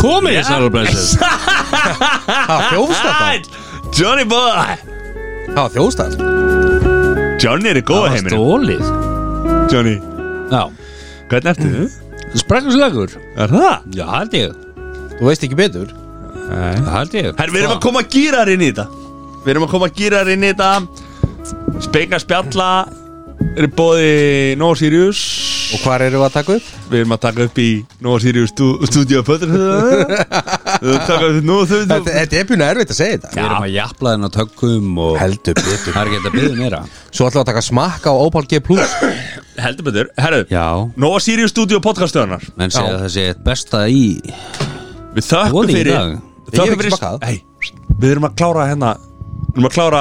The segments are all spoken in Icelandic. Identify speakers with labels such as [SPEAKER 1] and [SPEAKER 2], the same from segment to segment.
[SPEAKER 1] Komið þið sæl og blessuð
[SPEAKER 2] Það var þjófstall
[SPEAKER 1] Johnny boy
[SPEAKER 2] Það var þjófstall
[SPEAKER 1] Johnny er í
[SPEAKER 3] Það
[SPEAKER 1] góða
[SPEAKER 3] var
[SPEAKER 1] heiminum
[SPEAKER 3] stólið
[SPEAKER 1] Johnny,
[SPEAKER 3] Já,
[SPEAKER 1] hvernig ertu
[SPEAKER 3] Mhm.
[SPEAKER 1] þið?
[SPEAKER 3] sprekkuslegur
[SPEAKER 1] Er það?
[SPEAKER 3] Já, held ég,
[SPEAKER 2] Þú veist ekki betur
[SPEAKER 3] held ég
[SPEAKER 1] Herr, við erum að koma að gýra inn í þetta Við erum að koma að gýra inn í þetta Spegna spjalla Er í bóði Nóa Sirius
[SPEAKER 2] Og hvar eru við að taka upp?
[SPEAKER 1] Við erum að taka upp í Nóa Sirius stú, Studio Pötur Við erum að taka upp Nóa
[SPEAKER 2] Þetta,
[SPEAKER 1] Sirius
[SPEAKER 2] þetta er búin að erfitt að segja þetta
[SPEAKER 3] Við erum að japla þennan tökum og
[SPEAKER 2] Heldur betur
[SPEAKER 3] Það er ekki að byggja meira
[SPEAKER 2] Svo ætlum við að taka smakka á Opal G Plus
[SPEAKER 1] Heldur betur, herru
[SPEAKER 3] Já,
[SPEAKER 1] Nóa Sirius Studio podcastöðunar
[SPEAKER 3] menn segja
[SPEAKER 2] Já.
[SPEAKER 3] að það sé eitt besta í
[SPEAKER 1] Við þökkum
[SPEAKER 3] Voði í
[SPEAKER 1] fyrir
[SPEAKER 3] dag.
[SPEAKER 2] Ég hef
[SPEAKER 1] Þökkum
[SPEAKER 2] ekki
[SPEAKER 1] fyrir
[SPEAKER 2] smakkað.
[SPEAKER 1] Ei, Við erum að klára hérna Við erum að klára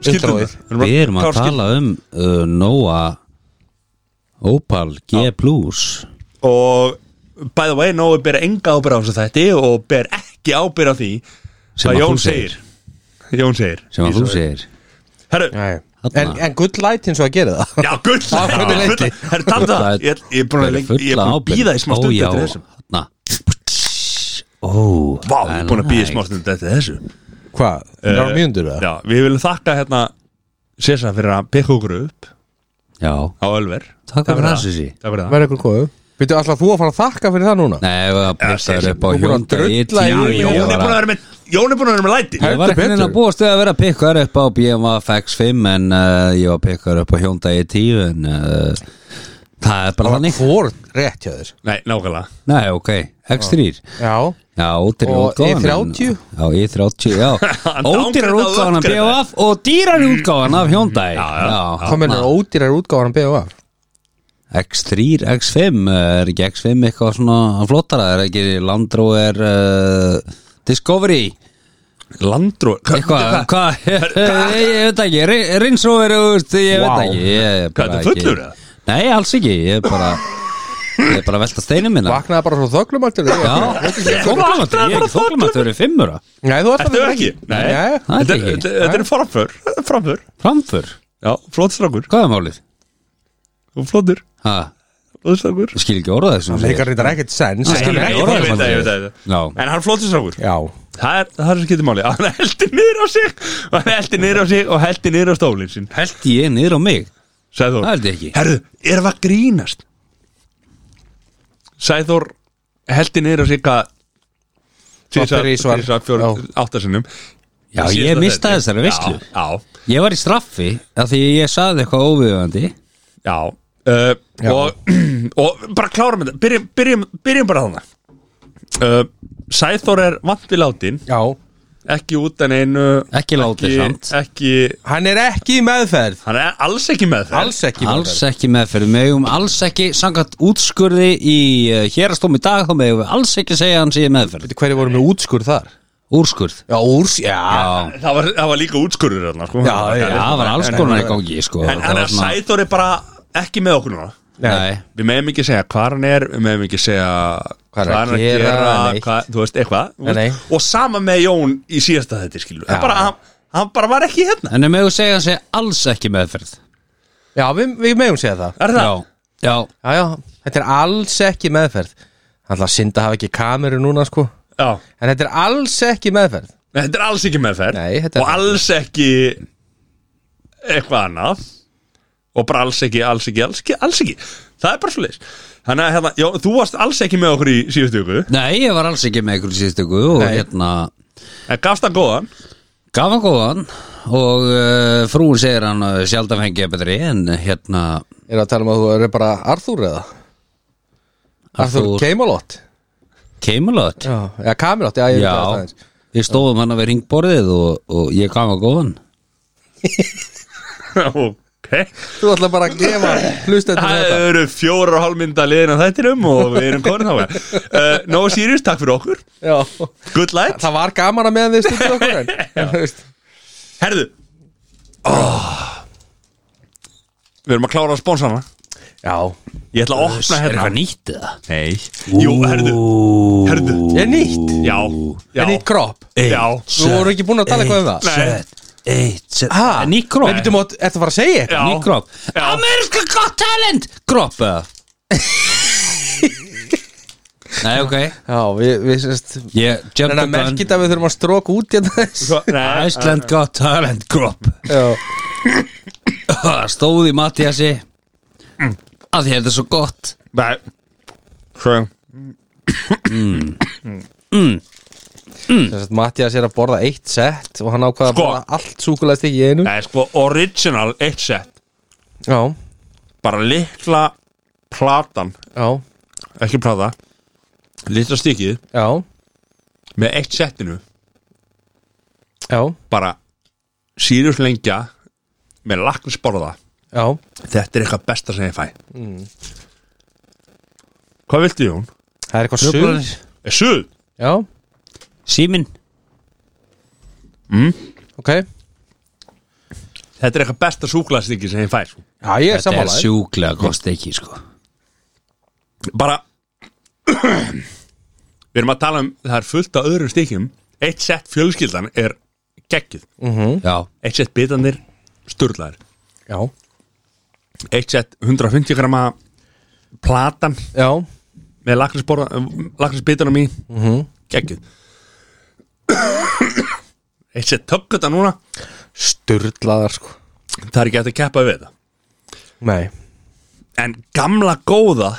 [SPEAKER 1] skildunar
[SPEAKER 2] Introið.
[SPEAKER 3] Við erum að tala um uh, Nóa Opal G+.
[SPEAKER 1] og by the way, Nói ber enga ábyrð á þessu þætti og ber ekki ábyrð á því
[SPEAKER 3] Sem
[SPEAKER 1] hvað
[SPEAKER 3] að
[SPEAKER 1] Jón
[SPEAKER 3] þú
[SPEAKER 1] segir
[SPEAKER 3] segir.
[SPEAKER 1] Jón segir
[SPEAKER 3] sem að þú segir
[SPEAKER 1] Herru,
[SPEAKER 2] Nei.
[SPEAKER 3] Þarna.
[SPEAKER 2] En, en gull light eins og að gera það
[SPEAKER 1] já, gull
[SPEAKER 2] Á hvernig leiti?
[SPEAKER 1] Herru, tala um það Ég ég er búin að lengi- ég er búin að býða í smá stund
[SPEAKER 3] Ó,
[SPEAKER 1] eftir
[SPEAKER 3] já,
[SPEAKER 1] þessu
[SPEAKER 3] þarna Ó,
[SPEAKER 1] Vá, ég er búin að býða í smá
[SPEAKER 3] nice.
[SPEAKER 1] stund eftir þessu
[SPEAKER 2] Hvað? Það var mjöndur það?
[SPEAKER 1] Já, við viljum þakka hérna Sessa fyrir að pekka okkur upp
[SPEAKER 3] Já,
[SPEAKER 1] á Ölver
[SPEAKER 3] Takk fyrir það, Sissi.
[SPEAKER 1] Takk fyrir það
[SPEAKER 2] Verður ykkur góðu Býttu alltaf þú að fara að þakka fyrir það núna?
[SPEAKER 3] nei, ef það
[SPEAKER 1] Sissi,
[SPEAKER 3] pressaður upp á
[SPEAKER 2] þú búin að
[SPEAKER 3] hjónda Í
[SPEAKER 2] drulla í
[SPEAKER 3] tíu
[SPEAKER 2] mig.
[SPEAKER 1] Jón er búin að
[SPEAKER 3] ára
[SPEAKER 1] vera með Jón er búin að vera með læti
[SPEAKER 3] Ég var
[SPEAKER 2] Heldur
[SPEAKER 3] ekki neina
[SPEAKER 2] betur.
[SPEAKER 3] að búast við að vera pikkar upp á BMF X5 en uh, ég var pikkar upp á Hyundai i10 en uh, það er bara
[SPEAKER 2] Það var
[SPEAKER 3] þannig
[SPEAKER 2] hvort rétt hjá þér
[SPEAKER 1] Nei, nákvæmlega
[SPEAKER 3] Nei, ok, X3
[SPEAKER 2] Já
[SPEAKER 3] Já, ótir
[SPEAKER 2] Og
[SPEAKER 3] útgáðan
[SPEAKER 2] E30?
[SPEAKER 3] Já, E30, já
[SPEAKER 1] Hann
[SPEAKER 3] Ótir
[SPEAKER 1] downgrade-
[SPEAKER 3] útgáðan af
[SPEAKER 1] upgrade.
[SPEAKER 3] BMF og dýrar útgáðan af Hyundai Mm, Já,
[SPEAKER 2] Hvað mennur ódýrar útgáðan BHA?
[SPEAKER 3] X3, X5 eh, er ekki X5 eitthvað svona flottara er ekki Land Rover uh, Discovery
[SPEAKER 1] Landró
[SPEAKER 3] eitthvað, hvað ég veit ekki, Re- Range Rover þú veist, ég
[SPEAKER 2] Vá.
[SPEAKER 3] veit ekki ég er bara
[SPEAKER 1] Hvað, ertu fullur,
[SPEAKER 3] ekki-
[SPEAKER 1] eða?
[SPEAKER 3] Nei, alls ekki, ég er bara ég er bara að velta steinu minna
[SPEAKER 2] Vaknaði bara svo þöglum alltaf
[SPEAKER 3] Já, þóklamattur, ég er ekki þóklamattur fyrir fimmura,
[SPEAKER 2] Nei, þú ert
[SPEAKER 1] Þetta er ekki Nei,
[SPEAKER 2] Nei.
[SPEAKER 3] Það er
[SPEAKER 1] Þetta
[SPEAKER 3] ekki.
[SPEAKER 1] er- þetta er framför Framför
[SPEAKER 3] framför
[SPEAKER 1] Já, flott strákur
[SPEAKER 3] hvað er málið?
[SPEAKER 1] Þú flottur
[SPEAKER 3] Ha,
[SPEAKER 1] Flottur strákur
[SPEAKER 3] ég skil ekki orða
[SPEAKER 2] Það
[SPEAKER 3] þessum
[SPEAKER 2] leikar reyndar ekkert sens
[SPEAKER 3] Nei. skilur
[SPEAKER 1] Nei,
[SPEAKER 3] ekki
[SPEAKER 1] ég
[SPEAKER 3] orðið
[SPEAKER 1] veit
[SPEAKER 3] sem
[SPEAKER 1] það,
[SPEAKER 3] hann
[SPEAKER 1] ég
[SPEAKER 3] segir.
[SPEAKER 1] veit það, ég veit
[SPEAKER 3] Já.
[SPEAKER 1] það. En hann flottur strákur
[SPEAKER 2] Já
[SPEAKER 1] Það er það er sem getur máli Hann heldur niður á sig og Hann heldur niður á sig og heldur niður á stólinn sinn
[SPEAKER 3] held ég niður á mig
[SPEAKER 1] Sæður
[SPEAKER 3] Það held ég ekki.
[SPEAKER 1] Herðu, erum við að grínast? Sæður heldur niður á sig hvað
[SPEAKER 2] Þáttur í svar.
[SPEAKER 1] Tísa fjórum áttasinnum
[SPEAKER 3] Já, ég mistaði þessari veislu.
[SPEAKER 1] Já,
[SPEAKER 3] ég var í straffi af því ég saði eitthvað óviðandi
[SPEAKER 1] já, já. Uh, og, og bara klárum þetta Byrjum, byrjum, byrjum bara þannig uh, Sæþór er vant við látin
[SPEAKER 2] Já
[SPEAKER 1] ekki út en einu
[SPEAKER 3] Ekki látið samt.
[SPEAKER 1] ekki,
[SPEAKER 2] Hann er ekki í meðferð
[SPEAKER 1] hann er alls ekki með það
[SPEAKER 2] Alls ekki í
[SPEAKER 3] alls
[SPEAKER 2] meðferð
[SPEAKER 3] ekki meðferð, við megum alls ekki sangat útskurði í hérastóm í dag þá megum við alls ekki segja að hann sé í meðferð
[SPEAKER 2] Veitu hverju voru með útskur þar?
[SPEAKER 3] úrskurð
[SPEAKER 2] Já, úrs, já
[SPEAKER 3] Já,
[SPEAKER 1] það var, það var líka útskurður þarna sko.
[SPEAKER 2] Já, já.
[SPEAKER 3] já, það var alls konar í gangi sko.
[SPEAKER 1] en
[SPEAKER 3] Það
[SPEAKER 1] hann
[SPEAKER 3] var
[SPEAKER 1] er
[SPEAKER 3] svona-
[SPEAKER 1] Sæþór er bara ekki með okkur núna
[SPEAKER 3] Nei,
[SPEAKER 1] við meðum ekki segja hvað hann er við meðum ekki segja
[SPEAKER 2] Hvað er að
[SPEAKER 1] hann
[SPEAKER 2] gera, neitt.
[SPEAKER 1] hvað, þú veist, eitthvað þú
[SPEAKER 2] Nei, nei.
[SPEAKER 1] veist. og sama með Jón í síðasta þetta skilu
[SPEAKER 2] Já.
[SPEAKER 1] bara, hann, hann bara var ekki hérna
[SPEAKER 3] en við megum segja að hann sé alls ekki meðferð
[SPEAKER 2] Já, við, við megum segja það
[SPEAKER 1] er það?
[SPEAKER 3] Já, já,
[SPEAKER 2] Já, já, þetta er alls ekki meðferð Það er að synda að hafa ekki kameru núna, sko
[SPEAKER 1] Já.
[SPEAKER 2] En þetta er alls ekki meðferð
[SPEAKER 1] Nei, þetta er alls ekki meðferð
[SPEAKER 2] Nei, þetta er-
[SPEAKER 1] og alls ekki eitthvað annað og bara alls ekki, alls ekki, alls ekki, alls ekki. það er bara svo leis þannig að hérna, já, þú varst alls ekki með okkur í síðustu ykkur
[SPEAKER 3] nei, ég var alls ekki með ykkur síðustöku og hérna
[SPEAKER 1] en gafst hann góðan
[SPEAKER 3] gaf hann góðan og uh, frúin segir hann uh, sjaldan fengið er betri en hérna
[SPEAKER 2] Er að tala um að þú eru bara Arthur eða? Arthur,
[SPEAKER 3] Arthur-
[SPEAKER 2] Arthur Keimalot
[SPEAKER 3] keimulot
[SPEAKER 2] Já, eða Kamerot, já, ég veit það
[SPEAKER 3] Já,
[SPEAKER 2] aðeins
[SPEAKER 3] við stóðum hann að vera hringborðið og, og ég gaf hann góðan
[SPEAKER 1] ok
[SPEAKER 2] Þú ætla bara að gefa hlustendur
[SPEAKER 1] það
[SPEAKER 2] þetta
[SPEAKER 1] eru fjórar og hálfmynda liðin af þættinum og við erum konin þá uh, no serious, takk fyrir okkur
[SPEAKER 2] Já
[SPEAKER 1] good light,
[SPEAKER 2] Það var gaman að meðan þið stundið okkur en þú veist.
[SPEAKER 1] herðu oh. við erum að klára að sponsa hana
[SPEAKER 2] Já
[SPEAKER 1] ég ætla að opna
[SPEAKER 3] Er
[SPEAKER 1] hérna
[SPEAKER 3] eitthvað nýtt eða?
[SPEAKER 1] Nei Jú, herðu Herðu
[SPEAKER 2] Er nýtt
[SPEAKER 1] Já Já
[SPEAKER 2] Er nýtt kropp
[SPEAKER 1] Já
[SPEAKER 2] Þú voru ekki búin að tala eitthvað um það
[SPEAKER 1] Nei
[SPEAKER 3] Eitt set
[SPEAKER 2] Ha?
[SPEAKER 3] Nýtt kropp
[SPEAKER 2] Nei, býtum að, ertu að fara að segja eitthvað?
[SPEAKER 1] Já
[SPEAKER 3] Nýtt kropp
[SPEAKER 1] Já.
[SPEAKER 3] Ameriska Got Talent Kropp eða? Nei, ok
[SPEAKER 2] Já, við, við sérst
[SPEAKER 3] Ég jump the
[SPEAKER 2] Þannig að merkja
[SPEAKER 3] gun
[SPEAKER 2] þetta að við þurfum að stróka út hérna þess
[SPEAKER 1] Svo- Nei,
[SPEAKER 3] Iceland got talent crop
[SPEAKER 2] Já,
[SPEAKER 3] Stóði Mattiasi að því þetta er svo gott
[SPEAKER 1] nei Svo
[SPEAKER 2] sérst Mattias er að borða eitt sett og hann
[SPEAKER 1] Sko.
[SPEAKER 2] ákvaða að borða allt súkulæðist ekki í einu
[SPEAKER 1] Nei, sko, original eitt set
[SPEAKER 2] Já,
[SPEAKER 1] Bara litla platan
[SPEAKER 2] já,
[SPEAKER 1] Ekki plata Litla stikið
[SPEAKER 2] já,
[SPEAKER 1] Með eitt setinu
[SPEAKER 2] já,
[SPEAKER 1] Bara Sirius lengja Með lakknisborða
[SPEAKER 2] já
[SPEAKER 1] Þetta er eitthvað besta sem ég fæ Hvað viltu Jón?
[SPEAKER 2] Það er eitthvað suð
[SPEAKER 1] Er suð?
[SPEAKER 2] Já,
[SPEAKER 3] Símin
[SPEAKER 2] ok Já,
[SPEAKER 1] Þetta er eitthvað besta súklaðstingi sem ég fæ sko.
[SPEAKER 2] ég er
[SPEAKER 3] Þetta er
[SPEAKER 2] samanlega
[SPEAKER 3] sjúklega kost ekki sko
[SPEAKER 1] Bara Við erum að tala um Það er fullt af öðrum stikjum Eitt sett fjölskyldan er geggið
[SPEAKER 3] Já,
[SPEAKER 1] Eitt sett bitanir sturlaðir
[SPEAKER 2] Já,
[SPEAKER 1] Eitt sett 150 grama Platan
[SPEAKER 2] já,
[SPEAKER 1] með lakrisbitunum í mm -hmm.
[SPEAKER 2] Mhm.
[SPEAKER 1] geggið Eitt sett tökkata núna
[SPEAKER 2] sturlaðar sko
[SPEAKER 1] Það er ekki hægt að keppa við þetta
[SPEAKER 2] Nei,
[SPEAKER 1] en gamla góða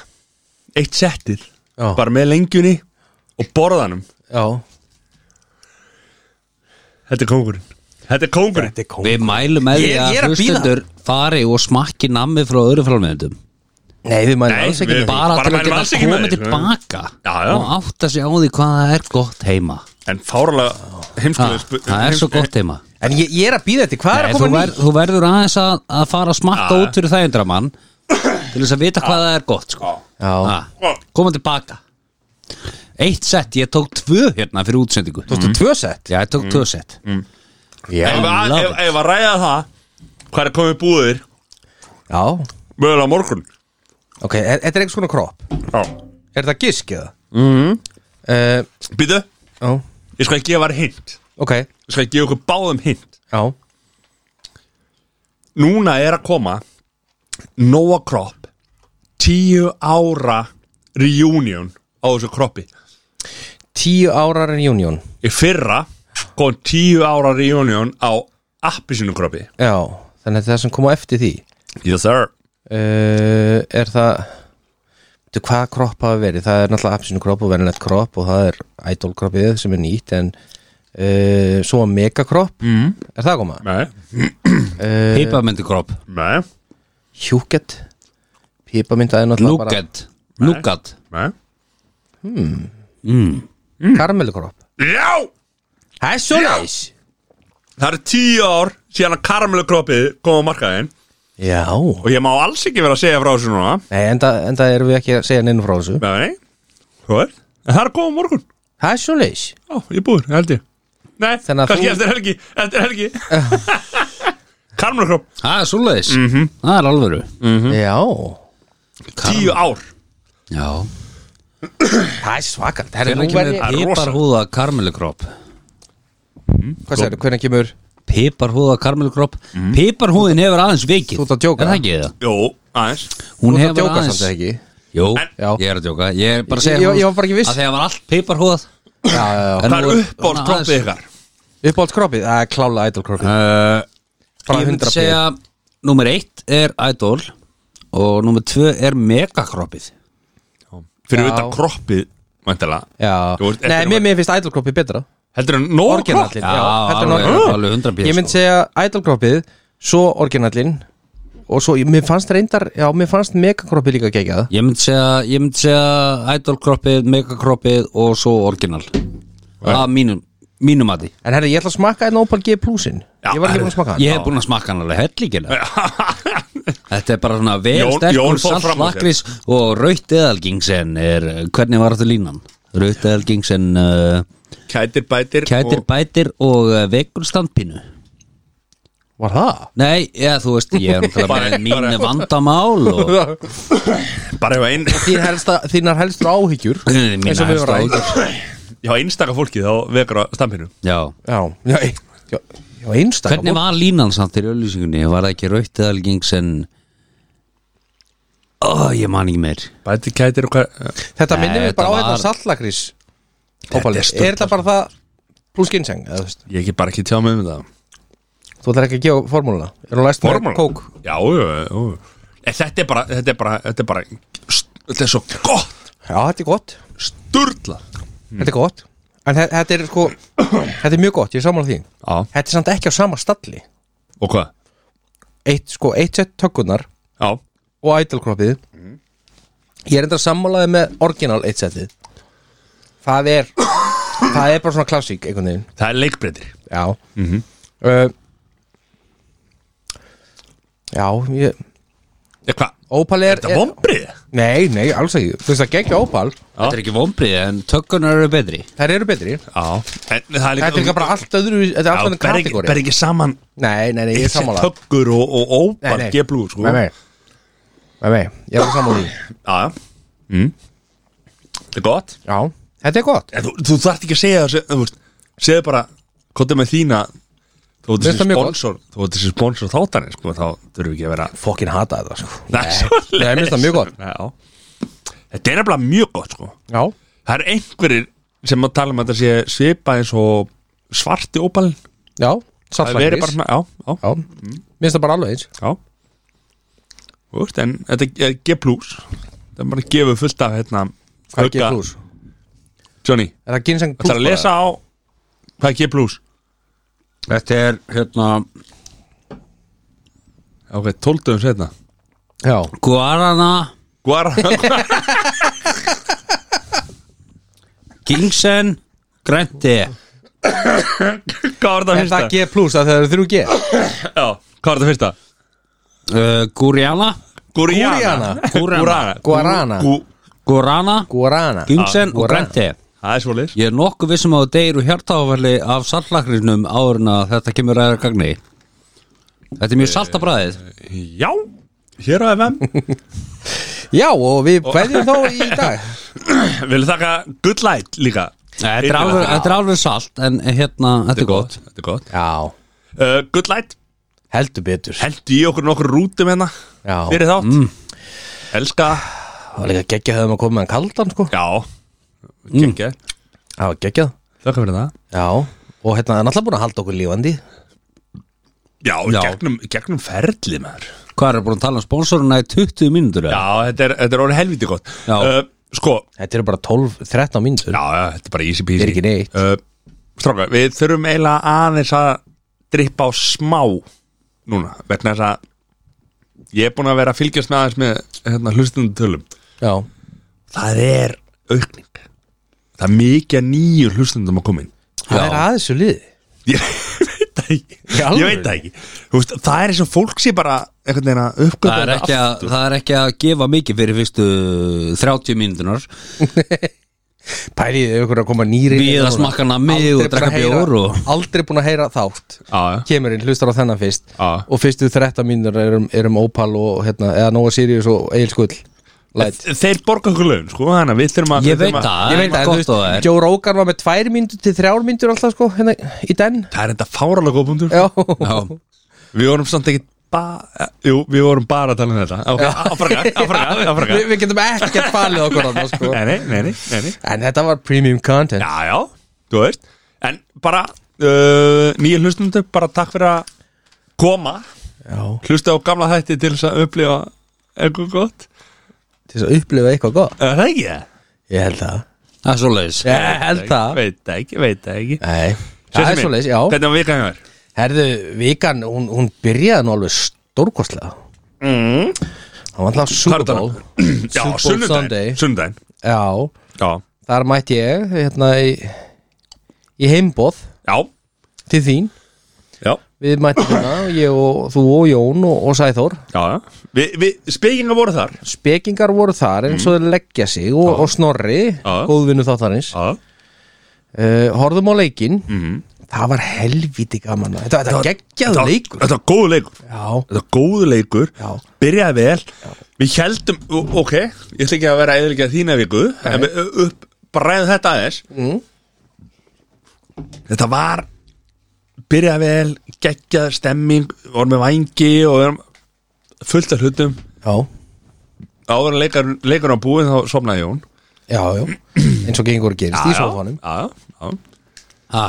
[SPEAKER 1] eitt settið,
[SPEAKER 2] Já.
[SPEAKER 1] bara með lengjunni og borðanum,
[SPEAKER 2] já
[SPEAKER 1] þetta er kóngurinn þetta er kóngurinn
[SPEAKER 2] Þetta er kóð
[SPEAKER 3] við mælum með því
[SPEAKER 2] Ég- ég er
[SPEAKER 3] að
[SPEAKER 2] að bíða.
[SPEAKER 3] hlustendur fari og smakki nammi frá öðru framöndum
[SPEAKER 2] Nei, við mælum
[SPEAKER 1] Nei,
[SPEAKER 2] alls ekki
[SPEAKER 1] við-
[SPEAKER 2] með því.
[SPEAKER 3] bara,
[SPEAKER 1] Bara
[SPEAKER 3] til
[SPEAKER 1] mælum
[SPEAKER 3] að geta
[SPEAKER 1] alls ekki með
[SPEAKER 3] komið
[SPEAKER 1] því, sko.
[SPEAKER 3] tilbaka
[SPEAKER 1] Já, já.
[SPEAKER 3] og átta sig á því hvað það er gott heima
[SPEAKER 1] en fáralega
[SPEAKER 3] ha,
[SPEAKER 1] heimskuðu sp-
[SPEAKER 3] það er svo
[SPEAKER 1] heims-
[SPEAKER 3] gott heima
[SPEAKER 2] En ég, ég er að býða þetta, hvað er
[SPEAKER 3] Nei,
[SPEAKER 2] að
[SPEAKER 3] þú,
[SPEAKER 2] koma
[SPEAKER 3] ver,
[SPEAKER 2] nýtt?
[SPEAKER 3] þú verður aðeins að, að fara að smakka
[SPEAKER 1] Já.
[SPEAKER 3] út fyrir þægindra mann til þess að vita hvað það er gott sko.
[SPEAKER 2] Já,
[SPEAKER 3] Ha, koma tilbaka eitt sett, ég tók tvö hérna fyrir útsendingu
[SPEAKER 2] þú stu tvö sett Mhm.
[SPEAKER 3] já, ég tók tvö sett
[SPEAKER 2] Já,
[SPEAKER 1] ef að-
[SPEAKER 3] love
[SPEAKER 1] ef-
[SPEAKER 3] it.
[SPEAKER 1] ef að ræða það hvað er komið búðir,
[SPEAKER 2] já,
[SPEAKER 1] mögulega á morgun
[SPEAKER 2] ok, e- þetta er einhvers konar kropp
[SPEAKER 1] já,
[SPEAKER 2] Er þetta gisk eða? Mhm
[SPEAKER 1] býtu,
[SPEAKER 2] Já,
[SPEAKER 1] ég skal gefa þér hint
[SPEAKER 2] ok,
[SPEAKER 1] ég skal gefa okkur báðum hint
[SPEAKER 2] já
[SPEAKER 1] núna er að koma Noah Kropp tíu ára reunion á þessu kroppi
[SPEAKER 2] Tíu ára reunion
[SPEAKER 1] í fyrra kom tíu ára reunion á appisínu kroppi
[SPEAKER 2] Já, þannig að það sem kom á eftir því
[SPEAKER 1] yes sir
[SPEAKER 2] uh, Er það Þú hvað kropp hafa verið? Það er náttúrulega absinu kropp og verðinett kropp og það er idol kroppið sem er nýtt en uh, svo mega kropp mm. Er það að koma?
[SPEAKER 1] nei,
[SPEAKER 2] Eh.
[SPEAKER 3] pipamindukropp,
[SPEAKER 1] nei,
[SPEAKER 2] Hjúket Pípamynd það er náttúrulega bara
[SPEAKER 3] núgat núgat,
[SPEAKER 1] nei
[SPEAKER 2] Mm. karamellukropp
[SPEAKER 1] já,
[SPEAKER 2] Það er svo næs
[SPEAKER 1] það eru tíu ár síðan að karamelu kroppið kom á markaðinn
[SPEAKER 2] Já
[SPEAKER 1] og ég má alls ekki vera að segja frá þessu núna
[SPEAKER 2] Nei, enda, enda erum við ekki að segja neinu frá þessu
[SPEAKER 1] nei, nei, hvað er en það er að koma á morgun,
[SPEAKER 2] Það er svo leis
[SPEAKER 1] já, ég búður, ég held ég nei,
[SPEAKER 2] Þannig að
[SPEAKER 1] kannski
[SPEAKER 2] þú-
[SPEAKER 1] eftir helgi eftir helgi karamelu kropp
[SPEAKER 3] það er svoleiðis
[SPEAKER 2] Mhm.
[SPEAKER 3] það er alvöru
[SPEAKER 2] Mm. Já
[SPEAKER 1] tíu ár
[SPEAKER 3] já
[SPEAKER 2] Það er svakalt Herri, nú
[SPEAKER 3] Hvernig
[SPEAKER 2] verð ég-
[SPEAKER 3] kemur piparhúða karmelukropp?
[SPEAKER 2] Hvað segir, hvernig kemur
[SPEAKER 3] Piparhúða karmelukropp?
[SPEAKER 2] Mhm.
[SPEAKER 3] Piparhúðin hefur aðeins vikið
[SPEAKER 2] Þú ert að djóka?
[SPEAKER 3] Er það ekki það?
[SPEAKER 1] jú, aðeins
[SPEAKER 3] Hún
[SPEAKER 2] Þú ert að
[SPEAKER 3] hefur
[SPEAKER 2] djóka
[SPEAKER 3] aðeins
[SPEAKER 2] samt ekki
[SPEAKER 3] Jú,
[SPEAKER 2] Já.
[SPEAKER 3] ég er að djóka Ég er bara að
[SPEAKER 2] Ég-
[SPEAKER 3] segja
[SPEAKER 2] ég-
[SPEAKER 3] hún-
[SPEAKER 2] ég var bara ekki viss.
[SPEAKER 3] Að þegar var allt piparhúðað
[SPEAKER 2] Já, já,
[SPEAKER 1] það
[SPEAKER 2] já
[SPEAKER 1] er uppáld kroppið ykkar
[SPEAKER 2] Uppáhalds kroppið? Það er klála idol kroppið
[SPEAKER 3] uh,
[SPEAKER 2] Bara
[SPEAKER 3] Ég
[SPEAKER 2] 100
[SPEAKER 3] myndi segja Númer eitt er idol Og númer tvö er megakroppið
[SPEAKER 1] fyrir
[SPEAKER 2] Já.
[SPEAKER 1] utan kroppið mæntilega
[SPEAKER 2] Já
[SPEAKER 1] Þú ert-
[SPEAKER 2] Nei,
[SPEAKER 1] þetta er-
[SPEAKER 2] mér, mér finnst idol kroppið betra
[SPEAKER 1] heldur en nóg kropp
[SPEAKER 2] Orginallin
[SPEAKER 3] Já,
[SPEAKER 2] heldur en
[SPEAKER 3] alveg,
[SPEAKER 2] orginallinn.
[SPEAKER 3] alveg 100 pí,
[SPEAKER 2] Ég myndi segja idol kroppið Svo orginallin Og svo, ég- mér fannst reyndar Já, mér fannst megakroppið líka gegjað
[SPEAKER 3] Ég myndi segja, ég myndi segja idolkroppið, megakroppið og svo orginal Það er mínum, mínum að því
[SPEAKER 2] En herri, ég ætla að smakka einn Opal G plusin
[SPEAKER 1] Já,
[SPEAKER 2] Ég var ekki búin að smakka hann
[SPEAKER 3] Ég hef búin að smakka hann alveg hellingilega Þetta er bara svona vel
[SPEAKER 1] Jón- Jón
[SPEAKER 3] sterkur
[SPEAKER 1] fór fram úr sér.
[SPEAKER 3] saltlakris og raut eðalgingsen er, hvernig var þetta línan? Raut eðalgingsen uh,
[SPEAKER 1] kætir bætir
[SPEAKER 3] kætir
[SPEAKER 1] og-
[SPEAKER 3] bætir og uh, vekur standpínu
[SPEAKER 2] Var það?
[SPEAKER 3] Nei, já, þú veist, ég er
[SPEAKER 1] Bara-
[SPEAKER 3] náttúrulega með
[SPEAKER 1] bara-
[SPEAKER 3] mínu vandamál og
[SPEAKER 1] bara hjá, ein,
[SPEAKER 2] Þín helsta, þínar helstur áhyggjur
[SPEAKER 3] mínu
[SPEAKER 2] Eins og við
[SPEAKER 3] helstu
[SPEAKER 2] vorum að-
[SPEAKER 3] áhyggjur.
[SPEAKER 1] hjá einstaka fólki þá vekar á stampinu
[SPEAKER 3] Já,
[SPEAKER 2] Já, já, ein- já, já einstakar
[SPEAKER 3] hvernig var línan samt í auðlýsingunni? Var það ekki raut eðalgingsen Ó, ég man ekki meir
[SPEAKER 1] Bæti kætir og hvað
[SPEAKER 2] Þetta
[SPEAKER 3] Nei,
[SPEAKER 2] minnir mig
[SPEAKER 3] þetta
[SPEAKER 2] bara á þetta
[SPEAKER 3] var-
[SPEAKER 2] sallagrís Ópalið,
[SPEAKER 1] er
[SPEAKER 2] er þetta bara það pluss ginseng, eða þú veist
[SPEAKER 1] Ég ekki bara ekki tjá mig um það
[SPEAKER 2] Þú ætlar ekki að gefa formúluna Er hún læst
[SPEAKER 1] Formúluna?
[SPEAKER 2] kók?
[SPEAKER 1] Já, já, já En þetta er bara, þetta er bara, þetta er bara Þetta er svo gott
[SPEAKER 2] Já, þetta er gott,
[SPEAKER 1] Sturla
[SPEAKER 2] þetta er gott En þe- þetta er sko, þetta er mjög gott, ég er sammála því
[SPEAKER 1] Já,
[SPEAKER 2] Þetta er samt ekki á sama stalli
[SPEAKER 1] og hvað?
[SPEAKER 2] Eitt, sko, eitt sett tökkunar
[SPEAKER 1] Já,
[SPEAKER 2] og ædolkroppið Ég er enda sammálaði með orginal eitt settið Það er Það er bara svona klassík einhvern veginn
[SPEAKER 1] það er leikbreytir
[SPEAKER 2] Já uh, Já, ég
[SPEAKER 1] Eitthvað,
[SPEAKER 2] Ópal er,
[SPEAKER 1] þetta er vombrið
[SPEAKER 2] Nei, nei, alls ekki Þú veist að gegja ópal,
[SPEAKER 3] Þetta er ekki vombrið, en tökkunar eru betri
[SPEAKER 2] þær eru betri
[SPEAKER 1] Já, en það er líka
[SPEAKER 2] Þetta er líka bara allt öðru Þetta er
[SPEAKER 1] Já,
[SPEAKER 2] allt
[SPEAKER 1] ber
[SPEAKER 2] öðru
[SPEAKER 1] ekki, ber
[SPEAKER 2] kategóri
[SPEAKER 1] ekki saman
[SPEAKER 2] Nei, nei, nei, ég er sammála
[SPEAKER 1] Tökkur og, og ópar
[SPEAKER 2] Nei, nei.
[SPEAKER 1] geblú sko.
[SPEAKER 2] Nei, nei, nei, nei, ég er alveg sammála því
[SPEAKER 1] Já, já mm. Þetta er gott
[SPEAKER 2] Já, þetta er gott
[SPEAKER 1] En þú, þú þarft ekki að segja það þú veist, segðu bara, hvað er með þína þú ert
[SPEAKER 2] Mér finnst
[SPEAKER 1] þessi
[SPEAKER 2] það mjög gott.
[SPEAKER 1] sponsor þú ert þessi sponsor þáttanir, sko, þá þurfum við ekki að vera
[SPEAKER 2] Fokkin hata þetta, sko
[SPEAKER 1] Nei, svoleiðis.
[SPEAKER 2] Nei, mér finnst það mjög gott.
[SPEAKER 1] Já. Þetta er nefnilega mjög gott, sko
[SPEAKER 2] Já,
[SPEAKER 1] Það er einhverjir sem að tala um að þetta sé svipa eins og svarti ópal
[SPEAKER 2] já,
[SPEAKER 1] Það veri bara
[SPEAKER 2] saltlagrís
[SPEAKER 1] svona, já, já,
[SPEAKER 2] Já, mér finnst það bara alveg eins
[SPEAKER 1] já Þú veist, en þetta er G plus Það er bara að gefa fullt af, hérna
[SPEAKER 2] Hvað er G+.
[SPEAKER 1] hugga- Johnny,
[SPEAKER 2] Er það ginseng plus?
[SPEAKER 1] það er að lesa á Hvað er G plus?
[SPEAKER 3] Þetta er, hérna
[SPEAKER 1] Ok, 12 dögum setna
[SPEAKER 2] Já,
[SPEAKER 3] Guarana,
[SPEAKER 1] Guarana
[SPEAKER 3] Kingsen, Grænti
[SPEAKER 1] Hvað var það
[SPEAKER 2] er
[SPEAKER 1] fyrsta?
[SPEAKER 2] það G plus að það eru þrjú G?
[SPEAKER 1] Já, hvað var það fyrsta?
[SPEAKER 3] uh, Guriana
[SPEAKER 1] Guriana
[SPEAKER 3] Guarana.
[SPEAKER 2] Guarana.
[SPEAKER 1] Gu-
[SPEAKER 3] Guarana,
[SPEAKER 2] Guarana
[SPEAKER 3] Kingsen og
[SPEAKER 2] Guarana.
[SPEAKER 3] Grænti
[SPEAKER 1] Það er svolítið
[SPEAKER 3] Ég er nokkuð vissum að þú deyr úr hjartáfæli af saltlakrinum áður en að þetta kemur að gagni Þetta er mjög Eh, saltabræðið
[SPEAKER 1] Já, hér á FM
[SPEAKER 2] Já, og við kveðjum þá í dag
[SPEAKER 1] Vilu þakka Good Light líka
[SPEAKER 3] Þetta er alveg- þetta er alveg salt en hérna, þetta er gott
[SPEAKER 1] Þetta er gott
[SPEAKER 2] Já,
[SPEAKER 1] Uh, Good Light,
[SPEAKER 2] heldur betur
[SPEAKER 1] hendi í okkur nokkur rútum hérna
[SPEAKER 2] Já.
[SPEAKER 1] Fyrir þátt mm. Elska,
[SPEAKER 2] Það var líka geggjað hefðum að koma með hann kaldan sko
[SPEAKER 1] já Kekja,
[SPEAKER 2] Það var geggjað
[SPEAKER 1] þakka fyrir það
[SPEAKER 2] Já, og hérna það er náttúrulega búin að halda okkur lífandi
[SPEAKER 1] Já,
[SPEAKER 3] Já.
[SPEAKER 1] Gegnum, gegnum ferli maður
[SPEAKER 3] Hvað er búin að tala um sponsoruna í 20 mínútur? eða?
[SPEAKER 1] Já, þetta er, þetta er orðið helviti gott
[SPEAKER 3] Já.
[SPEAKER 1] Sko,
[SPEAKER 2] Þetta eru bara 12-13 mínútur
[SPEAKER 1] já, já, þetta er bara easy peasy
[SPEAKER 2] Þetta er ekki neitt.
[SPEAKER 1] uh, Stráka, við þurfum eiginlega aðeins að drippa á smá núna, vegna þess að ég er búin að vera að fylgjast með aðeins með hérna, hlustundum tölum
[SPEAKER 2] Já,
[SPEAKER 1] Það er aukning Það er mikið nýju hlustundum að koma inn
[SPEAKER 2] það er aðeins svo liði
[SPEAKER 1] Ég veit það ekki
[SPEAKER 2] Í alvöru?
[SPEAKER 1] Ég veit það ekki Þú veist, Það er eins og fólk sé bara einhvern veginn að uppgöta
[SPEAKER 3] Það er,
[SPEAKER 1] þetta
[SPEAKER 3] ekki að, það er ekki að gefa mikið fyrir fyrstu 30 mínútunar
[SPEAKER 2] Pæliðið ykkur að koma nýri
[SPEAKER 3] Við að smakka nammi og drekka bjór og-
[SPEAKER 2] Aldrei búin að heyra þátt
[SPEAKER 1] Já, já.
[SPEAKER 2] Kemur inn, hlustar á þennan fyrst
[SPEAKER 1] Já.
[SPEAKER 2] Og fyrstu 13 mínútur er um, er um Opal og hérna, eða Nóa Sirius og Egil Skull Læt
[SPEAKER 1] Þeir borga okkur laun, sko, þannig að við þurfum að
[SPEAKER 3] Ég
[SPEAKER 1] við
[SPEAKER 3] veit
[SPEAKER 1] þurfum að-
[SPEAKER 3] það,
[SPEAKER 2] Ég veit
[SPEAKER 3] það
[SPEAKER 2] að,
[SPEAKER 3] er
[SPEAKER 2] þú
[SPEAKER 3] gott
[SPEAKER 2] veist,
[SPEAKER 3] og það er
[SPEAKER 2] Joe Rogan var með tvær mínútur til þrjár mínútur alltaf sko, hérna, í den
[SPEAKER 1] Það er þetta fáralega góðbundur
[SPEAKER 2] Já,
[SPEAKER 3] Já,
[SPEAKER 1] Við vorum samt ekki bara Jú, við vorum bara að tala um þetta Ok, áfraka, áfraka, áfraka
[SPEAKER 2] Vi, Við getum ekkert falið okkur annað, sko.
[SPEAKER 1] Nei, nei, nei, nei, nei, nei.
[SPEAKER 2] En þetta var premium content
[SPEAKER 1] Já, já, þú veist En bara, uh, nýja hlustundu Bara takk fyrir að koma
[SPEAKER 2] Já.
[SPEAKER 1] Hlusta á gamla þætti til þess að upplifa Eitthvað gott
[SPEAKER 2] Til þess að upplifa eitthvað gott
[SPEAKER 1] Er Það ekki það?
[SPEAKER 2] Ég held það
[SPEAKER 3] það er svoleiðis
[SPEAKER 2] Ég held það
[SPEAKER 1] Veit Eh, það ekki, veit það ekki
[SPEAKER 2] Nei, það er
[SPEAKER 1] Sesame,
[SPEAKER 2] svoleiðis, já
[SPEAKER 1] Hvernig var vikan hjá þér?
[SPEAKER 2] Herðu, vikan, hún, hún byrjaði nú alveg stórkostlega
[SPEAKER 1] Mm.
[SPEAKER 2] Það var alltaf Super
[SPEAKER 1] Hvað er
[SPEAKER 2] Bowl
[SPEAKER 1] Já,
[SPEAKER 2] Super Bowl Sunday.
[SPEAKER 1] sunnudaginn Sunnudaginn
[SPEAKER 2] Já,
[SPEAKER 1] Já,
[SPEAKER 2] þar mætti ég hérna í, í heimboð
[SPEAKER 1] já,
[SPEAKER 2] til þín
[SPEAKER 1] já,
[SPEAKER 2] Við mættum hérna, ég og þú og Jón og, og Sæþór
[SPEAKER 1] já, já. Vi, við, Spekinga voru þar
[SPEAKER 2] spekingar voru þar eins og þeir leggja sig og, og snorri,
[SPEAKER 1] Mm. Já.
[SPEAKER 2] góðvinnu þáttarins
[SPEAKER 1] Já,
[SPEAKER 2] uh, horfðum á leikin það var helviti gaman þetta, þetta var geggjaðu
[SPEAKER 1] Mhm. Þetta-
[SPEAKER 2] leikur
[SPEAKER 1] Þetta var góðu leikur
[SPEAKER 2] já,
[SPEAKER 1] Þetta var góðu leikur
[SPEAKER 2] Já.
[SPEAKER 1] Byrjaði vel Við heldum, o- ok Ég ætla ekki að vera eðlika þína viku En við upp, bara ræðum þetta aðeins
[SPEAKER 2] Mm.
[SPEAKER 1] Þetta var Byrjaði vel, geggjað stemming Við Vorum með vangi og við erum fullt af hlutum
[SPEAKER 2] já,
[SPEAKER 1] áður en leikar, leikur á búið þá sofnaði Jón
[SPEAKER 2] já, já, eins og gengur og gerist í
[SPEAKER 1] já,
[SPEAKER 2] sofanum
[SPEAKER 1] já, já.
[SPEAKER 3] ha,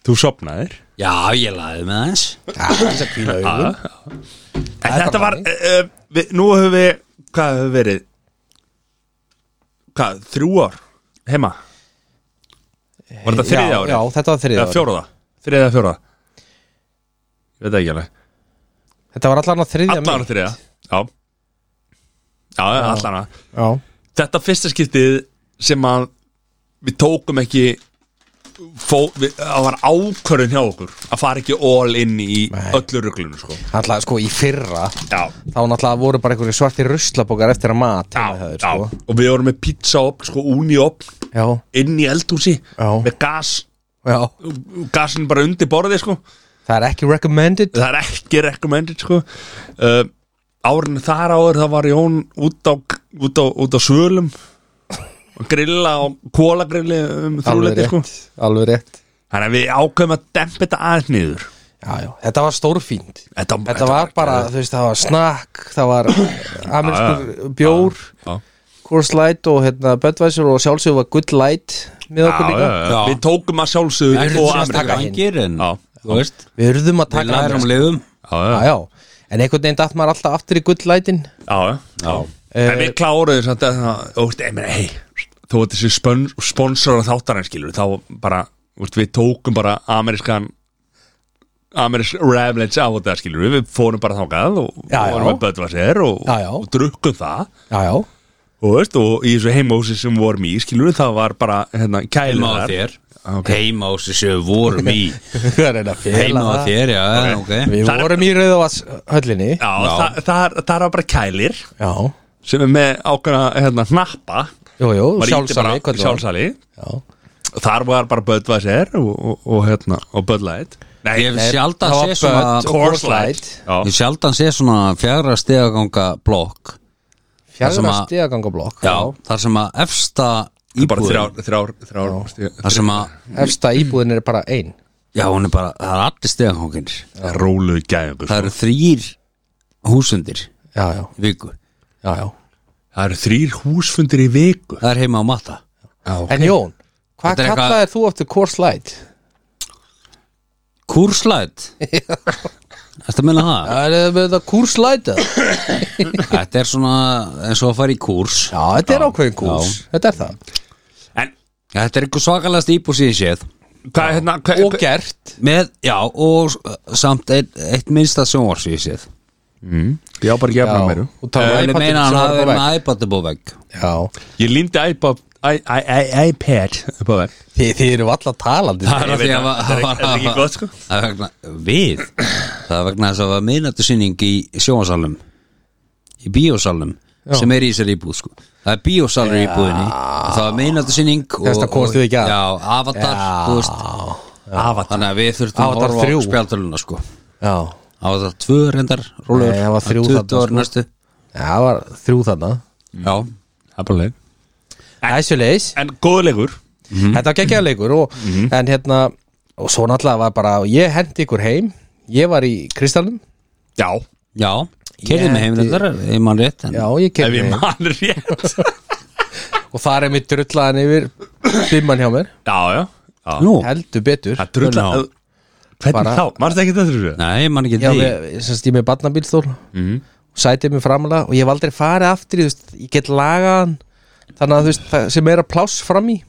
[SPEAKER 1] Þú sofnaðir
[SPEAKER 3] já, ég laði með þess
[SPEAKER 2] Já, þess að kvíla augun
[SPEAKER 1] En
[SPEAKER 2] er
[SPEAKER 1] þetta
[SPEAKER 2] bara
[SPEAKER 1] var, uh, við, nú höfum við Hvað höfum verið Hvað, þrjú ár Heima Var þetta
[SPEAKER 2] Eh, já,
[SPEAKER 1] þriðja árið?
[SPEAKER 2] já, þetta var þriðja
[SPEAKER 1] Eða
[SPEAKER 2] árið
[SPEAKER 1] fjóraða, þriðja eða fjóraða Ég veit það ekki alveg
[SPEAKER 2] Þetta var allan að þriðja
[SPEAKER 1] Allan
[SPEAKER 2] mitt.
[SPEAKER 1] að þriðja, já Já, já. allan að
[SPEAKER 2] Já,
[SPEAKER 1] Þetta fyrsta skiptið sem að við tókum ekki fó, við, það var ákvörðun hjá okkur að fara ekki all inn í
[SPEAKER 2] Nei.
[SPEAKER 1] öllu ruglunum sko
[SPEAKER 2] allan sko í fyrra
[SPEAKER 1] Já,
[SPEAKER 2] Þá náttúrulega voru bara einhverju svartir ruslabókar eftir að mat
[SPEAKER 1] já,
[SPEAKER 2] heima hjá þér,
[SPEAKER 1] já
[SPEAKER 2] sko.
[SPEAKER 1] Og við vorum með pizza opn, sko, uni opn
[SPEAKER 2] já,
[SPEAKER 1] inn í eldhúsi
[SPEAKER 2] Já.
[SPEAKER 1] með gas
[SPEAKER 2] já
[SPEAKER 1] gasin bara undir borðið sko
[SPEAKER 2] Það er ekki recommended
[SPEAKER 1] það er ekki recommended sko. uh, árin þar áður það var Jón út á, út á, út á svölum að grilla og kólagrilli um þrúleiti sko.
[SPEAKER 2] alveg rétt
[SPEAKER 1] þannig að við ákveðum að dempa þetta aðeins niður
[SPEAKER 2] já, já. Þetta var stórfínt
[SPEAKER 1] þetta,
[SPEAKER 2] Þetta var bara, þú veist, það var snakk Það var amerskur bjór
[SPEAKER 1] já,
[SPEAKER 2] Coors Light og hérna Budweiser og sjálfsögur var Good Light með
[SPEAKER 1] já,
[SPEAKER 2] okkur
[SPEAKER 1] já,
[SPEAKER 2] líka
[SPEAKER 1] já.
[SPEAKER 3] Já.
[SPEAKER 1] við tókum að sjálfsögðu
[SPEAKER 3] Ekkert
[SPEAKER 1] og
[SPEAKER 3] svona
[SPEAKER 1] Ameríku.
[SPEAKER 2] taka hinn.
[SPEAKER 3] stangir en,
[SPEAKER 1] Já.
[SPEAKER 3] þú veist
[SPEAKER 2] Við urðum að
[SPEAKER 3] Við
[SPEAKER 2] taka
[SPEAKER 3] lærum liðum
[SPEAKER 1] já, já,
[SPEAKER 2] Já, já, en einhvern veginn datt maður alltaf aftur í Good Lightin
[SPEAKER 1] já, já.
[SPEAKER 2] Eh,
[SPEAKER 1] En við kláruðum samt að það- og, veist, ég meina, hey, þú veist þessi spön- sponsor og þáttarinn skilur þá bara, veist, við tókum bara amerískan amerísk ravlins á þetta skilur við fórum bara þákað og
[SPEAKER 2] Já, já.
[SPEAKER 1] og vorum að bötva sér og,
[SPEAKER 2] Já, já.
[SPEAKER 1] og drukkum það
[SPEAKER 2] Já, já,
[SPEAKER 1] og, veist, og í þessu heimósi sem við vorum í skilur það var bara
[SPEAKER 3] heima
[SPEAKER 1] hérna,
[SPEAKER 3] á
[SPEAKER 1] kælunar
[SPEAKER 3] þér heima á þessu vorum í
[SPEAKER 2] það er að
[SPEAKER 3] heima á
[SPEAKER 2] fela það
[SPEAKER 3] þér, já, ok
[SPEAKER 2] Við
[SPEAKER 1] Það er-
[SPEAKER 2] vorum í Rauðavats höllinni
[SPEAKER 1] Já, það, það, það er bara kælir
[SPEAKER 2] Já,
[SPEAKER 1] sem er með ákveðna hérna, hnappa
[SPEAKER 2] jú,
[SPEAKER 1] Maður
[SPEAKER 2] jú,
[SPEAKER 1] ýtir bara-
[SPEAKER 2] sjálfsali köllum við það.
[SPEAKER 1] sjálfsali
[SPEAKER 2] Já.
[SPEAKER 1] þar var bara Böðvað sér og, og, og hérna og Böðlæðit
[SPEAKER 3] Ég hef sjaldan
[SPEAKER 2] Það
[SPEAKER 3] sé
[SPEAKER 2] var
[SPEAKER 3] svona
[SPEAKER 2] Bud og Coors Light
[SPEAKER 3] Ég sjaldan sé svona fjara stegaganga blokk sem
[SPEAKER 2] Fjarnar
[SPEAKER 3] að-
[SPEAKER 2] stíðagangablokk
[SPEAKER 3] Þar sem að efsta
[SPEAKER 1] bara
[SPEAKER 3] íbúðin
[SPEAKER 1] þrjár, þrjár, þrjár stig-
[SPEAKER 3] Þar sem að,
[SPEAKER 2] Efsta íbúðin er bara ein
[SPEAKER 3] já hún er bara, það er allir stegaganginir
[SPEAKER 1] róluðu gæðingur
[SPEAKER 3] Það eru þrýr húsundir í
[SPEAKER 2] Já, já,
[SPEAKER 3] viku
[SPEAKER 2] já, já
[SPEAKER 1] það eru þrýr húsfundir í viku
[SPEAKER 3] Það er heima á matta
[SPEAKER 2] En Jón,
[SPEAKER 3] Þetta
[SPEAKER 2] hvað
[SPEAKER 3] er eitthvað-
[SPEAKER 2] kallaðir þú eftir Coors Light?
[SPEAKER 3] Kúrslæt Þetta meina það?
[SPEAKER 2] Það er með þetta Coors Light eða?
[SPEAKER 3] Þetta er svona eins og að fara í kúrs
[SPEAKER 2] Já, þetta er ákveðin Coors, þetta er það
[SPEAKER 1] en
[SPEAKER 3] Þetta er einhver svakalegast íbúð sem ég séð
[SPEAKER 1] hvað er hérna hvað,
[SPEAKER 2] Og gert
[SPEAKER 3] Með, já, og s- samt eitt, eitt minnsta sjónvars ég séð
[SPEAKER 1] hvað, ég á bara að gefa mér
[SPEAKER 2] og tala um
[SPEAKER 3] Ég
[SPEAKER 2] iPadinn
[SPEAKER 3] meina
[SPEAKER 2] sem
[SPEAKER 3] hann hafi verið
[SPEAKER 2] var upp á vegg.
[SPEAKER 3] með iPad upp á vegg
[SPEAKER 2] Já,
[SPEAKER 1] ég líndi iPod i- i- i- iPad upp á vegg
[SPEAKER 2] Þi, þið eru alla talandi
[SPEAKER 3] Það er
[SPEAKER 1] Ég
[SPEAKER 3] af
[SPEAKER 1] veit
[SPEAKER 3] því að
[SPEAKER 1] það,
[SPEAKER 3] var-
[SPEAKER 1] þetta er ekki- þetta er ekki gott, sko.
[SPEAKER 3] Það er vegna, við Það er vegna þess að það var miðnættusinning í sjónvasalum Í bíósalum Sem er í þessari íbúð sko Það er bíósalur í íbúðinni og Það var miðnættusinning og-
[SPEAKER 2] Þess vegna komust þið ekki að.
[SPEAKER 3] Já, avatar
[SPEAKER 2] Já.
[SPEAKER 3] þú veist, Þannig að við þurftum að
[SPEAKER 2] Avatar
[SPEAKER 3] horfa á
[SPEAKER 2] þrjú.
[SPEAKER 3] spjaldurluna sko
[SPEAKER 2] Já,
[SPEAKER 3] Avatar 2 reyndar Rólur
[SPEAKER 2] Nei, það var þrjú þarna,
[SPEAKER 3] 20
[SPEAKER 2] sko. Mm.
[SPEAKER 3] ári næstu
[SPEAKER 2] Já, það var þrjú þarna
[SPEAKER 3] Já
[SPEAKER 1] það er bara leik
[SPEAKER 2] Æsuleis,
[SPEAKER 1] en góðu leikur Mhm.
[SPEAKER 2] þetta var geggjaða leikur og, En hérna, og svo náttúrulega var bara Ég hendi ykkur heim Ég var í Kristalnum,
[SPEAKER 1] já
[SPEAKER 3] Já Kerðið
[SPEAKER 2] Ég
[SPEAKER 3] með
[SPEAKER 2] hendi-
[SPEAKER 3] heimrindar Ég man rétt en
[SPEAKER 2] já, ég
[SPEAKER 1] ef
[SPEAKER 2] kemur
[SPEAKER 1] ég
[SPEAKER 2] heim
[SPEAKER 1] man rétt
[SPEAKER 2] Og þar er mér drullaðan yfir Bimman hjá mér,
[SPEAKER 1] já já, já.
[SPEAKER 3] Nú
[SPEAKER 2] heldur betur
[SPEAKER 1] það drulla
[SPEAKER 3] Já.
[SPEAKER 1] hvernig
[SPEAKER 2] Bara-
[SPEAKER 1] þá marstu ekki þetta þessu
[SPEAKER 3] Nei, ég man ekki
[SPEAKER 2] Já,
[SPEAKER 3] því
[SPEAKER 2] við, semst ég er með barnabílstól
[SPEAKER 1] Mhm.
[SPEAKER 2] mm. Sætið mér framlega og ég hef aldrei farið aftur í, þú veist, Ég get lagaðan Þannig að þú veist, það sem er að pláss fram í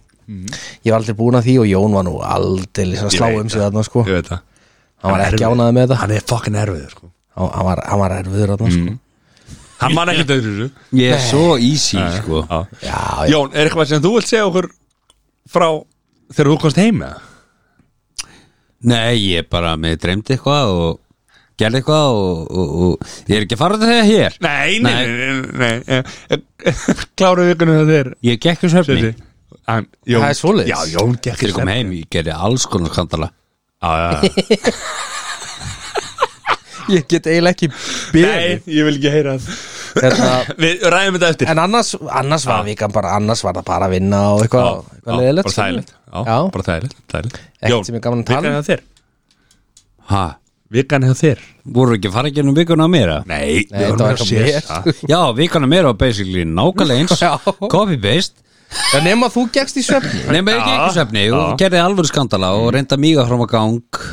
[SPEAKER 2] Ég var aldrei búin að því og Jón var nú aldrei
[SPEAKER 1] Mhm.
[SPEAKER 2] að
[SPEAKER 1] Ég
[SPEAKER 2] slá
[SPEAKER 1] veit
[SPEAKER 2] um sig
[SPEAKER 1] það.
[SPEAKER 2] þarna sko
[SPEAKER 1] ég veit það
[SPEAKER 2] Hann var
[SPEAKER 1] er
[SPEAKER 2] ekki
[SPEAKER 1] erfiður.
[SPEAKER 2] ánæði með þetta
[SPEAKER 1] hann er fucking erfiður sko
[SPEAKER 2] Hann hann var, hann var erfiður þarna sko
[SPEAKER 1] hann man ekki þetta þessu
[SPEAKER 3] Ég er svo easy sko
[SPEAKER 1] já
[SPEAKER 2] Já, já,
[SPEAKER 1] Jón, er eitthvað sem þú vilt segja okkur frá þegar þú komst heim með?
[SPEAKER 3] Nei, ég bara, mig dreymdi eitthvað og gerði eitthvað og, og, og ég er ekki að fara út að þegar hér
[SPEAKER 1] Nei, nei, nei, nei, nei, nei. Kláru vikunum það þér
[SPEAKER 3] Ég gekk um svefni
[SPEAKER 1] Sessi. Hann- Jón-
[SPEAKER 2] Það er svoleiðis.
[SPEAKER 1] Já, Jón gekk
[SPEAKER 3] Þegar ég kom heim, ég gerði alls konar skandala
[SPEAKER 1] heim
[SPEAKER 2] ég get eiginlega ekki
[SPEAKER 1] Nei,
[SPEAKER 2] beðið
[SPEAKER 1] ég vil ekki heyra það.
[SPEAKER 2] hérna,
[SPEAKER 1] Við ræðum þetta eftir
[SPEAKER 2] En annars, annars var vikan bara Annars var það bara að vinna og
[SPEAKER 1] Já,
[SPEAKER 2] eitthvað
[SPEAKER 1] já,
[SPEAKER 2] eitthvað leiðilegt, sko.
[SPEAKER 1] Bara þægilegt
[SPEAKER 2] skilur.
[SPEAKER 1] Já,
[SPEAKER 2] Já.
[SPEAKER 1] bara þægilegt þægilegt.
[SPEAKER 2] Ekkert sem er gaman að tala um.
[SPEAKER 1] vikan hjá þér
[SPEAKER 3] Ha,
[SPEAKER 1] Vikan hjá þér
[SPEAKER 3] voru ekki að fara ekki ennum vikuna á mér eða?
[SPEAKER 1] Nei,
[SPEAKER 2] Nei, þetta var eitthvað mér.
[SPEAKER 3] já, vikuna á mér var basically nákvæmlega eins
[SPEAKER 2] Já.
[SPEAKER 3] copy-paste
[SPEAKER 2] Það nema þú gegst í svefni
[SPEAKER 3] Nei, maður ekki
[SPEAKER 1] Já.
[SPEAKER 3] ekki svefni og
[SPEAKER 1] Já. Mm.
[SPEAKER 3] gerði alvöru skandala og reynda mýga fram að gang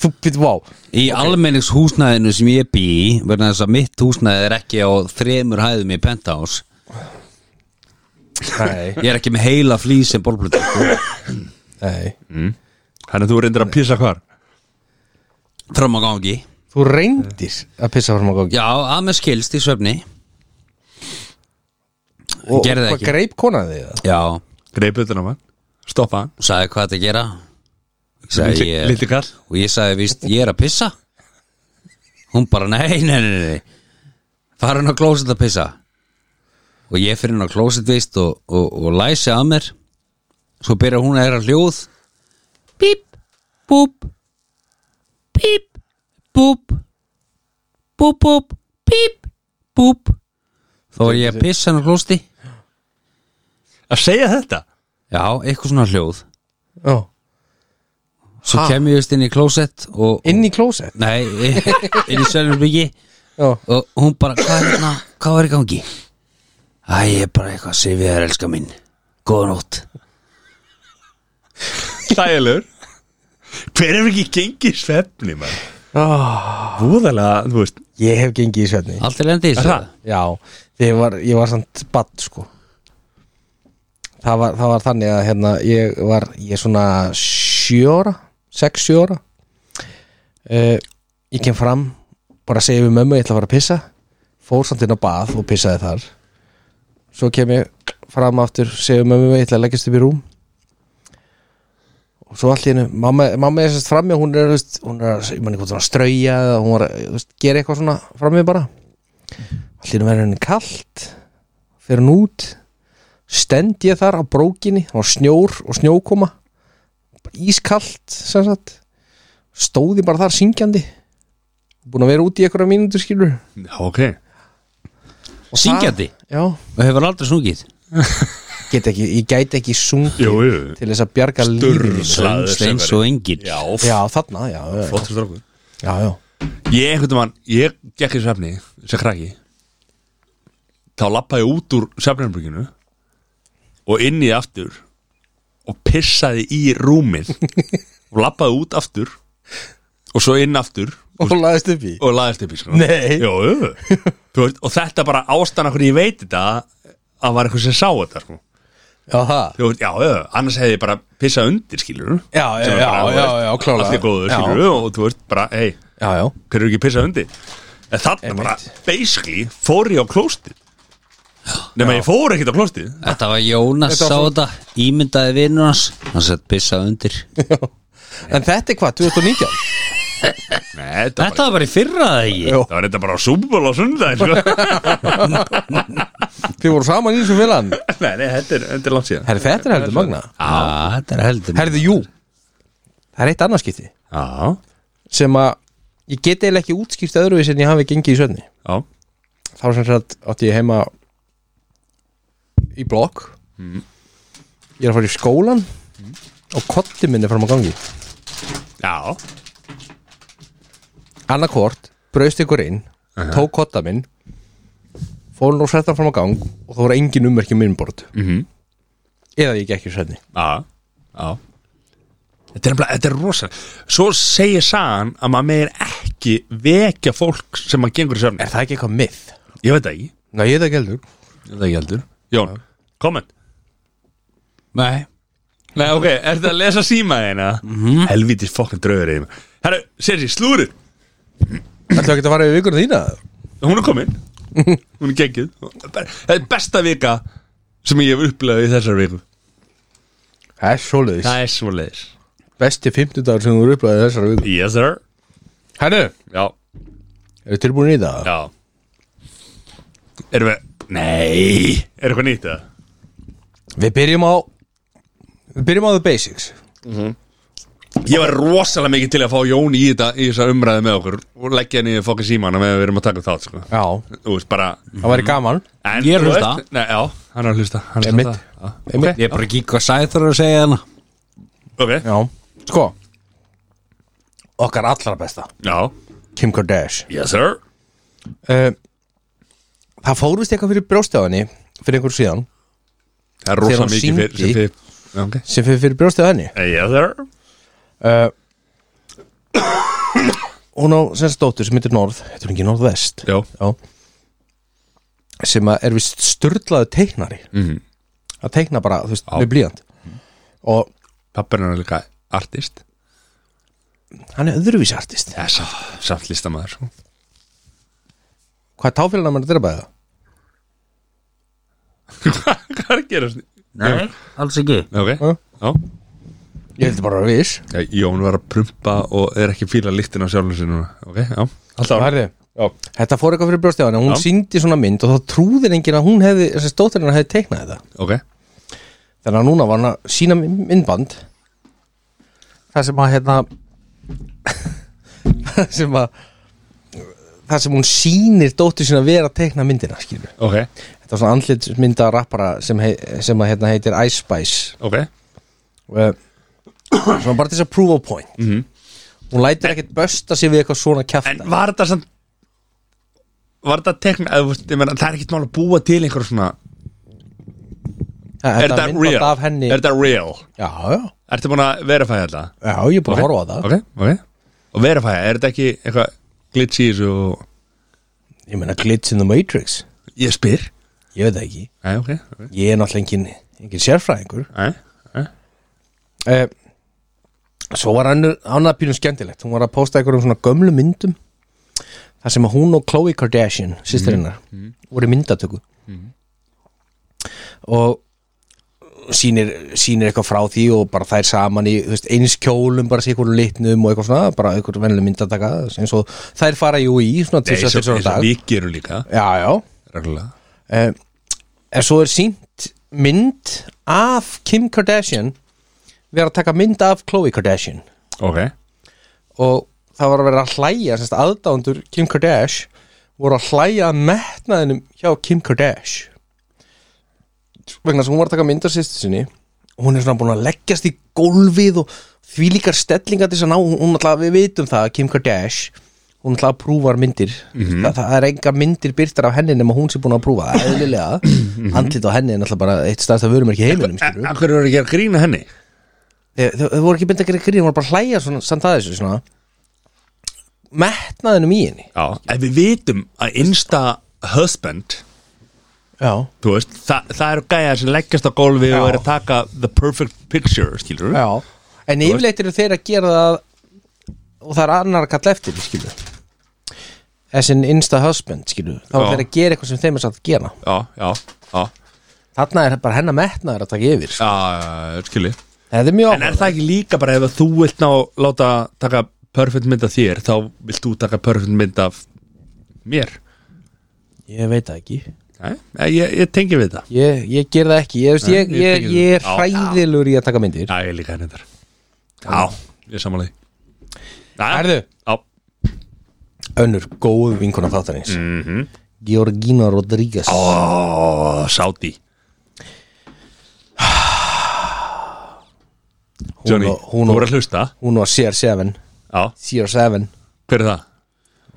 [SPEAKER 2] Þú býtt, vá
[SPEAKER 3] í okay. sem ég bý í, vegna þess að mitt húsnæði er ekki á þremur hæðum í penthouse
[SPEAKER 2] Nei,
[SPEAKER 3] ég er ekki með heila flýs sem sko, bólblutu
[SPEAKER 2] nei
[SPEAKER 1] Þannig að þú reyndir að pissa hvar
[SPEAKER 3] fram að gangi
[SPEAKER 2] Þú reyndir að pissa fram á gangi
[SPEAKER 3] já, að með skilst í svefni
[SPEAKER 2] Og
[SPEAKER 3] gerði það
[SPEAKER 2] hvað
[SPEAKER 3] ekki.
[SPEAKER 2] greip konan þig það?
[SPEAKER 3] já,
[SPEAKER 1] Greip utan á hann Stoppa hann
[SPEAKER 3] sagði hvað þetta gera Ég sagði,
[SPEAKER 1] Litli-
[SPEAKER 3] ég,
[SPEAKER 1] Litli kall
[SPEAKER 3] og ég sagði víst, ég er að pissa hún bara, nei, nei, nei, nei. fara hann á klóset að pissa og ég fyrir hann á klóset víst og, og, og læsi að mér svo byrja hún að gera hljóð píp, búp píp, búp búp, búp, píp, búp þá var ég að pissa hann á klósti
[SPEAKER 1] Að segja þetta
[SPEAKER 3] já, eitthvað svona hljóð
[SPEAKER 2] Já,
[SPEAKER 3] svo
[SPEAKER 2] Ha?
[SPEAKER 3] kem ég vist inn í klósett og,
[SPEAKER 2] inn í klósett
[SPEAKER 3] Nei, inn í Sölnubyggi
[SPEAKER 2] Já,
[SPEAKER 3] og hún bara, hvað er hérna, hvað var í gangi? Æ, ég er bara eitthvað, sé við þér, elska mín Góða nótt
[SPEAKER 1] Þægilegur Hver hefur ekki gengið í svefni, mann?
[SPEAKER 2] Ah,
[SPEAKER 1] Vúðalega, þú veist
[SPEAKER 2] ég hef gengið í svefni
[SPEAKER 3] Allt er lendi í þessu
[SPEAKER 1] Er það?
[SPEAKER 2] Já, þegar ég var, ég var samt badd sko það var, það var þannig að hérna, ég var ég er svona sjóra sex sjóra uh, ég kem fram bara segi við mömmu, ég ætla að fara að pissa fór samt inn á bað og pissaði þar svo kem ég fram aftur segi við mömmu, ég ætla að leggjast upp í rúm og svo allt í hennu mamma, mamma er sérst frammi og hún er, þú veist, hún er að- ég man ekki hvort hún var að strauja eða hún var að þú veist, gera eitthvað svona frammi bara allt í hennu verður henni kalt fyrir hún út stend ég þar á brókinni og snjór og snjókoma Bara ískalt sem sagt stóði bara þar syngjandi búin að vera út í einhverja mínútur skilur
[SPEAKER 1] Já, ok
[SPEAKER 2] Og
[SPEAKER 3] Syngjandi,
[SPEAKER 2] það- já,
[SPEAKER 3] og hefur aldrei snúkið
[SPEAKER 2] get ekki, ég gæti ekki sungið
[SPEAKER 1] Jú, jú
[SPEAKER 2] til þess að bjarga lífinu
[SPEAKER 1] Sturlaður
[SPEAKER 3] Steins
[SPEAKER 1] söngvari.
[SPEAKER 3] og engin
[SPEAKER 1] Já,
[SPEAKER 2] já þarna, já, já,
[SPEAKER 1] flottur strákur
[SPEAKER 2] já, já.
[SPEAKER 1] Ég einhvern veginn, ég gekk í svefni sem krakki þá lappa ég út úr svefnirbygginu og inn í aftur og pissaði í rúmið og lappaði út aftur og svo inn aftur
[SPEAKER 2] og laðist upp í
[SPEAKER 1] og laðist upp í sko
[SPEAKER 2] Nei.
[SPEAKER 1] Jó, jú. Þú veist, og þetta bara ástæðan okkur ég veit þetta að var eitthvað sem sá þetta sko
[SPEAKER 2] já, það
[SPEAKER 1] Þú veist, já, já, annars hefði ég bara pissað undir skilur
[SPEAKER 2] Já, já, já, já, já, klálega.
[SPEAKER 1] Allt er góður
[SPEAKER 2] Já.
[SPEAKER 1] skilur og þú veist bara, hei
[SPEAKER 2] já, já,
[SPEAKER 1] hver eru ekki pissað undir en þarna bara, basically, fór ég á klóstið nema ég fór ekkert á klóstið
[SPEAKER 3] Þetta var Jónas
[SPEAKER 2] Þetta
[SPEAKER 3] sá
[SPEAKER 2] var
[SPEAKER 3] þetta Ímyndaði vinnur hans Hann sett pissað undir
[SPEAKER 2] en þetta er hvað, 2019
[SPEAKER 1] Nei, þetta var
[SPEAKER 3] Þetta var bara í fyrra það ekki
[SPEAKER 1] Það var þetta bara á súbúl á sundaginn sko.
[SPEAKER 2] þið voru saman í þessum félagann
[SPEAKER 1] Nei, nei, þetta er, þetta er langt síðan
[SPEAKER 2] herri, þetta er heldur magna
[SPEAKER 3] Já, þetta er heldur
[SPEAKER 2] herðu, jú, það er eitt annarskipti
[SPEAKER 1] Já,
[SPEAKER 2] sem að ég get eiginlega ekki útskýrt öðruvís en ég hafi gengið í svefni
[SPEAKER 1] já,
[SPEAKER 2] þá sem sagt átti ég heima í blokk Mm. ég er að fara í skólan og kotti minni fram á gangi
[SPEAKER 1] já
[SPEAKER 2] annarkort, braust ykkur inn tók kotta minn fór nú settan fram á gang og þá voru engin ummerki minn bort
[SPEAKER 1] Mhm.
[SPEAKER 2] eða ég gekk í svefni
[SPEAKER 1] Já, já Þetta er, nefnilega- þetta er rosa Svo segir sagan að maður meir ekki vekja fólk sem maður gengur í
[SPEAKER 2] er
[SPEAKER 1] söfni
[SPEAKER 2] það ekki eitthvað mið?
[SPEAKER 1] Ég veit það ekki,
[SPEAKER 2] Næ, ég er það ekki heldur
[SPEAKER 1] ég veit það ekki heldur Jón, komment
[SPEAKER 3] Nei
[SPEAKER 1] Nei, ok, er þetta að lesa síma þeina? Mm -hmm. Helvítis fokkin draugur eða Herru, sér sér, slúrið,
[SPEAKER 2] Ætlaðu ekki að fara í vikunum þína?
[SPEAKER 1] hún er komin Hún er geggið Þetta er besta vika sem ég hef upplegað í þessar viku
[SPEAKER 2] Það er svoleiðis
[SPEAKER 1] Það er svo leiðis
[SPEAKER 2] Besti 50 dagur sem þú eru upplæðið þessara viku
[SPEAKER 1] Yes, sir
[SPEAKER 2] Hennu,
[SPEAKER 1] Já,
[SPEAKER 2] eru tilbúin í það?
[SPEAKER 1] já Erum við, nei, er eitthvað nýtt það?
[SPEAKER 2] Við byrjum á Við byrjum á the basics
[SPEAKER 1] Ég var rosalega mikið til að fá Jón í þetta í þessa umræði með okkur og leggja henni fokkin símana með að við erum að taka upp þátt sko.
[SPEAKER 2] Já,
[SPEAKER 1] Þú veist bara
[SPEAKER 2] það væri gaman
[SPEAKER 1] en,
[SPEAKER 3] Ég er að
[SPEAKER 1] þú
[SPEAKER 3] hlusta.
[SPEAKER 1] veist- Nei, já, hann er að hlusta Hann er að
[SPEAKER 2] Einmitt.
[SPEAKER 1] hlusta. Já,
[SPEAKER 2] Einmitt.
[SPEAKER 3] Ég er bara ekki hvað sæður að segja hana
[SPEAKER 1] Ok,
[SPEAKER 2] Já, sko okkar allra besta
[SPEAKER 1] Já,
[SPEAKER 2] Kim Kardashian
[SPEAKER 1] yes sir
[SPEAKER 2] uh, Það fór vist eitthvað fyrir brjóstið á henni fyrir einhver síðan
[SPEAKER 1] Það er
[SPEAKER 2] Þegar
[SPEAKER 1] rosa
[SPEAKER 2] hún
[SPEAKER 1] mikið fyrir sem
[SPEAKER 2] syngdi-
[SPEAKER 1] þið Já, ok.
[SPEAKER 2] sem fyrir, fyrir brjóstið á henni
[SPEAKER 1] Yes sir
[SPEAKER 2] uh, Hún á semst dóttur sem heitir Norð heitir hún ekki Norðvest
[SPEAKER 1] Já,
[SPEAKER 2] Já. sem að er vist styrlaðu teiknari
[SPEAKER 1] Mhm.
[SPEAKER 2] að teikna bara, þú veist,
[SPEAKER 1] Já.
[SPEAKER 2] með blíðand og
[SPEAKER 1] pappirinn er líka artist
[SPEAKER 2] hann er öðruvísi artist
[SPEAKER 1] Já, samt, samt listamæður sko.
[SPEAKER 2] hvað táfélina maður að drepa það?
[SPEAKER 1] Hvað er að gera þessi?
[SPEAKER 3] Nei, alls ekki
[SPEAKER 1] Ok,
[SPEAKER 2] Já.
[SPEAKER 1] já
[SPEAKER 2] ég heldur bara að vera viss
[SPEAKER 1] Já, Jón var að prumpa og er ekki fíla líktin á sjálfum sér núna Ok, já Alltaf
[SPEAKER 2] Herði, þetta fór eitthvað fyrir brjóstið á henni hún
[SPEAKER 1] Já.
[SPEAKER 2] síndi svona mynd og þá trúðir enginn að hún hefði þessi stóttirinn hefði teiknað þetta
[SPEAKER 1] Ok,
[SPEAKER 2] þannig að núna var hann að sína myndband það sem að hérna það sem að það sem hún sýnir dóttur sína vera að teikna myndina skilur
[SPEAKER 1] ok,
[SPEAKER 2] Þetta var svona andlitsmynda rappara sem, hei, sem að, hérna, heitir Ice Spice
[SPEAKER 1] ok
[SPEAKER 2] uh, Svona bara til þess að prove a point
[SPEAKER 1] Mhm.
[SPEAKER 2] Hún lætur ekkert bösta sig við eitthvað svona kjafta
[SPEAKER 1] En var þetta samt Var þetta tekna eða, þú veist, ég meina, Það er ekkert mál að búa til einhver svona Er þetta
[SPEAKER 2] myndband
[SPEAKER 1] real?
[SPEAKER 2] Af henni
[SPEAKER 1] Er þetta real?
[SPEAKER 2] Já, já,
[SPEAKER 1] Ertu búin að verifæja þetta?
[SPEAKER 2] já, ég er
[SPEAKER 1] Ok.
[SPEAKER 2] búin að horfa á það
[SPEAKER 1] Ok, ok Og verifæja, er þetta ekki eitthvað glitch í þessu og
[SPEAKER 2] Ég meina Glitch in the Matrix
[SPEAKER 1] Ég spyr
[SPEAKER 2] Ég veit það ekki
[SPEAKER 1] Æ, ok, ok
[SPEAKER 2] Ég er náttúrulega engin, engin sérfræðingur
[SPEAKER 1] Æ, æ
[SPEAKER 2] uh, Svo var annað, annað pínum skemmtilegt Hún var að posta einhverjum svona gömlu myndum þar sem að hún og Khloe Kardashian sýsturinnar,
[SPEAKER 1] Mhm.
[SPEAKER 2] voru í myndatöku og sýnir, sýnir eitthvað frá því og bara þær saman í þú veist, eins kjólum, bara sér einhverjum litnum og eitthvað svona, bara einhverjum venlega myndataka eins og þær fara jú í svona
[SPEAKER 1] Nei,
[SPEAKER 2] tvisvar,
[SPEAKER 1] svo,
[SPEAKER 2] tvisvar á
[SPEAKER 1] eins og
[SPEAKER 2] dag.
[SPEAKER 1] við gerum líka
[SPEAKER 2] Já, já
[SPEAKER 1] Reglulega
[SPEAKER 2] Eh, en svo er sínt mynd af Kim Kardashian við erum að taka mynd af Khloe Kardashian
[SPEAKER 1] Ok
[SPEAKER 2] og það var að vera að hlæja semst aðdándur Kim Kardashian voru að hlæja að metnaðinum hjá Kim Kardashian vegna sem hún var að taka mynd af sýstu sinni og hún er svona búin að leggjast í gólfið og því líkar stellingar til þess að ná hún, hún alltaf, við vitum það, Kim Kardashian hún alltaf prúfar myndir það, það er enga myndir byrtar af henni nema hún sé búin að prúfa, eðlilega andlit á henni er alltaf bara eitt staðst að vörum er ekki heiminum skilurðu.
[SPEAKER 1] Akkur eru að gera grína henni
[SPEAKER 2] Eh, Þau- Þau þau voru ekki myndið að gera grín, þau voru bara að hlæja svona, samt að þessu svona metnaðinum í henni
[SPEAKER 1] Já Ef við vitum að insta husband
[SPEAKER 2] Já,
[SPEAKER 1] Þú veist, þa það eru gæja sem leggjast á gólfi
[SPEAKER 2] Já.
[SPEAKER 1] og eru að taka the perfect picture, skilur við?
[SPEAKER 2] já En yfirleitt eru þeir að gera það og það er annar að kalla eftir, skilu As an insta husband, skilu Þá er
[SPEAKER 1] Já.
[SPEAKER 2] þeir að gera eitthvað sem þeim er satt að gera
[SPEAKER 1] Já, já, já,
[SPEAKER 2] Þarna er bara hennar metnaður að taka yfir sko.
[SPEAKER 1] já, skilur
[SPEAKER 2] Það er mjög
[SPEAKER 1] En er
[SPEAKER 2] áhuga
[SPEAKER 1] það ekki líka bara ef að þú vilt ná láta taka perfect mynd af þér þá vilt þú taka perfect mynd af mér?
[SPEAKER 2] Ég veit það ekki
[SPEAKER 1] Nei, nei, ég, ég tengi við það
[SPEAKER 2] Ég, ég ger það ekki, ég, veist,
[SPEAKER 1] Nei,
[SPEAKER 2] ég,
[SPEAKER 1] ég
[SPEAKER 2] ég,
[SPEAKER 1] tengi
[SPEAKER 2] ég er
[SPEAKER 1] það. Já.
[SPEAKER 2] hræðilur í að taka myndir
[SPEAKER 1] Já, ég líka henni þar Já, ég samanlega
[SPEAKER 2] Herðu,
[SPEAKER 1] Já,
[SPEAKER 2] önnur góð vinkona þáttarins mm -hmm. Georgina Rodríguez
[SPEAKER 1] Mhm. ó, sáti
[SPEAKER 2] Hún
[SPEAKER 1] Johnny,
[SPEAKER 2] og- hún
[SPEAKER 1] þú
[SPEAKER 2] og-
[SPEAKER 1] voru að hlusta
[SPEAKER 2] Hún var CR7
[SPEAKER 1] Já,
[SPEAKER 2] CR7
[SPEAKER 1] hver er það?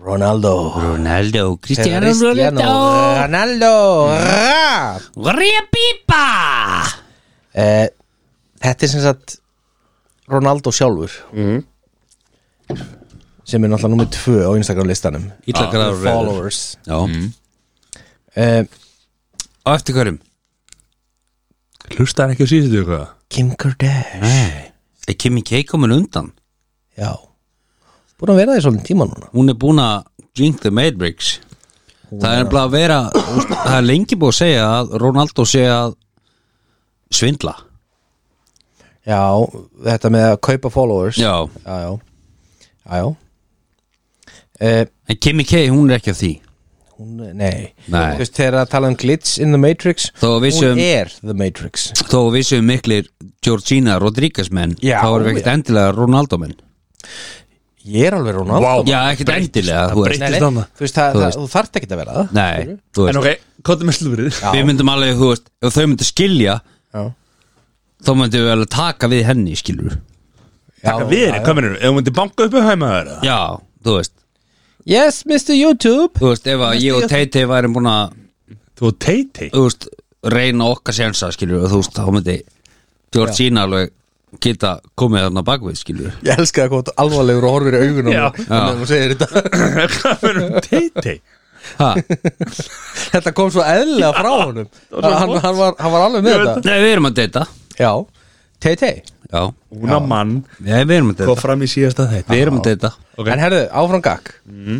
[SPEAKER 2] Ronaldo
[SPEAKER 3] Ronaldo, Cristiano
[SPEAKER 2] Cristiano
[SPEAKER 3] Ronaldo
[SPEAKER 2] Ronaldo Ra!
[SPEAKER 3] Riapipa
[SPEAKER 2] Eh, Þetta er sem sagt Ronaldo sjálfur sem er náttúrulega nummið tvö á Instagram listanum Ah,
[SPEAKER 3] Ítla gráður rauður.
[SPEAKER 2] Followers
[SPEAKER 3] Já,
[SPEAKER 2] eh,
[SPEAKER 3] og eftir hverjum
[SPEAKER 1] Hlusta hann ekki á síðustu eitthvað?
[SPEAKER 2] Kim Kardashian
[SPEAKER 3] Nei, er Kimi K komin undan
[SPEAKER 2] Já Búin að vera því svolítið tíma núna
[SPEAKER 3] Hún er búin að drink the matrix Það er bara að vera úst, Það er lengi búið að segja að Ronaldo sé að svindla
[SPEAKER 2] Já, þetta með að kaupa followers
[SPEAKER 3] Já,
[SPEAKER 2] já Já, já, já. Eh,
[SPEAKER 3] en Kimi K hún er ekki af því
[SPEAKER 2] hún, Nei,
[SPEAKER 3] Nei.
[SPEAKER 2] Þú veist, þegar að tala um glitch in the matrix
[SPEAKER 3] Þó að við
[SPEAKER 2] Hún
[SPEAKER 3] séum-
[SPEAKER 2] er the matrix
[SPEAKER 3] Þó að við séum miklir Georgina Rodríguez menn
[SPEAKER 2] Já,
[SPEAKER 3] Þá erum við ekkert
[SPEAKER 2] já.
[SPEAKER 3] endilega Ronaldo menn
[SPEAKER 2] Ég er alveg Ronaldo
[SPEAKER 1] Vá.
[SPEAKER 3] Já, ekkert endilega
[SPEAKER 1] það
[SPEAKER 3] þú
[SPEAKER 1] breytist.
[SPEAKER 3] veist.
[SPEAKER 2] Nei,
[SPEAKER 1] Til
[SPEAKER 2] nei,
[SPEAKER 1] stanna.
[SPEAKER 2] þú veist, það,
[SPEAKER 3] Þú
[SPEAKER 2] það,
[SPEAKER 3] veist.
[SPEAKER 2] þú þarft ekki að vera það
[SPEAKER 3] Nei, þú
[SPEAKER 1] En
[SPEAKER 3] veist
[SPEAKER 1] ok, hvað er með slúrið?
[SPEAKER 3] Við myndum alveg, þú veist, ef þau myndum skilja
[SPEAKER 2] Já.
[SPEAKER 3] Þá myndum við alveg taka við henni, skilur
[SPEAKER 1] taka við þér, hvað mennur, ef þú myndir banka upp í hæmaður eða?
[SPEAKER 3] Já, þú veist
[SPEAKER 2] Yes, Mr. YouTube
[SPEAKER 3] Þú veist, ef að ég og Teiti væri búin að
[SPEAKER 1] Þú og teiti
[SPEAKER 3] þú veist, reyna okkar sensa skilur, þú veist, þá myndi Georgina alveg geta komið þarna bakvið, skilur
[SPEAKER 2] Ég elska að koma alvarlegur og horfir í augunum
[SPEAKER 1] Já.
[SPEAKER 2] Þannig að hún segir þetta
[SPEAKER 1] Hvað mennur, teiti
[SPEAKER 3] ha,
[SPEAKER 2] Þetta kom svo eðlilega frá honum
[SPEAKER 1] var svo
[SPEAKER 2] hann,
[SPEAKER 1] flott.
[SPEAKER 2] hann, var, hann var alveg
[SPEAKER 1] Ég
[SPEAKER 2] með
[SPEAKER 1] veit
[SPEAKER 2] þetta
[SPEAKER 3] Nei, við erum að deyta
[SPEAKER 2] Já, Tay-Tay
[SPEAKER 3] Já,
[SPEAKER 1] Úna mann,
[SPEAKER 3] Nei, við erum að
[SPEAKER 1] kom
[SPEAKER 3] deyta
[SPEAKER 1] fram í síðasta þetta
[SPEAKER 3] Við erum að deyta
[SPEAKER 1] Ok.
[SPEAKER 2] En herðu, áfram gakk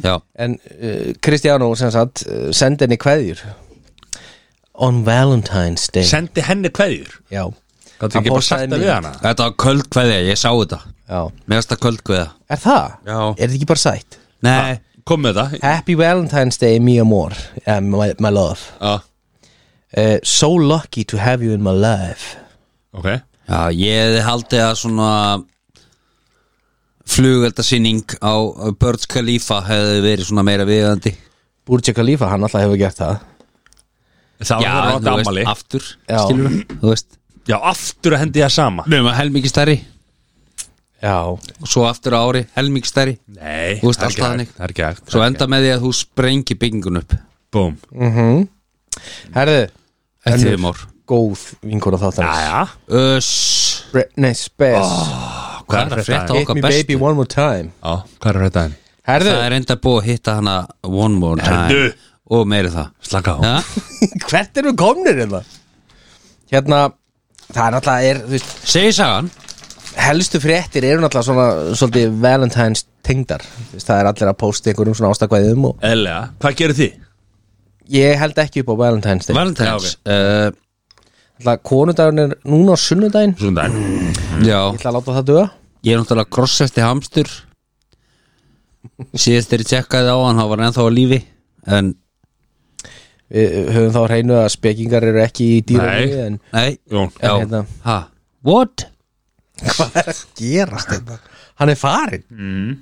[SPEAKER 3] Já,
[SPEAKER 2] En uh, Kristjánó sem sagt uh, sendi henni kveðjur On Valentine's Day
[SPEAKER 1] Sendi henni kveðjur
[SPEAKER 2] Já
[SPEAKER 1] Gáttu
[SPEAKER 2] Hann
[SPEAKER 1] ekki bara
[SPEAKER 2] postaði
[SPEAKER 1] sagt það við
[SPEAKER 2] mynd.
[SPEAKER 1] hana
[SPEAKER 3] þetta var köld kveðja, ég sá þetta
[SPEAKER 2] Já
[SPEAKER 3] Mér varst það köld kveðja
[SPEAKER 2] Er það?
[SPEAKER 3] Já.
[SPEAKER 2] Er þetta ekki bara sætt?
[SPEAKER 3] Nei,
[SPEAKER 1] Kom með það
[SPEAKER 2] Happy Valentine's Day, mi amor uh, my, my love
[SPEAKER 1] Já,
[SPEAKER 2] uh, So lucky to have you in my life
[SPEAKER 1] ok
[SPEAKER 3] já, ég hefði haldið að svona flugeldasýning á Birds Khalifa hefði verið svona meira viðandi
[SPEAKER 2] Burj Khalifa, hann alltaf hefur gert það
[SPEAKER 1] Það var það rátt
[SPEAKER 3] þú veist,
[SPEAKER 1] ammali
[SPEAKER 3] aftur,
[SPEAKER 2] Já.
[SPEAKER 3] skilur þú veist
[SPEAKER 1] Já, aftur að hendi það sama
[SPEAKER 3] Nefnum að helmingi stærri
[SPEAKER 2] Já
[SPEAKER 3] og svo aftur á ári helmingi stærri
[SPEAKER 1] Nei,
[SPEAKER 3] Þú veist,
[SPEAKER 1] það er
[SPEAKER 3] alltaf
[SPEAKER 1] ekki hægt,
[SPEAKER 3] þannig.
[SPEAKER 1] það er ekki hægt
[SPEAKER 3] Svo enda með því að þú sprengi byggingun upp
[SPEAKER 1] Búm
[SPEAKER 2] Herðu,
[SPEAKER 3] Þetta er mór
[SPEAKER 2] góð vinkona þáttanins
[SPEAKER 1] Jæja
[SPEAKER 3] Öss
[SPEAKER 2] Britney Spears
[SPEAKER 3] Hvað er Oh, að frétta
[SPEAKER 2] Hit
[SPEAKER 3] okkar
[SPEAKER 2] me baby
[SPEAKER 3] bestu?
[SPEAKER 2] one more time
[SPEAKER 1] Já, hvað er þetta henni?
[SPEAKER 2] Herðu,
[SPEAKER 3] Það er enda búið að hitta hana One more time
[SPEAKER 1] Herðu.
[SPEAKER 3] Og meiri það
[SPEAKER 1] Slaka á
[SPEAKER 3] ja?
[SPEAKER 2] hvert erum við komnir hérna? Hérna, það er náttúrulega er, þú veist,
[SPEAKER 3] Segir sagan
[SPEAKER 2] helstu fréttir eru náttúrulega svona svolítið Valentine's tengdar Þú veist, það er allir að posta einhverjum svona ástakvæðum og
[SPEAKER 1] Eðlega, hvað gerir þið?
[SPEAKER 2] ég held ekki upp á Valentine's Day
[SPEAKER 3] Valentine's
[SPEAKER 2] Alltaf konudagurinn er núna á sunnudaginn
[SPEAKER 1] Svona daginn
[SPEAKER 3] uh, Já
[SPEAKER 2] Ég ætla að láta það duga
[SPEAKER 3] Ég er náttúrulega krossefti hamstur Síðast þegar ég tjekkaði á hann Há var hann ennþá á lífi En
[SPEAKER 2] Við höfum þá á hreinu að spekingar eru ekki í dýrunni
[SPEAKER 1] Nei.
[SPEAKER 2] En
[SPEAKER 3] Nei
[SPEAKER 1] Jón
[SPEAKER 3] Já
[SPEAKER 2] hérna.
[SPEAKER 3] Ha What?
[SPEAKER 2] hvað er að gerast þetta? Hann er farinn
[SPEAKER 1] Mm.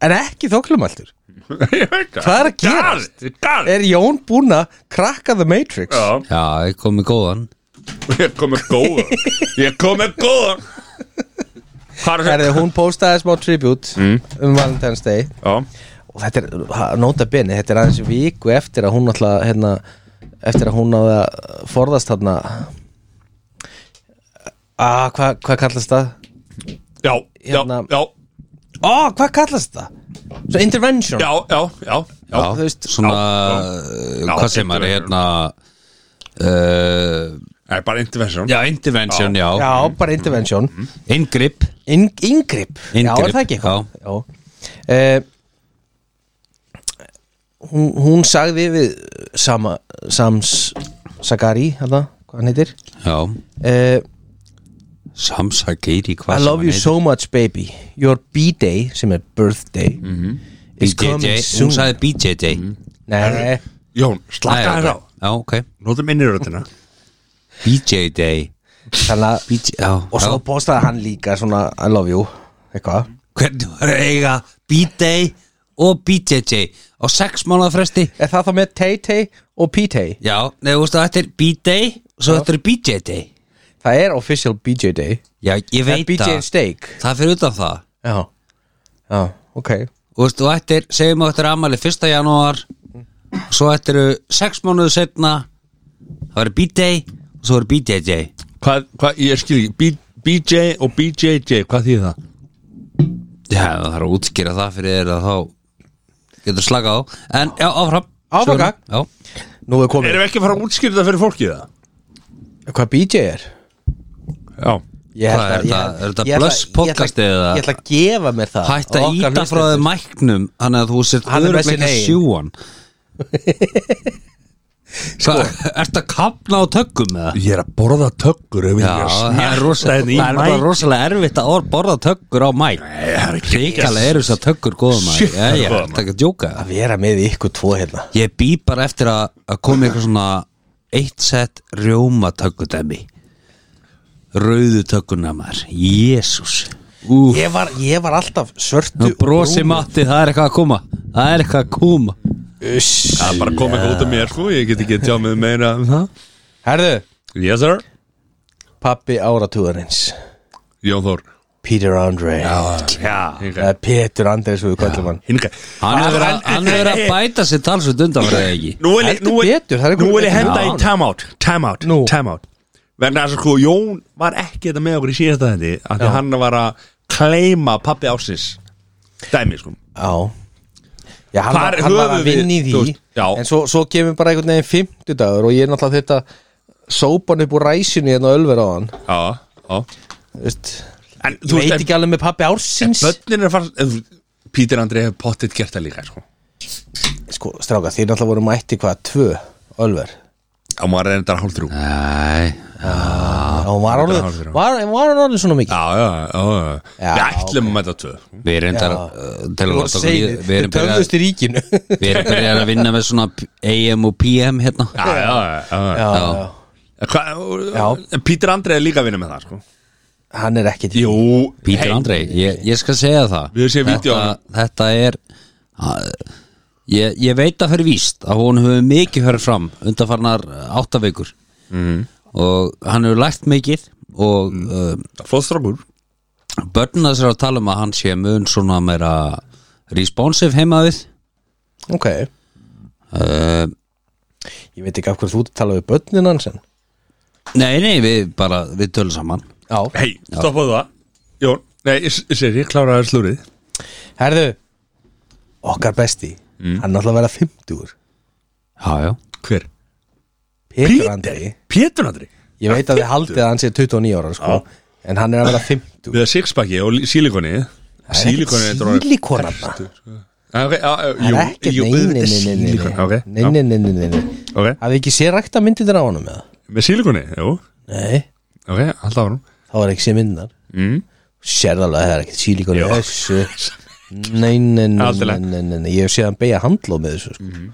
[SPEAKER 2] En ekki þoklumæltur
[SPEAKER 1] Hvað
[SPEAKER 2] Hvað er að gerast?
[SPEAKER 1] Galt
[SPEAKER 2] Er Jón búinn að krakka The Matrix?
[SPEAKER 1] Já,
[SPEAKER 3] Já, ég kom með góðan
[SPEAKER 1] ég kom með góðan Ég kom með góðan Hvað er
[SPEAKER 2] Herði,
[SPEAKER 1] þetta?
[SPEAKER 2] hún postaði smá tribute
[SPEAKER 1] Mm.
[SPEAKER 2] um Valentine's Day
[SPEAKER 1] Já,
[SPEAKER 2] og þetta er, ha- nota bene, þetta er aðeins viku eftir að hún alltaf hérna, eftir að hún náði að forðast þarna að hvað hva kallast það?
[SPEAKER 1] já, já,
[SPEAKER 2] Hérna.
[SPEAKER 1] já
[SPEAKER 2] Ó, hvað kallast það? Svo intervention
[SPEAKER 1] Já, já, já, já.
[SPEAKER 3] Já,
[SPEAKER 2] þú veist,
[SPEAKER 3] svona eh,
[SPEAKER 1] já. Já,
[SPEAKER 3] Hvað sem er
[SPEAKER 1] intervention.
[SPEAKER 3] hérna uh,
[SPEAKER 1] Það er bara intervention
[SPEAKER 3] Já, intervention, já,
[SPEAKER 2] Já, bara intervention
[SPEAKER 3] Ingrip
[SPEAKER 2] In, Ingrip Já,
[SPEAKER 3] Mhm. Inngrip,
[SPEAKER 2] er það ekki
[SPEAKER 3] já.
[SPEAKER 2] eitthvað? Já. Eh, hún, hún sagði við sama, Sams Sagari, hérna, hvað hann heitir
[SPEAKER 3] Já,
[SPEAKER 2] uh,
[SPEAKER 3] Samsa Geiri
[SPEAKER 2] I
[SPEAKER 3] hvað sem
[SPEAKER 2] love
[SPEAKER 3] hann
[SPEAKER 2] you
[SPEAKER 3] heitir.
[SPEAKER 2] so much baby Your b-day, sem er birthday Is coming
[SPEAKER 3] BJJ, Mhm.
[SPEAKER 2] soon
[SPEAKER 3] hún sagði BJJ
[SPEAKER 2] Nei,
[SPEAKER 1] Jón, slaka
[SPEAKER 3] Nei,
[SPEAKER 1] þér á
[SPEAKER 3] ok. Já, ok
[SPEAKER 1] Nótum inn í röddina
[SPEAKER 3] BJJ
[SPEAKER 2] þannig að
[SPEAKER 3] BJ, já,
[SPEAKER 2] Og svo
[SPEAKER 3] já.
[SPEAKER 2] postaði hann líka svona I love you, eitthvað
[SPEAKER 3] Hvernig var að eiga BJ og BJJ á sex mánuða fresti
[SPEAKER 2] Er það þá með Tay-Tay og P-Tay?
[SPEAKER 3] Já, nei, þú veist að þetta er BJ og svo þetta er BJJ
[SPEAKER 2] Það er official BJ Day
[SPEAKER 3] Já, ég
[SPEAKER 2] En
[SPEAKER 3] veit
[SPEAKER 2] BJ
[SPEAKER 3] það
[SPEAKER 2] Steak
[SPEAKER 3] Það fyrir utan það
[SPEAKER 2] Já, já, ok
[SPEAKER 3] Þú veist, og þetta er, segjum að þetta er ammæli 1. janúar svo þetta eru 6 mánuðu setna það verður B-Day og svo verður BJJ
[SPEAKER 1] Hvað, hvað, ég skil ekki B- BJ og BJJ, hvað þýð það?
[SPEAKER 3] Já, það þarf að útskýra það fyrir þér að þá getur slakað á en já, áfram
[SPEAKER 2] Áfram
[SPEAKER 3] Söguna.
[SPEAKER 2] gakk. Nú er komið
[SPEAKER 1] Erum við ekki að fara að útskýra það fyrir fólkið það?
[SPEAKER 2] Hvað BJ er?
[SPEAKER 1] Já
[SPEAKER 2] Ég
[SPEAKER 3] Hvað er
[SPEAKER 2] ég-
[SPEAKER 3] það? Er þetta
[SPEAKER 2] ég ætla-
[SPEAKER 3] Blöss
[SPEAKER 2] ég ætla-
[SPEAKER 3] podcastið eða?
[SPEAKER 2] Ég ætla að gefa mér
[SPEAKER 3] Já,
[SPEAKER 2] það
[SPEAKER 3] hætt að
[SPEAKER 2] Okkar
[SPEAKER 3] íta frá þið
[SPEAKER 2] hlustendur.
[SPEAKER 3] mæknum þannig að þú sér
[SPEAKER 2] Hann er með sinn
[SPEAKER 3] öðrugleika
[SPEAKER 2] eigin.
[SPEAKER 3] sjúan Sko, ertu að kapna á töggum eða?
[SPEAKER 1] Ég er að borða töggur ef ég
[SPEAKER 3] Já,
[SPEAKER 1] er að
[SPEAKER 3] það er
[SPEAKER 1] snjarta
[SPEAKER 3] rosalega,
[SPEAKER 1] hérna í
[SPEAKER 3] það er bara
[SPEAKER 1] mæk.
[SPEAKER 3] rosalega erfitt að orð- borða töggur á mæk
[SPEAKER 1] Nei, það er ekki
[SPEAKER 3] Ríkalega eru þess að tökkur góðum að
[SPEAKER 1] Shit,
[SPEAKER 3] Já,
[SPEAKER 1] það er
[SPEAKER 3] já,
[SPEAKER 1] góður
[SPEAKER 3] þetta er ekki að djóka
[SPEAKER 2] Að vera með ykkur tvo hérna
[SPEAKER 3] Ég bý bara eftir að, að koma eitthvað svona eitt sett rjóma tökkudæmi Rauðu tökkunamar Jésús Ú,
[SPEAKER 2] Ég var, ég var alltaf svörtu
[SPEAKER 3] nú
[SPEAKER 2] og
[SPEAKER 3] brosi
[SPEAKER 2] brúnu.
[SPEAKER 3] matti, það er eitthvað að koma Það er eitthvað að koma
[SPEAKER 2] Uss.
[SPEAKER 1] Það er bara komið út af mér sko Ég get ekki tjá með meira um það
[SPEAKER 2] Herðu,
[SPEAKER 1] Yes sir
[SPEAKER 2] pappi áratúðarins
[SPEAKER 1] Jón Þór
[SPEAKER 2] Peter Andre
[SPEAKER 1] Já,
[SPEAKER 2] Eða Peter Andre svo við kallum hann
[SPEAKER 1] hinga
[SPEAKER 3] Hann hefur verið að- hann hefur verið að bæta sér talsvöld undan fyrir það ekki
[SPEAKER 1] Nú vil ég- nú vil-
[SPEAKER 2] Heldur betur, það er
[SPEAKER 1] nú vil ég
[SPEAKER 2] einhver-
[SPEAKER 1] henda í
[SPEAKER 3] Já.
[SPEAKER 1] timeout Timeout,
[SPEAKER 2] Nú.
[SPEAKER 1] timeout Verða þess að sko, Jón var ekki þetta með okkur í síðasta þætti af því
[SPEAKER 2] Já.
[SPEAKER 1] að hann var að kleima pappi ásins dæmi sko
[SPEAKER 2] Já Já, hann,
[SPEAKER 1] Hvar
[SPEAKER 2] var, hann var
[SPEAKER 1] höfum
[SPEAKER 2] að
[SPEAKER 1] við,
[SPEAKER 2] vinna í því
[SPEAKER 1] þú veist, já.
[SPEAKER 2] En svo, svo kemur bara einhvern veginn fimmtudagur Og ég er náttúrulega þetta Sópan upp úr ræsinu hérna á Ölver á hann
[SPEAKER 1] Já, já
[SPEAKER 2] veist,
[SPEAKER 1] En
[SPEAKER 2] Ég
[SPEAKER 1] þú
[SPEAKER 2] veit
[SPEAKER 1] veist,
[SPEAKER 2] ekki alveg með pappi ársins
[SPEAKER 1] börnin er að fara en þú- Pítur Andri hefur pottitt gert það líka sko
[SPEAKER 2] Sko, stráka, þeir náttúrulega voru mætti hvað, tvö Ölver
[SPEAKER 1] Já, maður er endar hálf þrjú
[SPEAKER 3] Æ,
[SPEAKER 2] Já, hún var
[SPEAKER 1] þetta er
[SPEAKER 2] orðin,
[SPEAKER 1] hálf þrjú.
[SPEAKER 2] var, var hann orðin svona mikið
[SPEAKER 1] Já, já, já, já.
[SPEAKER 2] Já,
[SPEAKER 1] Við ætlum að mæta tvö
[SPEAKER 3] við erum
[SPEAKER 2] Já.
[SPEAKER 3] endar uh, til að
[SPEAKER 2] Þú
[SPEAKER 3] láta okkur líða-
[SPEAKER 2] segir,
[SPEAKER 3] Við
[SPEAKER 2] Þeir
[SPEAKER 3] erum byrjað
[SPEAKER 2] töfðust í ríkinu
[SPEAKER 3] Við erum byrjað að vinna með svona P- AM og PM hérna
[SPEAKER 1] Já, já, já, já.
[SPEAKER 2] Já,
[SPEAKER 3] Já.
[SPEAKER 2] já.
[SPEAKER 1] Hva,
[SPEAKER 2] Já.
[SPEAKER 1] En Pítur Andri er líka að vinna með það sko
[SPEAKER 2] Hann er ekkit
[SPEAKER 1] Jú
[SPEAKER 3] Pítur
[SPEAKER 1] hey,
[SPEAKER 3] Andrei, ég, ég skal segja það
[SPEAKER 1] Við höfum séð vídeo
[SPEAKER 3] þetta,
[SPEAKER 1] af
[SPEAKER 3] þetta er að, ég, ég veit það fyrir víst að hún hefur mikið hörð fram undanfarnar eh, átta vikur
[SPEAKER 1] Mhm.
[SPEAKER 3] mm. og hann hefur lært mikið og mm.
[SPEAKER 1] Flóð strákur
[SPEAKER 3] uh, börnina sér að tala um að hann sé mun svona meira responsive heima við
[SPEAKER 2] Ok
[SPEAKER 3] uh,
[SPEAKER 2] Ég veit ekki af hverju þú ert að tala við börnin hans en
[SPEAKER 3] Nei, nei, við bara, við tölum saman
[SPEAKER 2] Já
[SPEAKER 1] Hei, stoppaðu það Jón, nei, ég, ég segir, ég kláraði slúrið
[SPEAKER 2] Herðu Okkar besti
[SPEAKER 3] Mm.
[SPEAKER 2] Hann er alltaf að vera 50
[SPEAKER 3] Já, já
[SPEAKER 1] Hver?
[SPEAKER 2] Peter Andri
[SPEAKER 1] Pítur Andri
[SPEAKER 2] Ég veit að þið haldið að hann sé 29 ára sko En hann er að vera 50
[SPEAKER 1] Við að sixpacki og sílikoni Sílikoni
[SPEAKER 2] Sílikonan
[SPEAKER 1] Það
[SPEAKER 2] Það er ekkert
[SPEAKER 1] ah, eh, Jú,
[SPEAKER 2] Nei, nei,
[SPEAKER 1] auðvitað
[SPEAKER 2] nei, nei, nei.
[SPEAKER 1] sílikoni Ok,
[SPEAKER 2] Nei, nei, nei, nei, nei, nei
[SPEAKER 1] já, ok
[SPEAKER 2] Hafið ekki sér rækta myndið þér á honum með það?
[SPEAKER 1] Með sílikoni, jú
[SPEAKER 2] Nei
[SPEAKER 1] Ok, alltaf árum
[SPEAKER 2] þá er ekki sér myndar
[SPEAKER 1] Mm.
[SPEAKER 2] Sérðu alveg að það er ekkert sílíkon í
[SPEAKER 1] Já.
[SPEAKER 2] þessu Nei, nei, nei,
[SPEAKER 1] Allt í
[SPEAKER 2] nei,
[SPEAKER 1] lagi.
[SPEAKER 2] nei, nei, nei Ég hef séð hann beigja handló með þessu sko.
[SPEAKER 1] Mhm.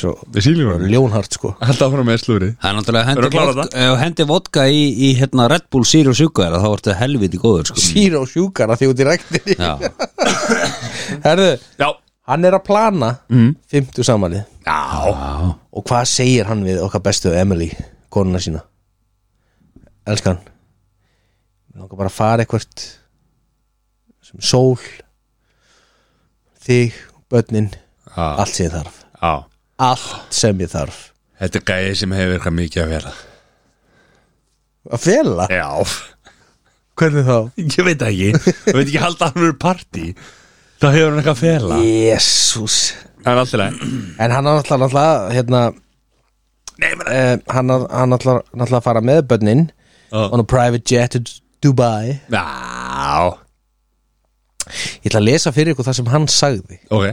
[SPEAKER 2] Svo
[SPEAKER 1] Með sílikoni
[SPEAKER 2] ljónhart sko
[SPEAKER 1] Alltaf árum með slúrið
[SPEAKER 3] Það er náttúrulega
[SPEAKER 1] Eru að
[SPEAKER 3] hendi
[SPEAKER 1] klára
[SPEAKER 3] vodka, ef hendi vodka í, í hérna Red Bull Zero Sugar þá ertu helviti góður sko.
[SPEAKER 2] Zero sjúkara því út í ræktinni
[SPEAKER 3] Já,
[SPEAKER 2] Herðu,
[SPEAKER 1] Já
[SPEAKER 2] hann er að plana
[SPEAKER 1] Mhm.
[SPEAKER 2] 50 samanlið
[SPEAKER 1] Já
[SPEAKER 3] já,
[SPEAKER 2] Og hvað segir hann við okkar bestu Emily, konuna sína Elskan Við langar bara að fara eitthvert sem sól þig, börnin
[SPEAKER 1] Já,
[SPEAKER 2] allt sem ég þarf
[SPEAKER 1] já
[SPEAKER 2] allt sem ég þarf
[SPEAKER 1] ah. Þetta er gæði sem hefur eitthvað mikið að vera
[SPEAKER 2] að fela,
[SPEAKER 1] Já
[SPEAKER 2] hvernig þá?
[SPEAKER 1] Ég veit það ekki Ég veit ekki halda hann verið partí Þá hefur hann eitthvað að fela
[SPEAKER 2] Jésús
[SPEAKER 1] Það er alltaf leið
[SPEAKER 2] en hann er alltaf, alltaf hérna,
[SPEAKER 1] Nei, menn
[SPEAKER 2] eh, hann er alltaf, alltaf að fara með börnin
[SPEAKER 1] Já.
[SPEAKER 2] on a private jet to Dubai
[SPEAKER 1] Já
[SPEAKER 2] ég ætla að lesa fyrir ykkur það sem hann sagði
[SPEAKER 1] Ok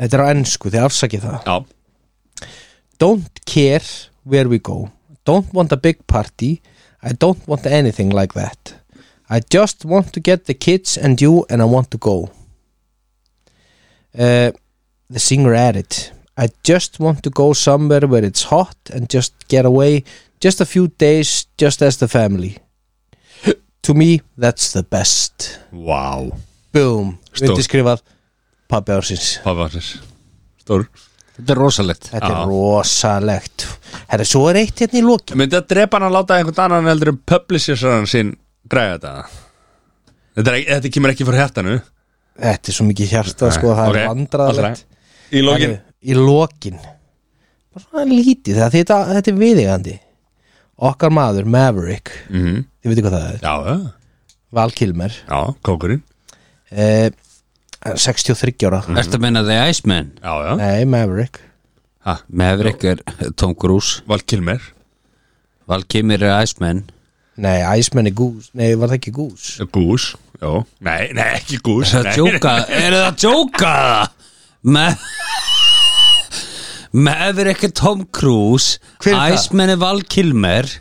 [SPEAKER 2] þetta er á ennsku, þið afsakið það
[SPEAKER 1] Já
[SPEAKER 2] don't care where we go. Don't want a big party. I don't want anything like that. I just want to get the kids and you and I want to go. Uh, the singer added, I just want to go somewhere where it's hot and just get away just a few days just as the family. to me, that's the best.
[SPEAKER 1] Vá
[SPEAKER 2] Boom.
[SPEAKER 1] Stórt.
[SPEAKER 2] Undirskrifað pabbi ársins.
[SPEAKER 1] Pabbansins Stór
[SPEAKER 3] þetta er rosalegt
[SPEAKER 2] Þetta
[SPEAKER 1] Já.
[SPEAKER 2] er rosalegt. Herra, svo er eitt hérna í loki.
[SPEAKER 1] Myndi að drepa hann að láta einhvern annan heldur um publishersarann sinn græða þetta Þetta, er, ekki- þetta kemur ekki fyrir hjartanu
[SPEAKER 2] Þetta er svo mikið hjarta sko, það
[SPEAKER 1] ok,
[SPEAKER 2] er vandræðalegt
[SPEAKER 1] allra. Í lokin
[SPEAKER 2] Herru, Í lokin Bara svona lítið, það, þetta, þetta er viðigandi Okkar maður, Maverick
[SPEAKER 1] mm
[SPEAKER 2] Þið veitir hvað það er,
[SPEAKER 1] Já, já,
[SPEAKER 2] Val Kilmer
[SPEAKER 1] já, kókurinn
[SPEAKER 2] eh, 63 ára
[SPEAKER 1] Mm.
[SPEAKER 3] Ertu að meina The Iceman?
[SPEAKER 1] Já, já,
[SPEAKER 2] Nei, Maverick
[SPEAKER 3] Maverick er Tom Cruise
[SPEAKER 1] Val Kilmer
[SPEAKER 3] Val Kimmer er Iceman
[SPEAKER 2] Nei, Iceman er Goose Nei, var það ekki Goose?
[SPEAKER 1] Gús, já Nei, nei, ekki gús
[SPEAKER 3] Er það
[SPEAKER 1] nei.
[SPEAKER 3] að djóka? Er það að djóka? Ma Maverick er Tom Cruise
[SPEAKER 2] Hver er það?
[SPEAKER 3] Iceman er Val Kilmer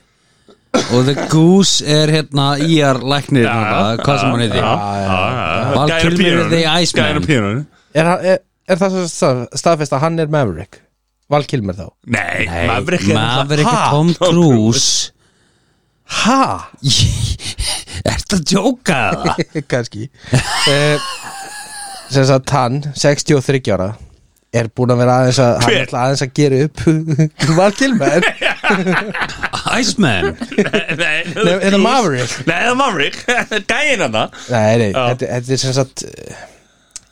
[SPEAKER 3] og The Goose er hérna IR læknir ja, hvað sem hann
[SPEAKER 1] Já,
[SPEAKER 3] heiti
[SPEAKER 1] já, já.
[SPEAKER 3] Val
[SPEAKER 1] Gæjar á
[SPEAKER 3] Kilmer er
[SPEAKER 1] píanóinu.
[SPEAKER 3] the Iceman.
[SPEAKER 1] Gæjar á píanóinu.
[SPEAKER 2] Er, hann- er, er það sem stað- staðfest að hann er Maverick? Val Kilmer þá
[SPEAKER 1] Nei,
[SPEAKER 3] Nei,
[SPEAKER 1] Maverick er náttúrulega-
[SPEAKER 3] Maverick er
[SPEAKER 2] Ha?
[SPEAKER 3] Tom Cruise
[SPEAKER 2] Ha?
[SPEAKER 3] Ertu að djóka það?
[SPEAKER 2] kannski uh, sem sagt hann 63 ára er búinn að vera aðeins að hann
[SPEAKER 1] Hver?
[SPEAKER 2] ætla aðeins að gera upp Val Kilmer
[SPEAKER 3] Iceman
[SPEAKER 1] Nei,
[SPEAKER 2] Nei, er það Maverick?
[SPEAKER 1] Nei, það er Maverick Gæin hann það
[SPEAKER 2] Nei, nei,
[SPEAKER 1] Já.
[SPEAKER 2] þetta, þetta er sem sagt eh,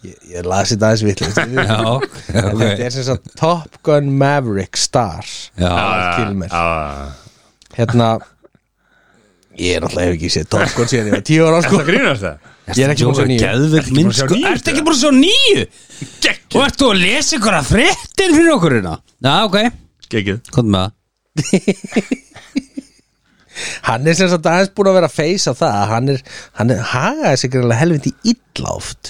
[SPEAKER 2] ég, ég lasi þetta aðeins vitlust
[SPEAKER 3] Já,
[SPEAKER 2] Þetta
[SPEAKER 3] ok
[SPEAKER 2] er sem sagt Top Gun Maverick Star
[SPEAKER 3] Já,
[SPEAKER 2] Val Kilmer.
[SPEAKER 1] Það
[SPEAKER 2] Hérna Ég er náttúrulega hef ekki séð Top Gun síðan ég var tíu ára sko.
[SPEAKER 1] grínast það
[SPEAKER 2] Ég er ekki búin svo nýju
[SPEAKER 3] Geðvig
[SPEAKER 1] búin
[SPEAKER 3] minn
[SPEAKER 1] að sjá
[SPEAKER 3] sko
[SPEAKER 1] nýju,
[SPEAKER 3] Ertu ekki búin svo nýju? Og
[SPEAKER 1] Gekkið
[SPEAKER 3] ertu að lesa ykkur að fréttir fyrir okkur hérna? Já, ok,
[SPEAKER 1] Gekkið
[SPEAKER 3] komðu með það
[SPEAKER 2] Hann er sem sagt aðeins búin að vera að feysa það Hann er, hann er hagaði sig greinlega helviti illáft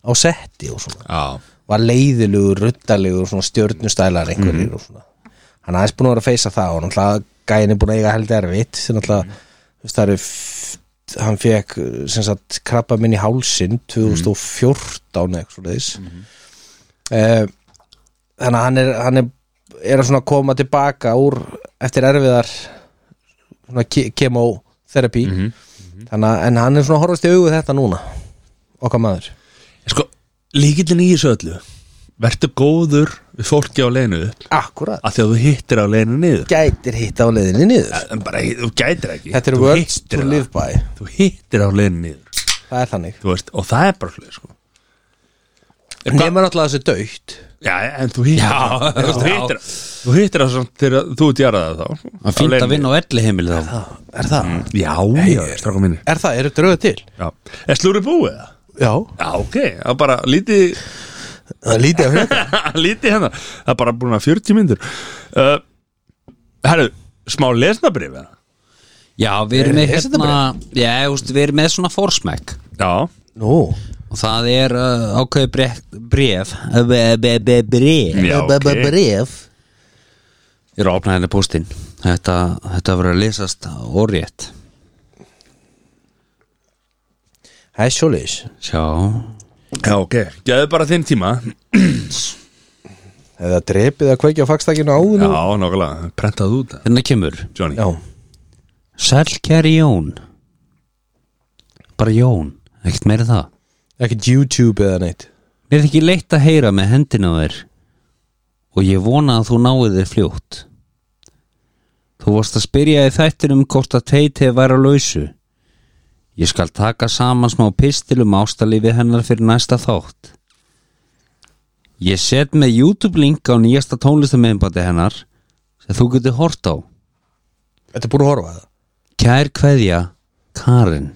[SPEAKER 2] á setti og svona
[SPEAKER 1] Já
[SPEAKER 2] var leiðilugur, ruttalegur svona stjörnustælar einhverjir og svona hann er aðeins búin að vera að feysa það og náttúrulega gæin er búin að eiga held erfitt sem náttúrulega, þú veist það eru f- hann fekk sem sagt krabba minn í hálsin 2014 mm. eitthvað svoleiðis Eh, þannig að hann er, hann er er að svona koma tilbaka úr eftir erfiðar svona kemotherapy þannig að en hann er svona að horfast í augu þetta núna okkar maður
[SPEAKER 1] Sko, líkillin í þessu öllu Vertu góður við fólki á leiðinu upp
[SPEAKER 2] akkurat
[SPEAKER 1] að því að þú hittir á leiðinu niður
[SPEAKER 2] gætir hitta á leiðinni niður
[SPEAKER 1] En bara, þú gætir ekki
[SPEAKER 2] Þetta er
[SPEAKER 1] Þú
[SPEAKER 2] words
[SPEAKER 1] hittir
[SPEAKER 2] to
[SPEAKER 1] það.
[SPEAKER 2] live by
[SPEAKER 1] Þú hittir á leiðinu niður
[SPEAKER 2] Það er þannig
[SPEAKER 1] Þú veist, og það er bara hlug sko. Er hvað-
[SPEAKER 2] Nefnir alltaf þessu dögt
[SPEAKER 1] Já, en þú hittir
[SPEAKER 3] Já,
[SPEAKER 1] það. Þú
[SPEAKER 3] já.
[SPEAKER 1] hittir- Þú hittir það samt þegar þú ert jarðað þá
[SPEAKER 3] Það er fínt að vinna á elli heimili þá
[SPEAKER 2] Er það?
[SPEAKER 1] Já, já, stráka mínir
[SPEAKER 2] Er það? Eru dröðu til?
[SPEAKER 1] Já. Er slúrið búið það?
[SPEAKER 2] Já
[SPEAKER 1] Já, ok, það er bara lítið
[SPEAKER 2] Það er lítið af hérna
[SPEAKER 1] lítið hérna, það er bara búin að 40 myndur uh, Herru, smá lesnabrif eða?
[SPEAKER 3] Já, við erum með
[SPEAKER 2] Er- er þetta
[SPEAKER 3] hérna Já, þú veist, við erum með svona forsmæk
[SPEAKER 1] Já,
[SPEAKER 2] Nú
[SPEAKER 3] og það er uh, ákveði bref bref Eh, Be- be- be- bref
[SPEAKER 1] Já,
[SPEAKER 2] B- b-
[SPEAKER 1] ok.
[SPEAKER 2] Bréf
[SPEAKER 3] Ég er að opna henni póstinn Þetta, þetta verður að lesast orðrétt
[SPEAKER 2] Það er sjóliðis
[SPEAKER 3] Sjá
[SPEAKER 1] já ok, geðu bara þinn tíma
[SPEAKER 2] Eða drepið að kveikja á fagstakinu áður
[SPEAKER 1] Já, nákvæmlega, prentað út
[SPEAKER 3] Hérna kemur
[SPEAKER 1] Johnny,
[SPEAKER 2] Já
[SPEAKER 3] Sælkjæri Jón Bara Jón Ekkert meira en það
[SPEAKER 2] Ekkert YouTube eða neitt
[SPEAKER 3] Mér er ekki leitt að heyra með hendina á þér og ég vona að þú náið þér fljótt Þú varst að spyrja í þættinum hvort að Teiti væri á lausu Ég skal taka saman smá pistil um ástalífi hennar fyrir næsta þátt Ég set með YouTube link á nýjasta tónlistamiðinbæti hennar sem þú getur hort á
[SPEAKER 2] Þetta er búin að horfa á það
[SPEAKER 3] Kær kveðja Karin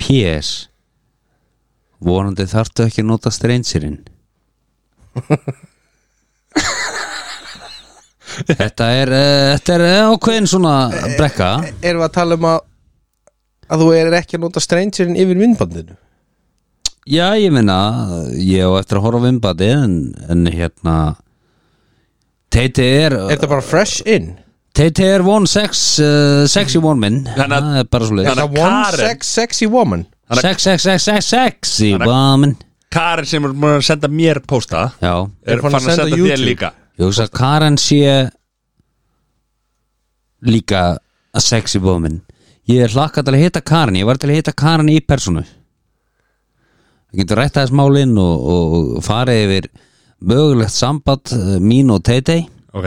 [SPEAKER 3] P.S. Vonandi þarftu ekki að nota streynsirinn Þetta er uh, Þetta er eh, ákveðin svona brekka
[SPEAKER 2] Erum við að tala um að að þú er ekki að nota strangerinn yfir myndbandinu
[SPEAKER 3] Já, ég minna Ég á eftir að horfa á vimbati en, en hérna Teiti er
[SPEAKER 2] Er þetta bara fresh in?
[SPEAKER 3] Teiti er one sex uh, Sexy one minn
[SPEAKER 1] Þannig að-
[SPEAKER 3] Það er bara svo
[SPEAKER 2] Er
[SPEAKER 3] leið
[SPEAKER 1] Þannig að
[SPEAKER 2] það one
[SPEAKER 1] Karen-
[SPEAKER 2] sex sexy woman?
[SPEAKER 1] að-
[SPEAKER 3] Sex, sex, sex, sex, sexy
[SPEAKER 1] Þannig að-
[SPEAKER 3] woman
[SPEAKER 1] Karin sem er búin að senda mér pósta
[SPEAKER 3] Já
[SPEAKER 1] er fann að senda, þér
[SPEAKER 2] YouTube.
[SPEAKER 1] líka
[SPEAKER 3] Ég hugsa að Karen sé líka a sexy woman Ég er hlakka til að hitta Karen Ég var til að hitta Karen í personu Það getur rætt aðeins málinn og, og, og farið yfir mögulegt samband eh, mín og Teitei
[SPEAKER 1] Ok,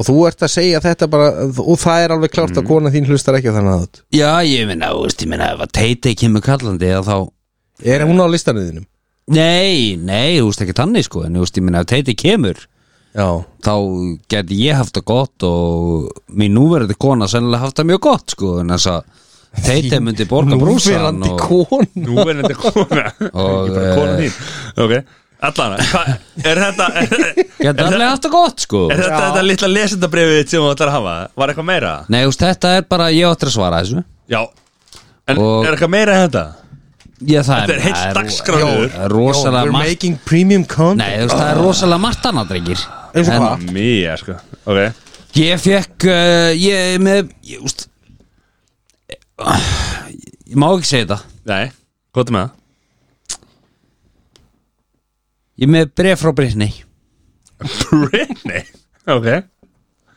[SPEAKER 2] Og þú ert að segja þetta bara og það er alveg
[SPEAKER 1] Mm.
[SPEAKER 2] klárt að kona þín hlustar ekki á þannig að
[SPEAKER 3] Já, ég minna, þú veist, ég minna ef að Teitei kemur kallandi eða þá
[SPEAKER 2] Er hún á listanum þínum?
[SPEAKER 3] Nei, nei, þú veist ekki tannig sko en þú veist, ég minna, ef Teitei kemur
[SPEAKER 2] Já
[SPEAKER 3] þá geti ég haft það gott og mín núverandi kona sennilega haft það mjög gott sko en þess að Teite myndi borga brúsan
[SPEAKER 2] Núverandi
[SPEAKER 3] og,
[SPEAKER 2] kona
[SPEAKER 1] nú er þetta kona Ekki bara kona þín Ok, allana, hva, er þetta er,
[SPEAKER 3] geti alveg haft það gott sko
[SPEAKER 1] er þetta, þetta litla lesendabrifið sem þú ætlar að hafa? Var eitthvað meira?
[SPEAKER 3] Nei, þú veist, þetta er bara, ég áttur að svara þessu
[SPEAKER 1] Já, en
[SPEAKER 3] Og-
[SPEAKER 1] er eitthvað meira en þetta?
[SPEAKER 3] Já, það
[SPEAKER 1] Þetta er heill
[SPEAKER 3] það
[SPEAKER 1] dagskráður.
[SPEAKER 3] það er rosalega
[SPEAKER 2] We're
[SPEAKER 3] margt
[SPEAKER 2] making premium content
[SPEAKER 3] Nei, þú veist, það er rosalega margt annað, drengir
[SPEAKER 2] Eins og
[SPEAKER 3] En
[SPEAKER 2] hvað?
[SPEAKER 1] Mía, sko Ok,
[SPEAKER 3] Ég fekk, uh, ég er með, ég, þú veist Ég má ekki segja þetta
[SPEAKER 1] nei, hvað er með það?
[SPEAKER 3] Ég er með bref frá Brynni
[SPEAKER 1] Britney Ok,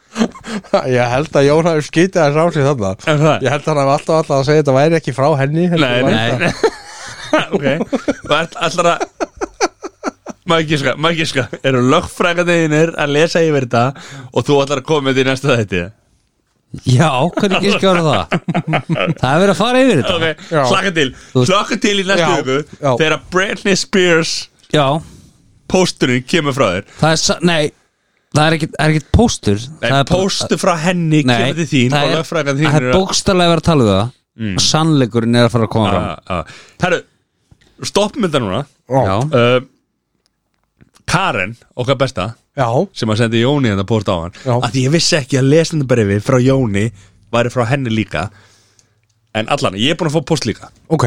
[SPEAKER 2] Ég held að Jón hafi skýtið að sá sig þarna
[SPEAKER 1] er það?
[SPEAKER 2] Ég held að hann hafi alltaf alltaf að segja þetta væri ekki frá henni heldur
[SPEAKER 1] Nei,
[SPEAKER 2] væri
[SPEAKER 3] Nei,
[SPEAKER 2] það-
[SPEAKER 1] Ok, og ert allar að Maður gíska, maður gíska Eru lögfræðinir að lesa yfir þetta og þú allar að koma með því næsta þætti
[SPEAKER 3] Já, hvernig ekki skjára það Það er verið að fara yfir þetta
[SPEAKER 1] Ok,
[SPEAKER 2] Já.
[SPEAKER 1] slaka til
[SPEAKER 3] veist-
[SPEAKER 1] Slaka til í næstu
[SPEAKER 2] Já,
[SPEAKER 1] hugu
[SPEAKER 2] já.
[SPEAKER 1] Þegar Britney Spears
[SPEAKER 3] Já,
[SPEAKER 1] pósturinn kemur frá þér
[SPEAKER 3] það er, sa- nei Það er ekkit, það er ekkit póstur
[SPEAKER 1] Nei,
[SPEAKER 3] það er bara-
[SPEAKER 1] póstur frá henni
[SPEAKER 3] Nei,
[SPEAKER 1] kemur til þín
[SPEAKER 3] það
[SPEAKER 1] og
[SPEAKER 3] er,
[SPEAKER 1] lögfræðan þín
[SPEAKER 3] það er bókstarlega verið að tala um það
[SPEAKER 1] Mm.
[SPEAKER 3] og Sannleikurinn er að fara að
[SPEAKER 1] Ah.
[SPEAKER 3] koma fram
[SPEAKER 1] Herru, stoppum þetta núna
[SPEAKER 3] Já,
[SPEAKER 1] uh, Karen, okkar besta
[SPEAKER 2] Já,
[SPEAKER 1] sem að sendi Jóni þetta póst á hann
[SPEAKER 2] Já.
[SPEAKER 1] að því ég vissi ekki að lesendabrifi frá Jóni væri frá henni líka en allan, ég er búin að fá póst líka
[SPEAKER 2] ok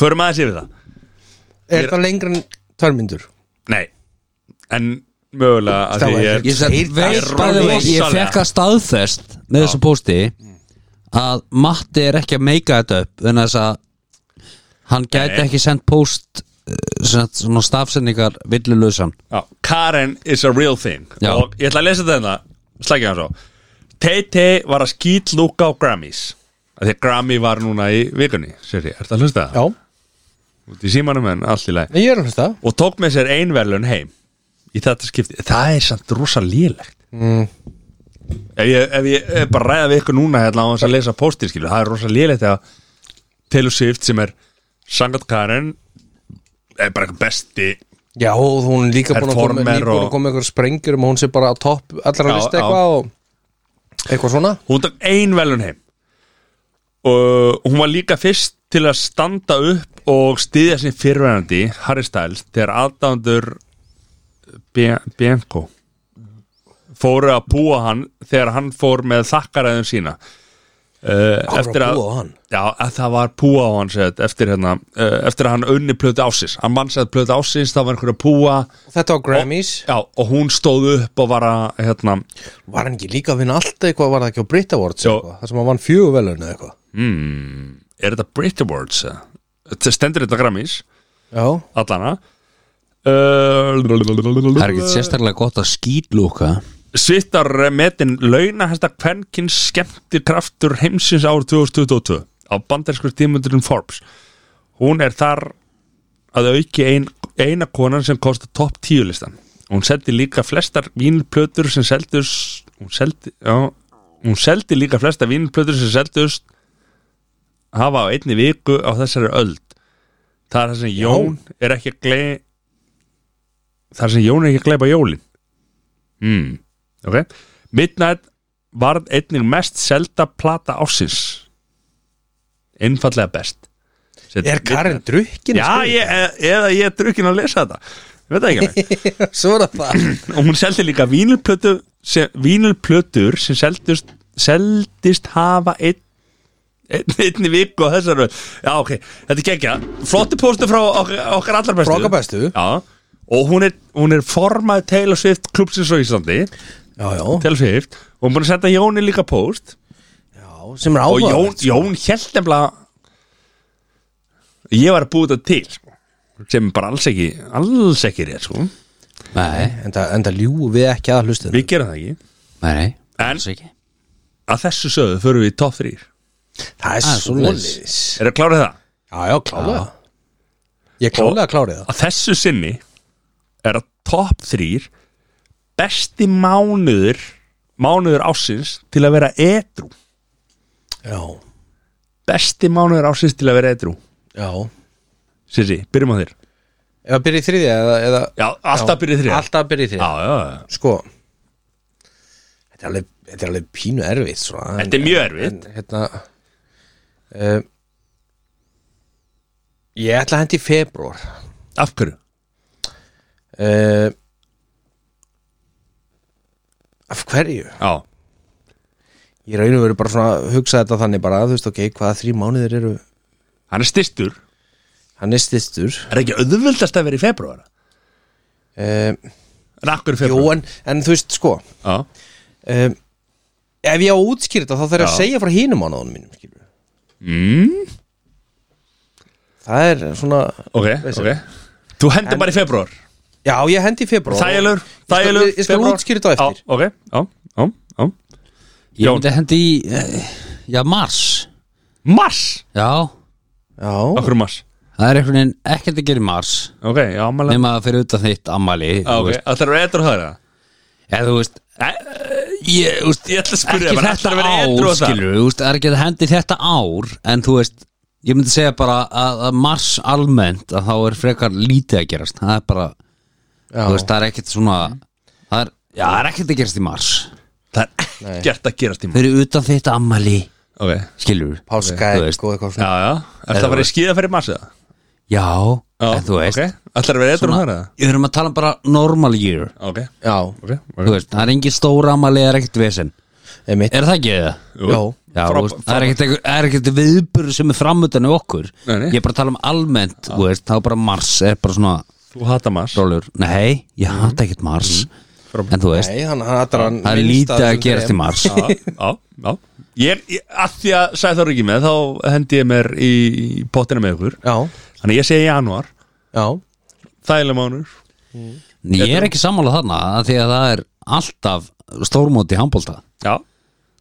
[SPEAKER 1] förum aðeins yfir það
[SPEAKER 2] Er það lengra en tværmyndur?
[SPEAKER 1] Nei, en mögulega að því ég er
[SPEAKER 3] Ég, satt,
[SPEAKER 2] Þeir-
[SPEAKER 3] veit,
[SPEAKER 1] það er
[SPEAKER 3] bæði,
[SPEAKER 1] rosalega.
[SPEAKER 3] ég fekk að staðfest með þessu pósti að Matti er ekki að meika þetta upp en þess að hann gæti
[SPEAKER 1] Nei.
[SPEAKER 3] ekki sendt póst eh, sem sagt, svona stafsendingar villulösan
[SPEAKER 1] Já, Karen is a real thing
[SPEAKER 3] Já.
[SPEAKER 1] og ég ætla að lesa þetta hérna slækja hann svo Tay-Tay var að skýt lúka á Grammys af því að Grammy var núna í vikunni sér ég, ertu að hlusta það?
[SPEAKER 2] Já,
[SPEAKER 1] út í símanum en allt í lagi
[SPEAKER 2] ég er að hlusta
[SPEAKER 1] og tók með sér ein verðlaun heim í þetta skipti, það er samt rosa lélegt mm. ef, ég, ef ég ef bara ræða við ykkur núna hérna á þess að lesa póstið skilur, það er rosa lélegt að Taylor Swift sem er sangat Karen er bara eitthvað besti
[SPEAKER 2] Já, og hún er líka búin að koma,
[SPEAKER 1] Performer
[SPEAKER 2] nýbúin að
[SPEAKER 1] og-
[SPEAKER 2] koma eitthvað sprengjur um að hún sé bara á topp allra
[SPEAKER 1] Já,
[SPEAKER 2] list
[SPEAKER 1] já.
[SPEAKER 2] eitthvað og eitthvað svona
[SPEAKER 1] hún takk ein velun heim og hún var líka fyrst til að standa upp og styðja sinni fyrrverandi Harry Styles þegar aðdándur BMK fóru að búa hann þegar hann fór með þakkaræðum sína uh,
[SPEAKER 2] Fóru að búa á hann?
[SPEAKER 1] Já, að það var púa á hann segið, eftir, hérna, uh, eftir að hann unni plötu ásins hann mann sagði plötu ásins, það var einhverja púa
[SPEAKER 2] Og Þetta á Grammys,
[SPEAKER 1] já, og hún stóð upp og var að hérna,
[SPEAKER 2] var hann ekki líka að vinna allt eitthvað, var það ekki á Brit Awards
[SPEAKER 1] Jó.
[SPEAKER 2] eitthvað, það sem hann vann fjögur velun eitthvað
[SPEAKER 1] er þetta Brit Awards? eða? Þetta stendur þetta Grammys
[SPEAKER 2] Já,
[SPEAKER 1] allana uh,
[SPEAKER 3] það er ekki sérstaklega gott að skýtlúka
[SPEAKER 1] Svittar metin launa hæsta kvenkins skemmtir kraftur heimsins árið 2022 á bandarskur tímundurinn Forbes hún er þar að auki ein, eina konan sem kosta topp tíu listan hún seldi líka flestar vínplötur sem seldus hún seldi, já, hún seldi líka flestar vínplötur sem seldust hafa á einni viku á þessari öld það er það sem Jón er ekki að glei það er sem Jón er ekki að gleypa jólin mm. ok Midnight varð einnig mest selda plata ásins einfallega best Set,
[SPEAKER 2] er Karin drukkin?
[SPEAKER 1] Já, ég, e- eða ég er drukkin að lesa þetta Ég veit það ekki alveg.
[SPEAKER 2] Svo er það það
[SPEAKER 1] Og hún seldi líka vínilplötu sem, Vínilplötur sem seldist Seldist hafa einn ein, einni viku á þessar röð. Já, ok, þetta er gekkja Flotti póstu frá okkar, okkar allar bestu
[SPEAKER 2] Frá okkar bestu.
[SPEAKER 1] Já, og hún er, hún er formaði Taylor Swift klubsins á Íslandi
[SPEAKER 2] Já, já,
[SPEAKER 1] Taylor Swift Og hún búin að senda Jóni líka póst
[SPEAKER 2] já sem er
[SPEAKER 1] og
[SPEAKER 2] áhuga
[SPEAKER 1] Jón, Jón held nefnilega ég var að búið þetta til sko. sem er bara alls ekki alls ekki rétt sko
[SPEAKER 3] nei,
[SPEAKER 2] En það, en það ljúgu við ekki að hlusta
[SPEAKER 1] við gerum það ekki
[SPEAKER 3] nei, nei,
[SPEAKER 1] en
[SPEAKER 3] alls ekki
[SPEAKER 1] að þessu sögðu förum við í top 3 er
[SPEAKER 2] Það er
[SPEAKER 3] Ah, svoleiðis.
[SPEAKER 2] svoleiðis
[SPEAKER 1] það klárið það?
[SPEAKER 2] Já, já, klálega Ég klálega klárið það
[SPEAKER 1] að þessu sinni er að top 3 besti mánuður mánuður ásins til að vera edru
[SPEAKER 2] Já,
[SPEAKER 1] besti mánuður ásins til að vera edru
[SPEAKER 2] já
[SPEAKER 1] Sissi, byrjum á þér
[SPEAKER 2] Ef að byrja í þriðja eða, eða
[SPEAKER 1] já, alltaf byrjið þér já,
[SPEAKER 2] Alltaf byrja í þriðja
[SPEAKER 1] já, já
[SPEAKER 2] sko þetta er alveg, þetta er alveg pínu erfitt svona,
[SPEAKER 1] Þetta er mjög erfitt.
[SPEAKER 2] en, hérna, uh, ég ætla að hendi í februar
[SPEAKER 1] af hverju?
[SPEAKER 2] uh, af hverju
[SPEAKER 1] já,
[SPEAKER 2] ég raunum verið bara svona að hugsa þetta þannig bara þú veist ok, hvaða þrý mánuðir eru
[SPEAKER 1] hann er styrstur
[SPEAKER 2] hann er styrstur
[SPEAKER 1] er ekki auðvöldast að vera í februar
[SPEAKER 2] uh,
[SPEAKER 1] en akkur í
[SPEAKER 2] jú,
[SPEAKER 1] februar
[SPEAKER 2] en, en þú veist sko
[SPEAKER 1] Já.
[SPEAKER 2] uh, ef ég á að útskýra þetta þá þarf ég að
[SPEAKER 1] Já.
[SPEAKER 2] segja frá hínum mánuðunum mínum skilur.
[SPEAKER 1] mm,
[SPEAKER 2] það er svona
[SPEAKER 1] ok,
[SPEAKER 2] Veist
[SPEAKER 1] ok þú hendur bara í februar
[SPEAKER 2] já, ég hendi í februar
[SPEAKER 1] þægilegur, þægilegur
[SPEAKER 2] ég skal
[SPEAKER 1] febrúar.
[SPEAKER 2] útskýra þetta á eftir.
[SPEAKER 1] já, ok, já, já, já
[SPEAKER 3] ég
[SPEAKER 1] Jón.
[SPEAKER 3] myndi hendi í eh, já, mars
[SPEAKER 1] mars,
[SPEAKER 3] já,
[SPEAKER 2] já,
[SPEAKER 1] okkur mars
[SPEAKER 3] það er einhvern veginn ekkert að gera í mars
[SPEAKER 1] ok, já, ammæla Ah,
[SPEAKER 3] nema að fyrir utan þitt ammali
[SPEAKER 1] ok, það er að vera eitthvað að höra
[SPEAKER 3] eða þú veist eh,
[SPEAKER 1] það
[SPEAKER 3] ég, úst, ég ætla að
[SPEAKER 1] spyrja,
[SPEAKER 3] ekki
[SPEAKER 1] bara
[SPEAKER 3] þetta
[SPEAKER 1] ætlarðu að vera
[SPEAKER 3] ár,
[SPEAKER 1] edrú á það?
[SPEAKER 3] skilur við, úst, er ekki að hendi þetta ár en þú veist, ég myndi segja bara að, að mars almennt að þá er frekar lítið að gerast það er bara,
[SPEAKER 2] Já.
[SPEAKER 3] þú veist, það er ekkert svona
[SPEAKER 1] Mm.
[SPEAKER 3] það er, já, það er ekkert að gerast í mars
[SPEAKER 1] Það er ekkert að gerast í
[SPEAKER 3] þau eru utan þitt ammali
[SPEAKER 1] Ok
[SPEAKER 3] skilur við,
[SPEAKER 2] Páska
[SPEAKER 3] Þú
[SPEAKER 2] er
[SPEAKER 3] veist.
[SPEAKER 2] góð eitthvað
[SPEAKER 1] Já,
[SPEAKER 2] svona
[SPEAKER 1] já Ætlar að vera í skíða fyrir massa Já,
[SPEAKER 3] já, en þú veist
[SPEAKER 1] Ok Ætlar að vera eitthvað um það eða?
[SPEAKER 3] við erum að tala um bara normal year
[SPEAKER 1] Ok
[SPEAKER 2] Já,
[SPEAKER 1] Ok
[SPEAKER 3] þú veist, það er engin stóra ammali, það er ekkert vesen
[SPEAKER 2] einmitt
[SPEAKER 3] er það ekki það?
[SPEAKER 1] Jú.
[SPEAKER 2] Já.
[SPEAKER 3] Já,
[SPEAKER 1] Frá-
[SPEAKER 3] þú veist, það er
[SPEAKER 1] frábært.
[SPEAKER 3] ekkert einhver- það er ekkert viðbörð sem er framöndan í okkur
[SPEAKER 1] Nei, nei.
[SPEAKER 3] Ég er bara að tala um almennt, þú veist, þá er bara Mars er bara svona
[SPEAKER 1] Þú hata massa
[SPEAKER 3] rólur Nei, ég hata ekkert Mars
[SPEAKER 1] Mhm. Frábært.
[SPEAKER 3] En þú veist,
[SPEAKER 2] Nei, hann hattar hann
[SPEAKER 3] það er
[SPEAKER 2] minnst
[SPEAKER 3] lítið að
[SPEAKER 2] þessum
[SPEAKER 3] gerast í
[SPEAKER 2] þrem.
[SPEAKER 3] Mars
[SPEAKER 1] Já, já, já Ég, ég að því að sæði það ekki með þá hendi ég mér í pottina með ykkur
[SPEAKER 2] Já,
[SPEAKER 1] Þannig að ég segi januar
[SPEAKER 2] já,
[SPEAKER 1] Þægilega mánur
[SPEAKER 3] En Ég er ekki sammála þarna af Því að það er alltaf stórmóti í handbólta
[SPEAKER 1] Já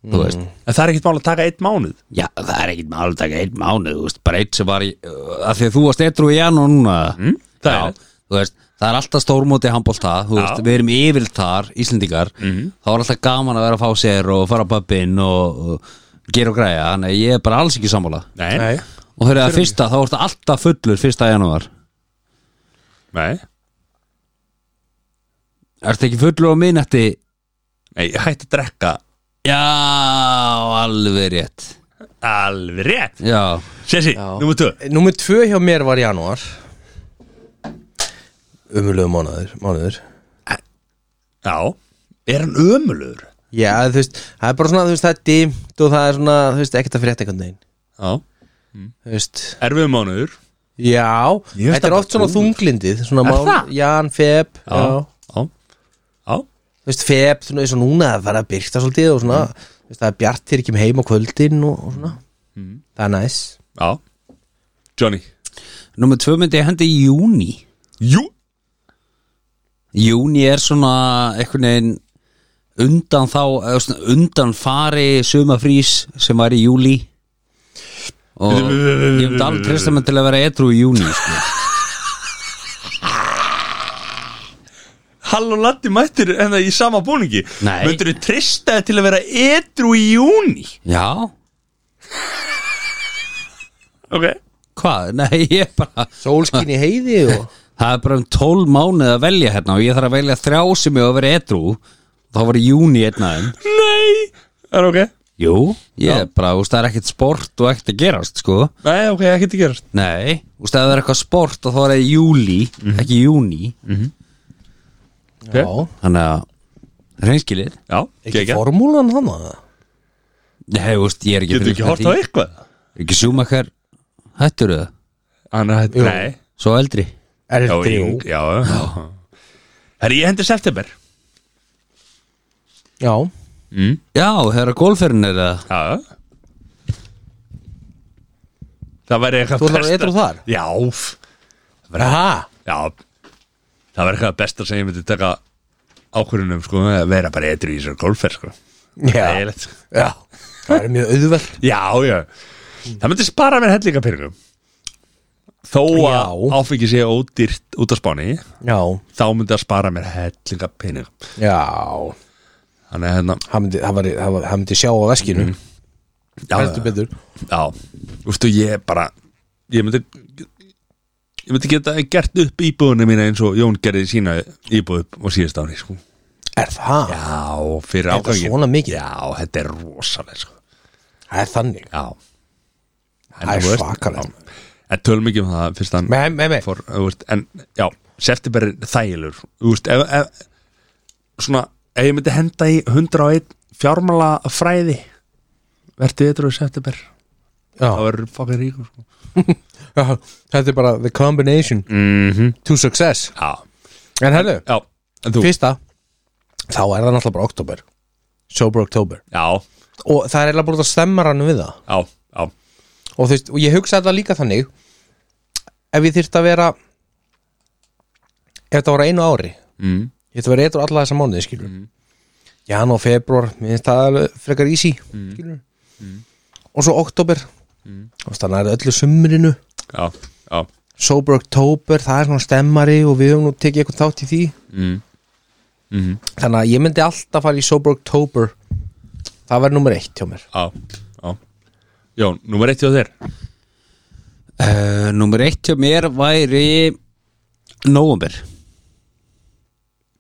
[SPEAKER 1] Mhm.
[SPEAKER 3] Þú veist,
[SPEAKER 1] En það er ekkert mál að taka eitt mánuð
[SPEAKER 3] já, það er ekkert málið taka einn mánuð, þú veist, bara einn sem var í, að því að þú varst eitru í janúar núna mm,
[SPEAKER 1] það er
[SPEAKER 3] já, þú veist, það er alltaf stórmóti handbólta, þú veist, við erum yfir þar Íslendingar,
[SPEAKER 1] Mhm.
[SPEAKER 3] þá er alltaf gaman að vera að fá sér og fara á pappin og, og gera og græja, þannig að ég er bara alls ekki sammála
[SPEAKER 1] Nei
[SPEAKER 2] nei
[SPEAKER 3] og þegar það fyrsta, þá ertu alltaf fullur fyrsta janúar,
[SPEAKER 1] Nei,
[SPEAKER 3] ertu ekki fullur á minnetti
[SPEAKER 1] Nei ég hætti að drekka
[SPEAKER 3] já, alveg rétt
[SPEAKER 1] Alveg rétt
[SPEAKER 3] já,
[SPEAKER 1] Sessi,
[SPEAKER 2] Já.
[SPEAKER 1] nummer 2
[SPEAKER 2] Númer tvö hjá mér var janúar Umulögu mánuður, mánuður
[SPEAKER 1] Já Er hann ömulugur?
[SPEAKER 2] Já, þú veist, það er bara svona, þú veist, það er dimt og það er svona, þú veist, ekkert að frétta einhvern veginn
[SPEAKER 1] Já
[SPEAKER 2] Þú veist,
[SPEAKER 1] Erfið mánuður
[SPEAKER 2] já,
[SPEAKER 1] Ég veist
[SPEAKER 2] þetta er
[SPEAKER 1] það
[SPEAKER 2] oft svona þunglindið Svona
[SPEAKER 1] Er
[SPEAKER 2] mál,
[SPEAKER 1] það?
[SPEAKER 2] jan, feb, já,
[SPEAKER 1] Já Já
[SPEAKER 2] Þú veist, feb, svona, eins og núna að vera að byrta svolítið og
[SPEAKER 1] Mm.
[SPEAKER 2] svona Þú veist, það er bjartir ekki með heim á kvöldin og, og svona
[SPEAKER 1] Mm.
[SPEAKER 2] Það er næs
[SPEAKER 1] Já Johnny
[SPEAKER 3] nummer tvö myndi ég hendi í júni
[SPEAKER 1] Jú
[SPEAKER 3] Júni er svona einhvern veginn undan þá eða svona undan fari sumafrís sem var í júli og ég myndi aldrei treysta mig til að vera edru í júni sko.
[SPEAKER 1] Hall og Latti mættir en það í sama búningi
[SPEAKER 3] Nei.
[SPEAKER 1] Möndur þið trista til að vera edru í júni
[SPEAKER 3] Já,
[SPEAKER 1] Ok
[SPEAKER 3] hvað? Nei, ég bara
[SPEAKER 2] Sólskin í heiði og
[SPEAKER 3] það er bara um 12 mánuð að velja hérna og ég þarf að velja þrjá sem ég á að vera edru þá var júni einn af þeim
[SPEAKER 1] Nei Það er ok
[SPEAKER 3] Jú, ég er bara, úst, það er ekkert sport og ekkert að gerast, sko
[SPEAKER 1] Nei, ok, ekkert að gerast
[SPEAKER 3] Nei, úst, ef það er eitthvað sport og þá er það í júli, ekki júni
[SPEAKER 1] Ok.
[SPEAKER 2] Já,
[SPEAKER 3] þannig að reynskilir
[SPEAKER 1] Já,
[SPEAKER 2] ekki
[SPEAKER 1] geggjað.
[SPEAKER 2] formúlan hann að
[SPEAKER 3] Nei, þú veist, ég er ekki
[SPEAKER 1] Getur ekki hort á eitthvað
[SPEAKER 3] Ekki sjúmakar Hættur það?
[SPEAKER 1] Hann er hætt Nei
[SPEAKER 3] Svo eldri
[SPEAKER 2] Er
[SPEAKER 1] Já,
[SPEAKER 2] þetta
[SPEAKER 1] ég,
[SPEAKER 2] jú?
[SPEAKER 1] já, já. Herri, ég hendi september
[SPEAKER 2] Já,
[SPEAKER 1] mm.
[SPEAKER 3] Já, þegar golfurinn er það
[SPEAKER 1] Já já. Það væri eitthvað
[SPEAKER 2] Þú ætlar að
[SPEAKER 1] besta-
[SPEAKER 2] edrú þar?
[SPEAKER 1] Já, f-
[SPEAKER 2] Aha.
[SPEAKER 1] já Það væri eitthvað besta sem ég myndi taka ákvörunum sko, að vera bara eitthvað í þessar golfer sko. Það er
[SPEAKER 2] já,
[SPEAKER 1] leitt.
[SPEAKER 2] já Það er mjög auðvelt
[SPEAKER 1] Já, já Það myndi spara mér hellinga peningum Þó að
[SPEAKER 2] Já.
[SPEAKER 1] áfengi sé ódýrt út á spáni
[SPEAKER 2] Já,
[SPEAKER 1] þá myndi að spara mér hellinga peningum
[SPEAKER 2] já
[SPEAKER 1] Þannig að hérna
[SPEAKER 2] hann myndi, hann var, hann var, hann myndi sjá á veskinu
[SPEAKER 1] Mm-hmm. já,
[SPEAKER 2] heldur
[SPEAKER 1] já.
[SPEAKER 2] betur
[SPEAKER 1] Já, úrstu ég bara Ég myndi Ég myndi geta gert upp íbúðuna mína eins og Jón gerði sína íbúð upp á síðast ári sko.
[SPEAKER 2] er það,
[SPEAKER 1] Já, fyrir
[SPEAKER 2] Þetta er
[SPEAKER 1] ágangin
[SPEAKER 2] svona mikið?
[SPEAKER 1] Já, þetta er rosalega sko.
[SPEAKER 2] það er þannig
[SPEAKER 1] Já
[SPEAKER 2] Það er svakalegt.
[SPEAKER 1] En tölum ekki um það fyrst hann
[SPEAKER 2] með, með, með,
[SPEAKER 1] for, þú veist, En já, september er þægilegur Þú veist, ef, ef, Svona, ef ég myndi henda í 101 fjármála fræði Vertu ytru í september Það
[SPEAKER 2] já,
[SPEAKER 1] verður fokkar ríkur sko.
[SPEAKER 2] já, þetta er bara the combination
[SPEAKER 1] mm
[SPEAKER 2] to success,
[SPEAKER 1] Já,
[SPEAKER 2] en herru
[SPEAKER 1] já, en þú
[SPEAKER 2] fyrsta, þá er það náttúrulega bara oktober sober oktober
[SPEAKER 1] Já,
[SPEAKER 2] og það er eiginlega bara út að stemma rannu við það
[SPEAKER 1] já, já,
[SPEAKER 2] og, þú veist, og ég hugsa þetta líka þannig ef ég þyrft að vera ef þetta voru einu ári
[SPEAKER 1] mm,
[SPEAKER 2] ég ætti að vera eitthvað alla þessa mánuði skilur mm. jan og februar, mér finnst það alveg frekar easy skilur og svo oktober mm. og þannig er öllu sumrinu
[SPEAKER 1] já, já
[SPEAKER 2] sober oktober, það er svona stemmari og við höfum nú tekið eitthvað þátt í því
[SPEAKER 1] mm,
[SPEAKER 2] þannig að ég myndi alltaf fara í Sober October það var nummer eitt hjá mér
[SPEAKER 1] á, á. Jón, númer eitt hjá þér
[SPEAKER 3] uh, Númer eitt hjá mér væri Nóumber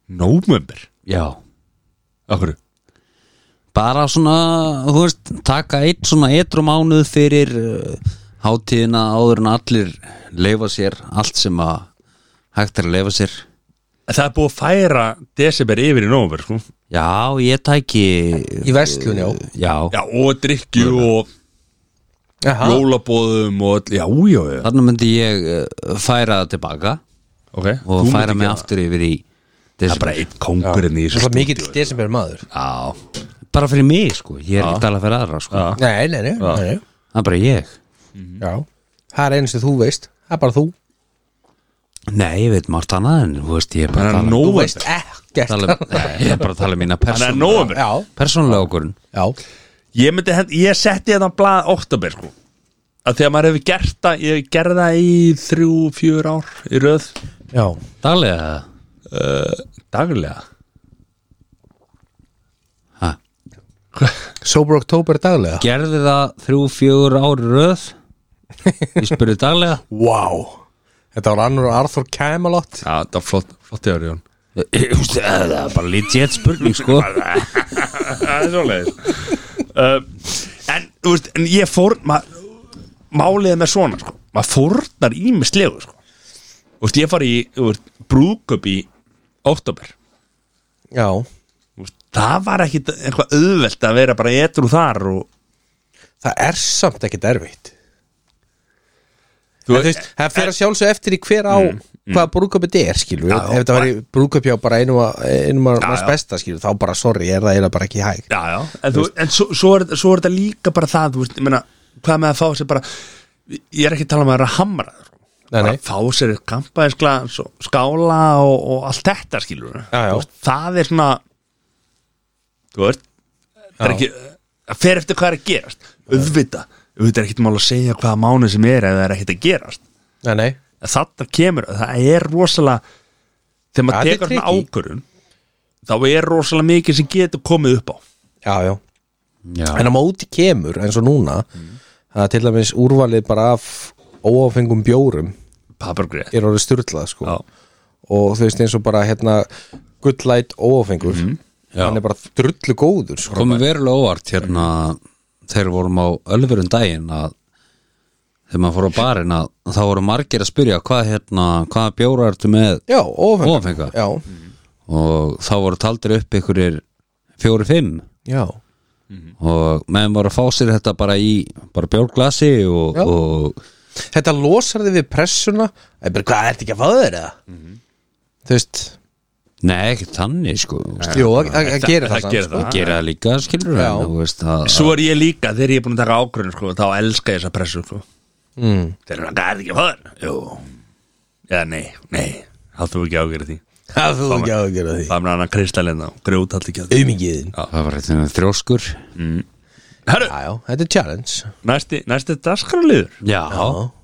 [SPEAKER 1] Nómömbir,
[SPEAKER 3] Já
[SPEAKER 1] okkur
[SPEAKER 3] bara svona, þú veist, taka eitt svona eitru mánuð fyrir uh, hátíðina áður en allir leifa sér allt sem að hægt er að leifa sér
[SPEAKER 1] Það er búið að færa desember yfir í nómömbir sko.
[SPEAKER 3] Já, ég tæki
[SPEAKER 2] í verslun, já,
[SPEAKER 3] Já,
[SPEAKER 1] Já, og drikju og
[SPEAKER 2] Aha.
[SPEAKER 1] jólabóðum og öll, já, já, já
[SPEAKER 3] þarna myndi ég uh, færa það tilbaka
[SPEAKER 1] Ok,
[SPEAKER 3] og
[SPEAKER 1] þú
[SPEAKER 3] færa
[SPEAKER 1] myndir
[SPEAKER 3] mig
[SPEAKER 1] gera
[SPEAKER 3] aftur yfir í
[SPEAKER 1] Það er
[SPEAKER 3] desember
[SPEAKER 1] bara einn kóngurinn í
[SPEAKER 2] það
[SPEAKER 1] þessu
[SPEAKER 2] var mikill desember maður
[SPEAKER 3] Já, bara fyrir mig sko, ég er ekki að tala fyrir aðra sko
[SPEAKER 1] Já.
[SPEAKER 2] nei, nei, nei, nei, nei.
[SPEAKER 3] Það er bara ég
[SPEAKER 2] Já. það er einu sem þú veist það er bara þú,
[SPEAKER 3] Nei, ég veit margt annað en þú veist, ég er bara
[SPEAKER 1] Þannig
[SPEAKER 3] að tala
[SPEAKER 1] að
[SPEAKER 2] þú
[SPEAKER 1] nóvember
[SPEAKER 2] veist ekkert
[SPEAKER 3] tala, Nei, ég er bara að tala um mína
[SPEAKER 1] Þannig að
[SPEAKER 3] persónulega
[SPEAKER 1] nóvember
[SPEAKER 2] já,
[SPEAKER 3] persónulega okkurinn
[SPEAKER 2] já,
[SPEAKER 1] Ég, myndi, hend- ég setti þetta blað oktober sko. að þegar maður hefur gert það ég gerði það í þrjú, fjör ár í röð
[SPEAKER 2] já
[SPEAKER 3] Daglega það
[SPEAKER 1] daglega
[SPEAKER 3] Ha,
[SPEAKER 2] Sober October daglega
[SPEAKER 3] gerði það þrjú, fjögur ári röð Ég spurði daglega
[SPEAKER 2] wow. þetta var annar Arthur Camelot
[SPEAKER 1] Já, þetta var flott, flott hjá Jón
[SPEAKER 3] Ég- þú veist, Það er bara legit spurning sko
[SPEAKER 1] Það er svo leiðis Uh, En, þú veist, en ég fór ma, Máliðið með svona sko. maður fórnar í mig slegu sko. Þú veist, ég fari í þú veist, brúkup í oktober
[SPEAKER 2] já,
[SPEAKER 1] Þú veist, Það var ekki eitthvað auðvelt að vera bara etrú þar og,
[SPEAKER 2] það er samt ekkert erfitt
[SPEAKER 1] þú
[SPEAKER 2] En þú veist, það fyrir að sjálfsög eftir í hver á hvaða brúköpi þetta er, skilur
[SPEAKER 1] Já,
[SPEAKER 2] já, ef þetta var brúköpi á bara einum að- einum að
[SPEAKER 1] Já,
[SPEAKER 2] manns
[SPEAKER 1] já.
[SPEAKER 2] besta, skilur, þá bara sorry, er það eiginlega bara ekki hæg
[SPEAKER 1] Já, já, en, þú, en svo, svo, er, svo er þetta líka bara það, þú veist, ég meina hvað með að fá sér bara ég er ekki að tala um að vera að hamra nei,
[SPEAKER 2] Nei,
[SPEAKER 1] bara
[SPEAKER 2] nei.
[SPEAKER 1] fá sér kampaðisglans og skála og, og allt þetta skilur
[SPEAKER 2] Já, já.
[SPEAKER 1] Veist, það er svona þú veist það er ekki, það fer eftir hvað er að gerast auðvita, auðvita er ekkit mál að segja hvaða mánu sem er eða það er ekkit að gerast
[SPEAKER 2] Nei, nei,
[SPEAKER 1] en þarna kemur, það er rosalega þegar
[SPEAKER 2] Það
[SPEAKER 1] maður
[SPEAKER 2] er
[SPEAKER 1] tekur svona
[SPEAKER 2] tricky.
[SPEAKER 1] ákvörun þá er rosalega mikið sem getur komið upp á
[SPEAKER 2] já, já Mm.
[SPEAKER 3] Já,
[SPEAKER 2] en á móti kemur, eins og núna það er til dæmis úrvalið bara af óáfengum bjórum
[SPEAKER 1] papargrið
[SPEAKER 2] er orðið styrlað, sko
[SPEAKER 1] Já.
[SPEAKER 2] og þú veist, eins og bara, hérna gullæt óáfengur hann er bara drullu góður, sko
[SPEAKER 3] komið verulega óvart hérna þegar við vorum á ölfurinn daginn að þegar maður fór á barinn að þá voru margir að spyrja hvað hérna, hvaða bjóra ertu með
[SPEAKER 2] já, óáfengur,
[SPEAKER 3] Óáfenga.
[SPEAKER 2] já,
[SPEAKER 3] og þá voru taldir upp ykkurir fjóri-fimm
[SPEAKER 2] já Mhm.
[SPEAKER 3] og meðan voru að fá sér þetta bara í bara bjórglasi og,
[SPEAKER 2] Já.
[SPEAKER 3] og
[SPEAKER 2] þetta losar þig við pressuna Það er bara, hvað, ertu ekki að fá þér eða? þú veist,
[SPEAKER 3] nei, ekki tannig sko það
[SPEAKER 2] jú, að- að að gera
[SPEAKER 1] það
[SPEAKER 2] það samt,
[SPEAKER 1] gerir
[SPEAKER 2] sko.
[SPEAKER 1] það.
[SPEAKER 3] gera það líka skilur
[SPEAKER 2] Já.
[SPEAKER 3] en, þú veist, að,
[SPEAKER 1] Svo er ég líka, þegar ég er búin að taka ákvörðin sko, þá elska ég þessa pressu sko.
[SPEAKER 2] mm.
[SPEAKER 1] Þeir eru að gæða ekki að fá þér Jú, eða nei, nei Háttu ekki ákvörði því
[SPEAKER 2] það þú ekki að gera því
[SPEAKER 1] Það er annan kristalina og grjót allt ekki að því
[SPEAKER 2] auðmingiðin,
[SPEAKER 3] það var eitthvað þrjóskur
[SPEAKER 1] Herru,
[SPEAKER 2] já, já, þetta er challenge
[SPEAKER 1] næsti, næsti daskaraliður
[SPEAKER 3] já,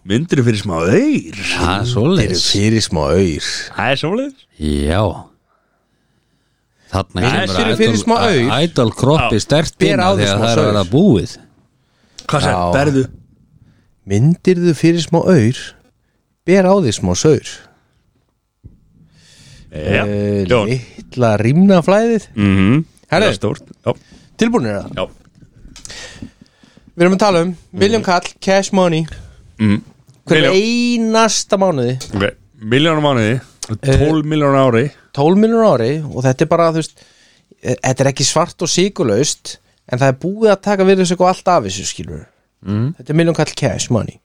[SPEAKER 1] Myndir fyrir smá auður
[SPEAKER 3] það er
[SPEAKER 2] þeir eru
[SPEAKER 3] svoleiðis
[SPEAKER 2] fyrir smá auður
[SPEAKER 1] Það er svoleiðis
[SPEAKER 3] já þarna
[SPEAKER 1] Nei,
[SPEAKER 3] kemur
[SPEAKER 1] sér
[SPEAKER 2] er fyrir
[SPEAKER 3] idol-
[SPEAKER 2] smá
[SPEAKER 3] að-
[SPEAKER 2] aur.
[SPEAKER 3] idol kroppi stert
[SPEAKER 2] Ber
[SPEAKER 3] inn
[SPEAKER 2] á
[SPEAKER 3] af
[SPEAKER 2] því
[SPEAKER 3] því að
[SPEAKER 2] smá
[SPEAKER 3] það er að
[SPEAKER 2] saur.
[SPEAKER 3] vera búið
[SPEAKER 1] Hvað sér,
[SPEAKER 2] Já.
[SPEAKER 1] berðu?
[SPEAKER 2] myndir þú fyrir smá auður ber á því smá saur
[SPEAKER 1] Já,
[SPEAKER 2] Eh,
[SPEAKER 1] Jón
[SPEAKER 2] litla rýmnaflæðið
[SPEAKER 1] Mhm. Það
[SPEAKER 2] Herru.
[SPEAKER 1] er stórt Já,
[SPEAKER 2] tilbúinir það
[SPEAKER 1] já
[SPEAKER 2] Við erum að tala um William Kall, Cash Money
[SPEAKER 1] Mm.
[SPEAKER 2] Hver
[SPEAKER 1] Milljón.
[SPEAKER 2] einasta mánuði
[SPEAKER 1] Ok, miljónum mánuði 12 miljónum ári
[SPEAKER 2] 12 miljonur ári og þetta er bara þú veist, e- þetta er ekki svart og sigurlaust en það er búið að taka virðis eitthvað allt af þessu skilur mm. þetta er miljón kall cash money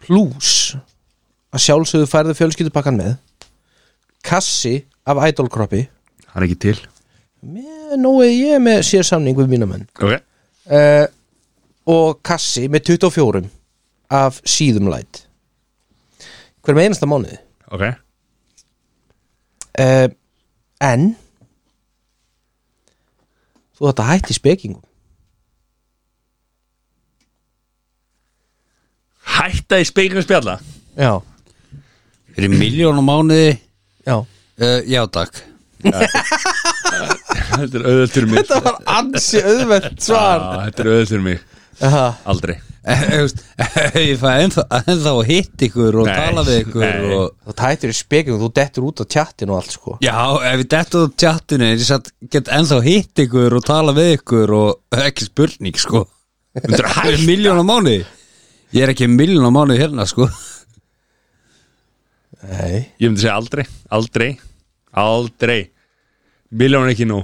[SPEAKER 2] plus að sjálfsögðu færðu fjölskyldupakkan með kassi af idolkroppi
[SPEAKER 1] Hann er ekki til
[SPEAKER 2] nógu ég er með sér samning við mína menn
[SPEAKER 1] Ok,
[SPEAKER 2] uh, og kassi með 24 af síðum light hver með einasta mánuði
[SPEAKER 1] ok
[SPEAKER 2] uh, En Þú þetta hætti spekingum
[SPEAKER 1] Hætta í speikinu spjalla
[SPEAKER 2] Já,
[SPEAKER 3] fyrir miljónum mánuði
[SPEAKER 2] já
[SPEAKER 3] uh, já takk
[SPEAKER 1] Þetta er auðvöld fyrir mig
[SPEAKER 2] Þetta var ansi auðvend svar
[SPEAKER 1] Já, Þetta er auðvöld fyrir mig,
[SPEAKER 2] Aha.
[SPEAKER 1] aldrei
[SPEAKER 3] Eh, Ég fæ ennþá, ennþá að hitt ykkur og
[SPEAKER 1] Nei,
[SPEAKER 3] tala við ykkur
[SPEAKER 1] nei.
[SPEAKER 3] og
[SPEAKER 2] Þú tætur í spekjum, þú dettur út á tjattinu og allt sko
[SPEAKER 3] Já, ef ég dettu á tjattinu ég satt, get ennþá hitt ykkur og tala við ykkur og ekki spurning sko
[SPEAKER 1] Þetta er
[SPEAKER 3] Ég er
[SPEAKER 1] hægt
[SPEAKER 3] miljón á mánu Ég er ekki miljón á mánu hérna sko
[SPEAKER 2] Nei
[SPEAKER 1] Ég myndi segja aldrei, aldrei, aldrei Miljón ekki nú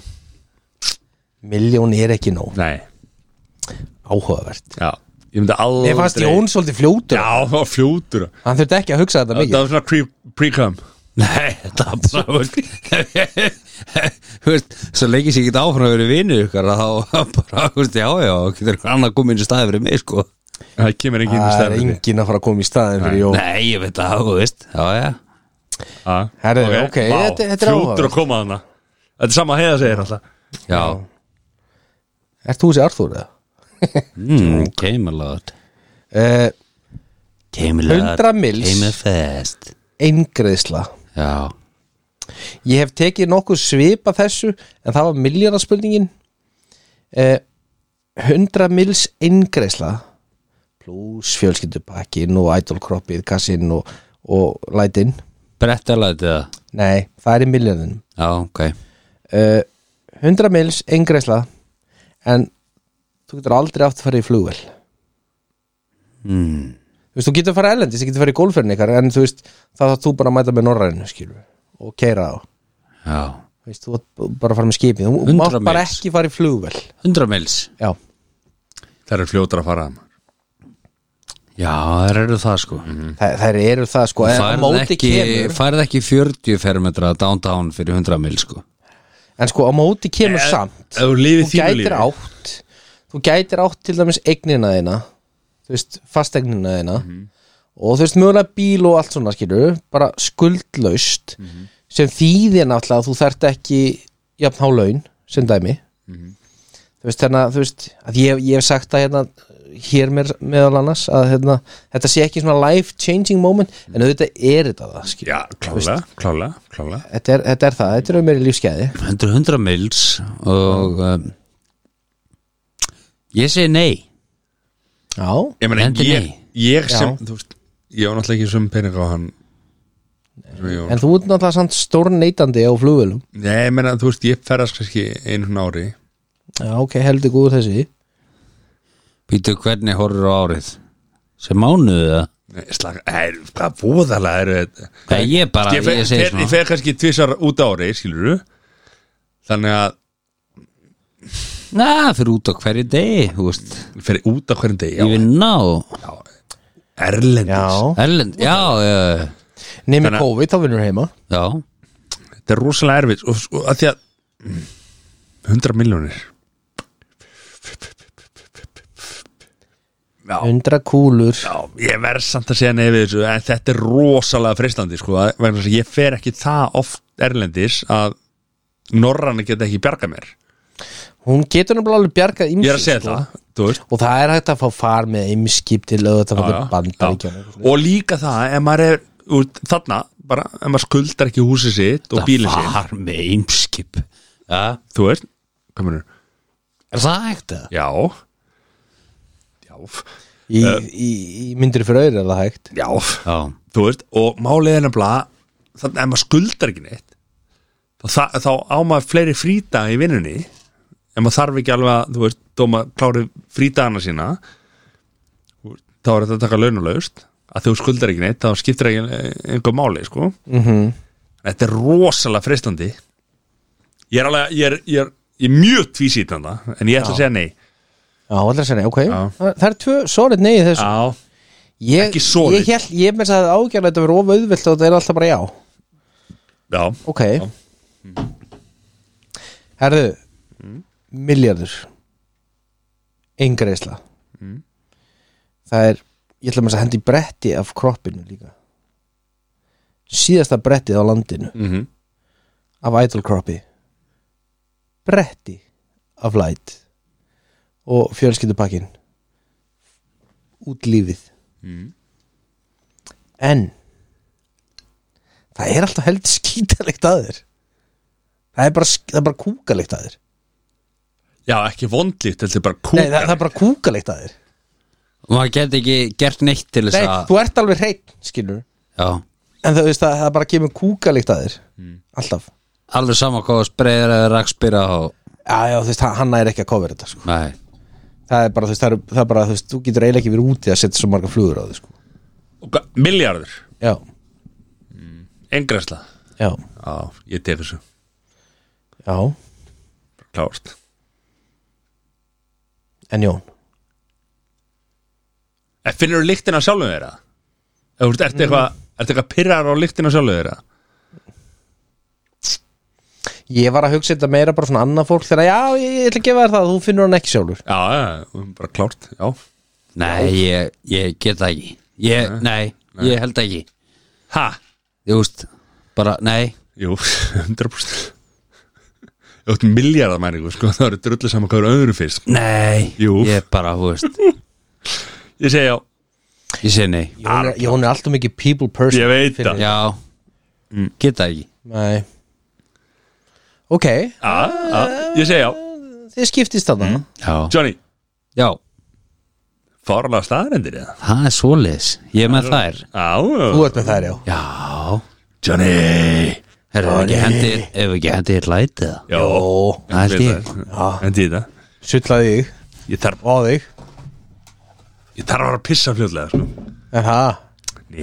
[SPEAKER 2] Miljón er ekki nóg
[SPEAKER 1] Nei,
[SPEAKER 2] Áhugavert
[SPEAKER 1] já Ég myndi aldrei
[SPEAKER 2] Mér fannst Jón svolítið fljótur
[SPEAKER 1] Já, það var fljótur
[SPEAKER 2] Hann þurfti ekki að hugsa þetta
[SPEAKER 1] Það
[SPEAKER 2] mikið
[SPEAKER 1] var svona pre- pre-cum
[SPEAKER 3] Nei, þetta er bara þú veist, þú veist, Svo lengi sér ekki áfram að vera vinnu ykkar þá bara, þú veist, já, já getur ykkur annað komin í staði fyrir mig sko
[SPEAKER 1] Það kemur enginn í
[SPEAKER 2] Það er
[SPEAKER 1] stærði
[SPEAKER 2] enginn að fara að koma í staðin fyrir Jón
[SPEAKER 3] Nei, ég veit það, þú veist Já, já
[SPEAKER 2] Herðu, ok, þetta- þetta er
[SPEAKER 1] Fljótur
[SPEAKER 2] áhugavert.
[SPEAKER 1] að koma þarna Þetta er sama að heiða segir alltaf
[SPEAKER 3] Já,
[SPEAKER 2] Ert þú þessi Arthur eða?
[SPEAKER 3] mm, Camelot
[SPEAKER 2] Uh,
[SPEAKER 3] Camelot
[SPEAKER 2] 100 mils.
[SPEAKER 3] Camelot fast
[SPEAKER 2] eingreðsla
[SPEAKER 3] Já,
[SPEAKER 2] Ég hef tekið nokkuð svipa þessu en það var miljónarspurningin eh, 100 mils eingreðsla pluss fjölskyldupakkin og idolkroppið, kassinn og, og lætin
[SPEAKER 3] brettalætið það
[SPEAKER 2] Nei, það er í miljóninum
[SPEAKER 3] Já, ok
[SPEAKER 2] eh, 100 mils eingreðsla en þú getur aldrei átt að fara í flugvel
[SPEAKER 3] mm.
[SPEAKER 2] Þú veist, þú getur að fara erlendis, þú getur að fara í golfurinn ykkar en þú veist, það þarf þú bara að mæta með norrænu skilur og keira á
[SPEAKER 3] Já,
[SPEAKER 2] Þú veist, þú ert bara að fara með skipið þú
[SPEAKER 3] 100
[SPEAKER 2] mátt bara
[SPEAKER 3] mils.
[SPEAKER 2] ekki fara í flugvel
[SPEAKER 3] 100 mils
[SPEAKER 2] já,
[SPEAKER 1] Það er fljótur að fara þarna
[SPEAKER 3] Já, það eru það sko
[SPEAKER 2] þær, þær eru það sko en, á
[SPEAKER 3] Færð
[SPEAKER 2] móti
[SPEAKER 3] ekki,
[SPEAKER 2] kemur,
[SPEAKER 3] færð ekki 40 fermetra downtown fyrir 100 mil sko
[SPEAKER 2] en sko á móti kemur samt
[SPEAKER 1] Ef þú lifið
[SPEAKER 2] þú
[SPEAKER 1] þínu
[SPEAKER 2] gætir
[SPEAKER 1] lífi
[SPEAKER 2] átt þú gætir átt til dæmis eignina þína þú veist, fastegnina þína og þú veist, mögulega bíl og allt svona skilur, bara skuldlaust sem þýðir náttúrulega að þú þarft ekki jafn há laun sem dæmi þú veist, þannig að þú veist, að ég, ég hef sagt að hérna hér mér meðal annars að hérna, þetta sé ekki svona life changing moment en auðvitað er þetta það skilur
[SPEAKER 1] Já, klálega, klálega, klálega
[SPEAKER 2] þetta, er, þetta er það, þetta er um meiri lífskeiði
[SPEAKER 3] 100, 100 mils og um, ég segi nei
[SPEAKER 2] já,
[SPEAKER 1] Ég meina,
[SPEAKER 3] Endur
[SPEAKER 1] ég,
[SPEAKER 3] nei.
[SPEAKER 1] ég sem,
[SPEAKER 2] Já.
[SPEAKER 1] þú veist Ég var náttúrulega ekki sem pening á hann sem ég var.
[SPEAKER 2] en þú ert náttúrulega samt stórn á flugvölum
[SPEAKER 1] Nei, ég meina, þú veist, ég ferðast kannski einu svona ári
[SPEAKER 2] Já, ok, heldur góður þessi
[SPEAKER 3] Pítur, hvernig horfir á árið? sem mánuðu það?
[SPEAKER 1] Nei, slaka, er, hvað voðalega eru þetta
[SPEAKER 3] Nei, ég bara,
[SPEAKER 1] Ég fer,
[SPEAKER 3] ég segi
[SPEAKER 1] fer,
[SPEAKER 3] svona.
[SPEAKER 1] ég fer kannski tvisar út á ári, skilur Þannig að
[SPEAKER 3] Na, fyrir út á hverju degi þú veist,
[SPEAKER 1] ég fer út á hverjum degi
[SPEAKER 3] ég
[SPEAKER 1] já,
[SPEAKER 3] vil ná
[SPEAKER 1] Erlendis,
[SPEAKER 3] Erlend, já, já,
[SPEAKER 2] Nefnir
[SPEAKER 1] Þannig að-
[SPEAKER 2] COVID þá vinnur heima
[SPEAKER 3] já
[SPEAKER 1] þetta er rosalega erfitt og, og að mm, því að 100 miljónir
[SPEAKER 2] 100 kúlur
[SPEAKER 1] Já, ég verð samt að segja nefið þessu en þetta er rosalega freistandi sko, að- vegna þess að ég fer ekki það oft erlendis að norrana geta ekki bjarga mér
[SPEAKER 2] Hún getur náttúrulega alveg bjargað
[SPEAKER 1] Ég
[SPEAKER 2] ymsu
[SPEAKER 1] er að segja
[SPEAKER 2] sko.
[SPEAKER 1] það, þú veist
[SPEAKER 2] Og það er hægt að fá far með ymskip til auðvitað
[SPEAKER 1] Já,
[SPEAKER 2] fyrir
[SPEAKER 1] já,
[SPEAKER 2] bandaríkjana
[SPEAKER 1] já. Og líka það, ef maður er út, þarna, bara, ef maður skuldar ekki húsið sitt og bílið sitt,
[SPEAKER 3] far með eimskip já.
[SPEAKER 1] þú veist Hvað mennur?
[SPEAKER 3] er það ekkert það?
[SPEAKER 1] Já Já,
[SPEAKER 2] í,
[SPEAKER 1] Eh.
[SPEAKER 2] í, í myndir fyrir auður er það hægt
[SPEAKER 1] já
[SPEAKER 3] já,
[SPEAKER 1] Þú veist, og málið er nefnilega þannig ef maður skuldar ekki neitt þá, þá, þá á maður fleiri fríta í vinnunni ef maður þarf ekki alveg að, þú veist, þó maður klári frítana sína þú veist, þá er þetta að taka launulaust að þú skuldar ekki neitt, þá skiptir ekki einhver máli, sko
[SPEAKER 2] mm
[SPEAKER 1] Þetta er rosalega freistandi Ég er alveg, ég er, ég er, ég er mjög tvísýtt hann það, en ég ætla að segja nei
[SPEAKER 2] Já, allir að segja, ok
[SPEAKER 1] Já.
[SPEAKER 2] Það það er tvö solid nei í þessu
[SPEAKER 1] Já,
[SPEAKER 2] Ég,
[SPEAKER 1] ekki solid.
[SPEAKER 2] ég, held, ég með þess að ágjörlega þetta verið of auðvilt og þetta er alltaf bara já
[SPEAKER 1] já,
[SPEAKER 2] Ok Mm. Herðu Miljardur Engreisla Það er, ég ætla maður að hendi bretti af kroppinu líka Síðasta brettið á landinu
[SPEAKER 1] mm
[SPEAKER 2] Af idol kroppi Bretti af light Og fjölskyldupakkin Út lífið En Það er alltaf heldur skítalegt að þér það er bara, sk- það er bara kúkalikt að þér
[SPEAKER 1] Já, ekki vondlíkt, þetta er bara
[SPEAKER 2] Nei, það,
[SPEAKER 1] kúkar
[SPEAKER 2] það er bara kúkalikt að þér
[SPEAKER 3] og maður geti ekki gert neitt til þess
[SPEAKER 2] Nei,
[SPEAKER 3] að
[SPEAKER 2] þú ert alveg hreitt, skilur
[SPEAKER 3] já,
[SPEAKER 2] En það, veist, það, það bara kemur kúkalikt að þér Alltaf
[SPEAKER 3] alveg sama hvað spreyður eða rakspýra og
[SPEAKER 2] Já, já, þú veist, hann- hann næri ekki að cover þetta, sko
[SPEAKER 3] nei,
[SPEAKER 2] Það er bara, þú veist, það, er, það er bara, þú veist, þú getur eiginlega ekki verið úti að setja svo marga flugur á þig, sko
[SPEAKER 1] Miljardur,
[SPEAKER 2] Já,
[SPEAKER 1] engræsla
[SPEAKER 2] já,
[SPEAKER 1] Já, ég tek þessu,
[SPEAKER 2] já,
[SPEAKER 1] klárt
[SPEAKER 2] en Jón
[SPEAKER 1] En finnur þú lyktina af sjálfum þeirra? Ef þú ert ertu eitthvað, ertu eitthvað pyrrar á lyktina af sjálfum þeirra?
[SPEAKER 2] Ég var að hugsa þetta meira bara svona annað fólk þegar, já, ég, ég ætla að gefa þér það, þú finnur hann ekki sjálfur
[SPEAKER 1] Já, já, já, bara klárt, já
[SPEAKER 3] nei ég, ég get það ekki ég, nei, ég held það ekki
[SPEAKER 1] Ha,
[SPEAKER 3] þú veist, bara, nei
[SPEAKER 1] jú, 100% Þú ert miljardamæningu, sko, það eru drullu saman hvað eru öðru fyrst
[SPEAKER 3] nei,
[SPEAKER 1] Jú.
[SPEAKER 3] ég bara, þú veist
[SPEAKER 1] Ég segi já,
[SPEAKER 3] ég segi nei,
[SPEAKER 2] Jón er, Jón er alltaf mikið people person
[SPEAKER 1] ég veit
[SPEAKER 2] fyrir-
[SPEAKER 1] það Já,
[SPEAKER 3] já get það ekki,
[SPEAKER 2] Nei Ok,
[SPEAKER 1] já, ég segi já
[SPEAKER 2] þið skiptist þarna
[SPEAKER 3] já,
[SPEAKER 1] Johnny,
[SPEAKER 3] já
[SPEAKER 1] farlega staðarendir eða?
[SPEAKER 3] það er svoleiðis, ég er með þær
[SPEAKER 1] Já,
[SPEAKER 2] Þú ert með þær, já
[SPEAKER 3] já,
[SPEAKER 1] Johnny
[SPEAKER 3] herra, ef ekki hendi ef ekki hendi ég lætið það
[SPEAKER 1] Já,
[SPEAKER 2] Jó,
[SPEAKER 3] Það held ég.
[SPEAKER 1] Hendi í þetta
[SPEAKER 2] sullaði þig
[SPEAKER 1] Ég þarf,
[SPEAKER 2] á þig
[SPEAKER 1] ég þarf að vera að pissa fljótlega, sko
[SPEAKER 2] En það,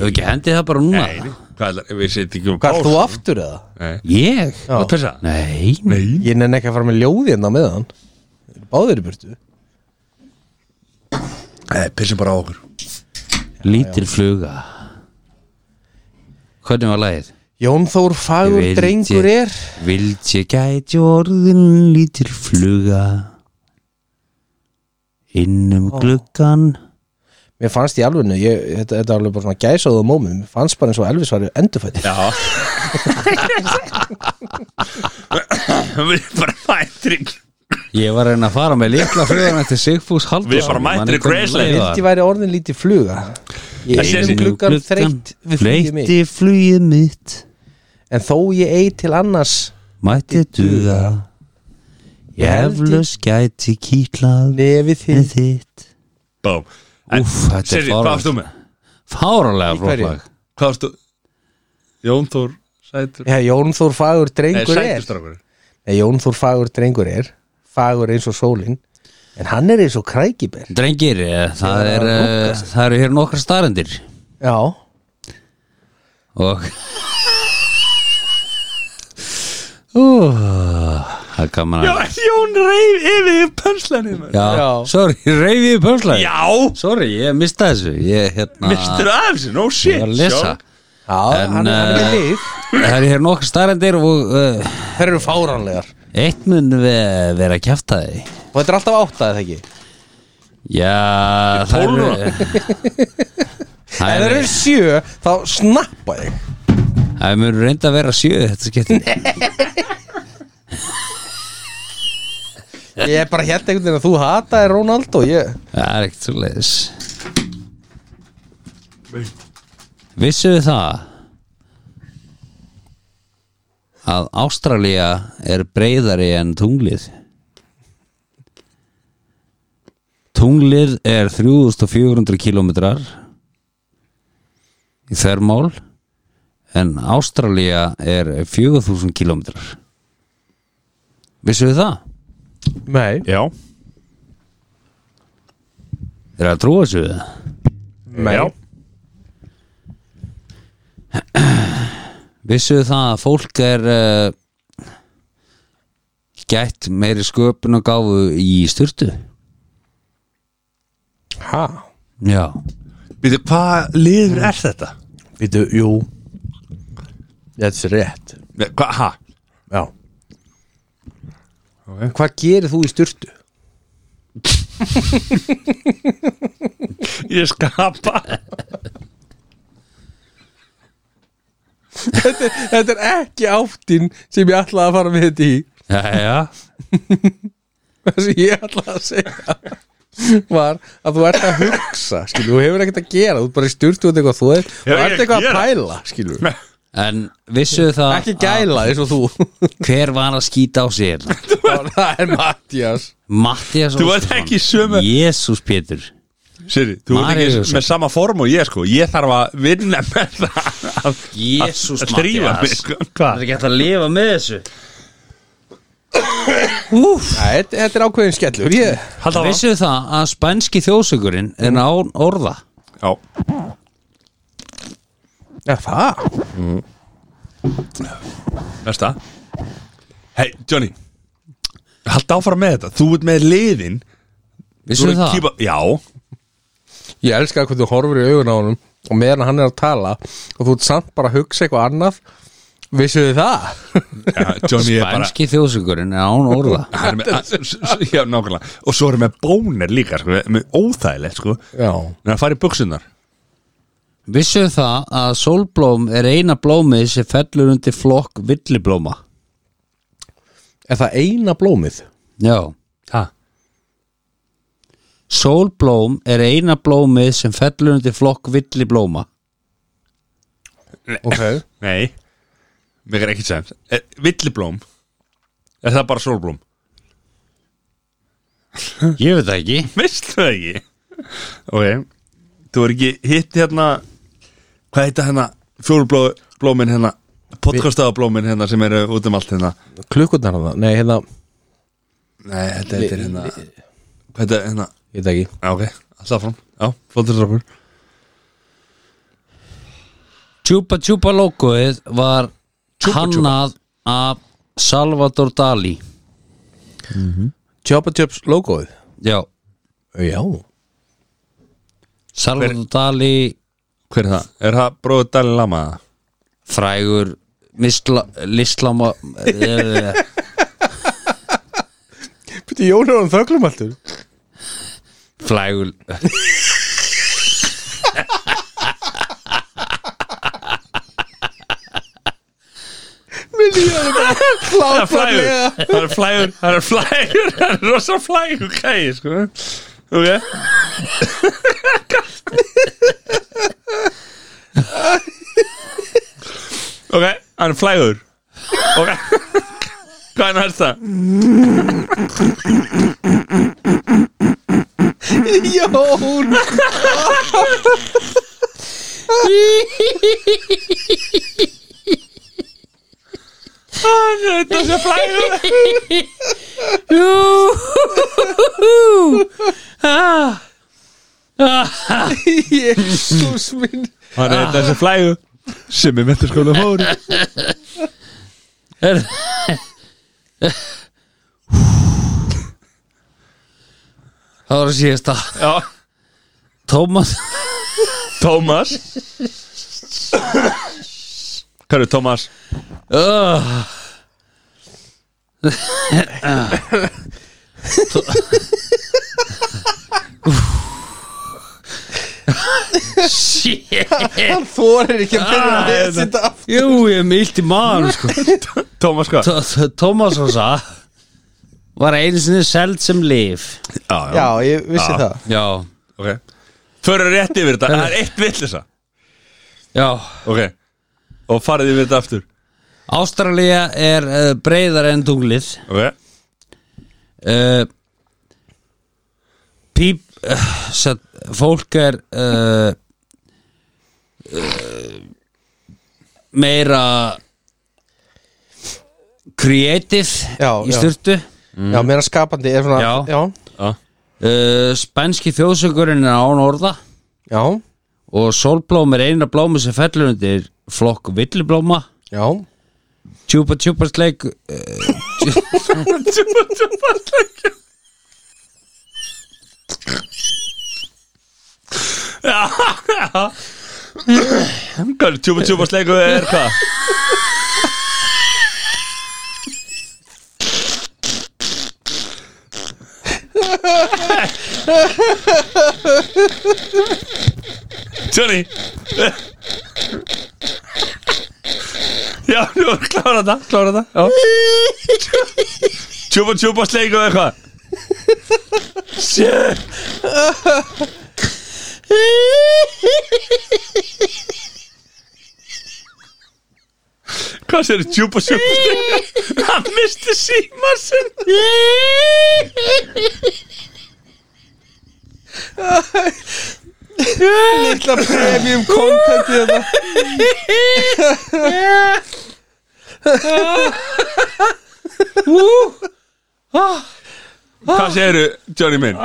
[SPEAKER 3] ef ekki hendi það bara núna
[SPEAKER 1] Nei, hvað er það, við setjum ekki um
[SPEAKER 2] hvað er þú
[SPEAKER 1] pás.
[SPEAKER 2] aftur eða?
[SPEAKER 1] Nei,
[SPEAKER 3] ég,
[SPEAKER 1] að pissa?
[SPEAKER 3] nei
[SPEAKER 1] Nei
[SPEAKER 2] Ég nenni ekki að fara með ljóði hérna með hann Báður í burtu
[SPEAKER 1] Nei, pissum bara á okkur
[SPEAKER 3] Lítil fluga Hvernig var lagið?
[SPEAKER 2] Jón Þór fagur
[SPEAKER 3] Ég veit
[SPEAKER 2] drengur
[SPEAKER 3] ég.
[SPEAKER 2] er
[SPEAKER 3] Vild ég gæti orðin lítil fluga Inn um gluggan
[SPEAKER 2] Mér fannst í alvegnu, ég, þetta, þetta er alveg bara svona gæsaðu á mómi Mér fannst bara eins og Elvis var endurfætt
[SPEAKER 1] Já Við bara mættir í
[SPEAKER 3] Ég var að reyna að fara með litla flugan eftir Sigfús Halldórsson
[SPEAKER 1] Við bara mættir í
[SPEAKER 3] Man, hvernig
[SPEAKER 1] Graceland.
[SPEAKER 3] lagið var?
[SPEAKER 2] Vildi væri orðin lítið fluga Ég
[SPEAKER 1] Þessi-
[SPEAKER 2] einum gluggan þreytt við flugið mig
[SPEAKER 3] Fleytti flugið mitt
[SPEAKER 2] En þó ég eigi til annars
[SPEAKER 3] Mætti duga Ég heflust gæti kýtlað
[SPEAKER 2] Nefið
[SPEAKER 3] Með
[SPEAKER 2] þið
[SPEAKER 3] þitt
[SPEAKER 1] Bám
[SPEAKER 3] Úff, þetta er
[SPEAKER 1] Hvað
[SPEAKER 3] fáránlegt.
[SPEAKER 1] varst þú með?
[SPEAKER 3] Fáralega
[SPEAKER 2] hverju?
[SPEAKER 3] fróklag
[SPEAKER 1] Hvað varst þú? Jón Þór Sætur
[SPEAKER 2] ja, Jón Þór fagur
[SPEAKER 1] Nei,
[SPEAKER 2] drengur er
[SPEAKER 1] Sæturstrákur
[SPEAKER 2] Nei, Jón Þór fagur drengur er Fagur eins og sólin En hann er eins og krækiber
[SPEAKER 3] Drengir, eh, það, er, eh, það eru hér nokkra starendir
[SPEAKER 2] Já,
[SPEAKER 3] og Ú, það er gaman að
[SPEAKER 1] Jón reyf yfir pönslanir maður.
[SPEAKER 3] já,
[SPEAKER 2] Já.
[SPEAKER 3] sorry, reyfið í pönslæði
[SPEAKER 1] Já,
[SPEAKER 3] sorry, ég mista þessu ég, hérna,
[SPEAKER 1] mistur aðeins, no shit
[SPEAKER 3] ég var að lesa
[SPEAKER 1] Sjá.
[SPEAKER 2] já
[SPEAKER 3] En,
[SPEAKER 2] hann, hann er
[SPEAKER 3] eh,
[SPEAKER 2] með lið
[SPEAKER 3] það eru hér nokkra starendir og uh,
[SPEAKER 2] Þeir eru fáránlegar
[SPEAKER 3] eitt mun ve- vera að kjæfta því
[SPEAKER 2] Og þetta er alltaf átta eða ekki
[SPEAKER 3] já, það
[SPEAKER 1] tólf núna.
[SPEAKER 3] eru
[SPEAKER 2] Ef
[SPEAKER 3] það
[SPEAKER 2] þeir
[SPEAKER 3] eru
[SPEAKER 2] eru sjö, þá snappa þig
[SPEAKER 3] Það mun reynda að vera sjö þetta skipti
[SPEAKER 2] Ég er bara hérna einhvern veginn að þú hataði Ronaldo ég...
[SPEAKER 3] Það er ekkert svo leiðis Vissuðu það að Ástralía er breyðari en tunglið Tunglið er 3400 kilometrar í þvermál en Ástralía er 4000 kilometrar Vissuðu það?
[SPEAKER 2] Nei
[SPEAKER 1] Já,
[SPEAKER 3] Er það að trúa þessu?
[SPEAKER 2] Nei
[SPEAKER 1] já
[SPEAKER 3] Vissuðu það að fólk er uh, gætt meiri sköpun og gáfu í styrtu?
[SPEAKER 2] Hæ?
[SPEAKER 3] Já
[SPEAKER 1] Býtu, hvað liður er þetta?
[SPEAKER 2] Vítu, jú Þetta er rétt
[SPEAKER 1] Nei, Hvað, ha?
[SPEAKER 2] Já Hvað gerir þú í styrtu?
[SPEAKER 1] Ég skapa
[SPEAKER 2] Þetta er ekki áttin sem ég ætlaði að fara með þetta í
[SPEAKER 3] Jæja
[SPEAKER 2] Það sem ég ætlaði að segja var að þú ert að hugsa skilu, þú hefur ekkert að gera, þú ert bara í styrtu og þú ert eitthvað þú ert- þú
[SPEAKER 1] Hefur
[SPEAKER 2] ert
[SPEAKER 1] ekki að
[SPEAKER 2] eitthvað að
[SPEAKER 1] gera?
[SPEAKER 2] pæla skilu.
[SPEAKER 1] Nei.
[SPEAKER 3] en vissuðu það
[SPEAKER 2] Ekki gæla eins og þú
[SPEAKER 3] að hver var að skýta á sér
[SPEAKER 2] Það er Mattias
[SPEAKER 3] Mattias
[SPEAKER 1] Þú ert ekki í sömu-
[SPEAKER 3] Jésús Pétur
[SPEAKER 1] Siri, þú ert
[SPEAKER 3] Maríus.
[SPEAKER 1] ekki með sama form og ég sko Ég þarf að vinna með það að-
[SPEAKER 3] Jésús
[SPEAKER 1] að þrýfa mig
[SPEAKER 3] Mattias
[SPEAKER 1] sko.
[SPEAKER 3] Það
[SPEAKER 1] Hvað?
[SPEAKER 3] er ekki hægt að lifa með þessu
[SPEAKER 2] Nei, Þetta þetta er ákveðin skellur ég,
[SPEAKER 1] Hald á það
[SPEAKER 3] Vissuðu það að spænski þjóðsökurinn er án orða
[SPEAKER 1] Já,
[SPEAKER 2] Já, það
[SPEAKER 1] Mm. næsta Hei, Johnny Hald áfram með þetta, þú ert með liðin Þú
[SPEAKER 3] Vissuðu
[SPEAKER 1] ert
[SPEAKER 3] það
[SPEAKER 1] kýpa- Já,
[SPEAKER 2] Ég elska hvernig þú horfir í augun á honum og meðan hann er að tala og þú ert samt bara að hugsa eitthvað annað Vissuð þið það?
[SPEAKER 1] Já, Johnny er bara
[SPEAKER 3] Spænski þjóðsökurinn er án orða
[SPEAKER 1] hann er með, að, s- s- já, nákvæmlega og svo er hann með bónir líka sko, með- með óþægilegt sko
[SPEAKER 2] Já
[SPEAKER 1] en að fara í buksunar
[SPEAKER 3] Vissuðu það að sólblóm er eina blómið sem fellur undir flokk villiblóma
[SPEAKER 2] Er það eina blómið?
[SPEAKER 3] Já
[SPEAKER 1] ha?
[SPEAKER 3] Sólblóm er eina blómið sem fellur undir flokk villiblóma
[SPEAKER 2] Ok
[SPEAKER 1] nei, mér er ekki sæmt villiblóm er það bara sólblóm,
[SPEAKER 3] Ég veit það ekki
[SPEAKER 1] veistu það ekki ok, þú er ekki hitt hérna hvað heita hérna, fjólublómin hérna podcastaðablómin hérna sem eru út um allt hérna
[SPEAKER 2] Klukkurnar hann það? Nei, hérna
[SPEAKER 1] nei, þetta heitir hérna hvað heita hérna,
[SPEAKER 2] Ég veit ekki
[SPEAKER 1] já, ok, alltaf fram já, flottur drafur
[SPEAKER 3] Tjúpa Tjúpa logoið var hannað af Salvador Dali
[SPEAKER 2] Choppa Chops logoið
[SPEAKER 3] Já,
[SPEAKER 2] Já
[SPEAKER 3] Salvador Dali
[SPEAKER 1] hver er það, er það bróður Dalí Lama það?
[SPEAKER 3] frægur misla, lislama eh,
[SPEAKER 2] Býtti Jón er hann þöglum alltur
[SPEAKER 3] frægur
[SPEAKER 2] Minni ég er bara
[SPEAKER 1] flægur
[SPEAKER 2] hláfarlega
[SPEAKER 1] Það er flægur Það er flægur Það er rosa flægur kæði sko Ok Ok, hann er flægur Ok Hvað er næsta?
[SPEAKER 2] Jón
[SPEAKER 1] Þetta er flægur
[SPEAKER 2] Jésús minn
[SPEAKER 1] Hann er þessi flægur sem er mentarskóla fóri
[SPEAKER 3] Er- Það var að síðast að
[SPEAKER 1] Já
[SPEAKER 3] Tómas
[SPEAKER 1] Tómas Hvað er Tómas?
[SPEAKER 3] uh, Shit
[SPEAKER 1] Eh.
[SPEAKER 2] Hann þorir ekki að byrja
[SPEAKER 1] Ah,
[SPEAKER 2] að lesa
[SPEAKER 1] hérna.
[SPEAKER 2] þetta af
[SPEAKER 3] Jú, ég er með illt í maður sko
[SPEAKER 1] Tómas hvað?
[SPEAKER 3] Tómas Rosa var einu sinni seld sem lif
[SPEAKER 2] Já, ég vissi
[SPEAKER 1] Já.
[SPEAKER 2] það
[SPEAKER 3] Já,
[SPEAKER 1] Ok Föru rétt yfir þetta Það er eitt villisa
[SPEAKER 3] já
[SPEAKER 1] Ok Og farið yfir þetta aftur
[SPEAKER 3] Ástralía er uh, breyðar en tunglið
[SPEAKER 1] Ok
[SPEAKER 3] uh, Píp uh, satt, Fólk er uh, uh, meira creative
[SPEAKER 2] Já,
[SPEAKER 3] í
[SPEAKER 2] já.
[SPEAKER 3] styrtu
[SPEAKER 2] Já, meira skapandi er svona
[SPEAKER 3] Já.
[SPEAKER 2] Já,
[SPEAKER 1] Mm. Já
[SPEAKER 3] uh, Spænski þjóðsökurinn er án orða
[SPEAKER 2] já,
[SPEAKER 3] og sólblóm er eina blóma sem fellur undir flokk villiblóma
[SPEAKER 2] já.
[SPEAKER 3] Tjúpa tjúpa sleik eh,
[SPEAKER 1] Tjúpa tjúpa sleikja Já Hvað er tjúpa tjúpa sleikja er hvað? Johnny Já, nú erum klára þetta, klára þetta Já Tjúpa tjúpa sleiku eða eitthvað Shit Hvað sér þið? Tjúpa sjöfusteg Hann misti síma sinn
[SPEAKER 2] Lilla premium content í þetta
[SPEAKER 1] Hvað sér þið, Johnny minn?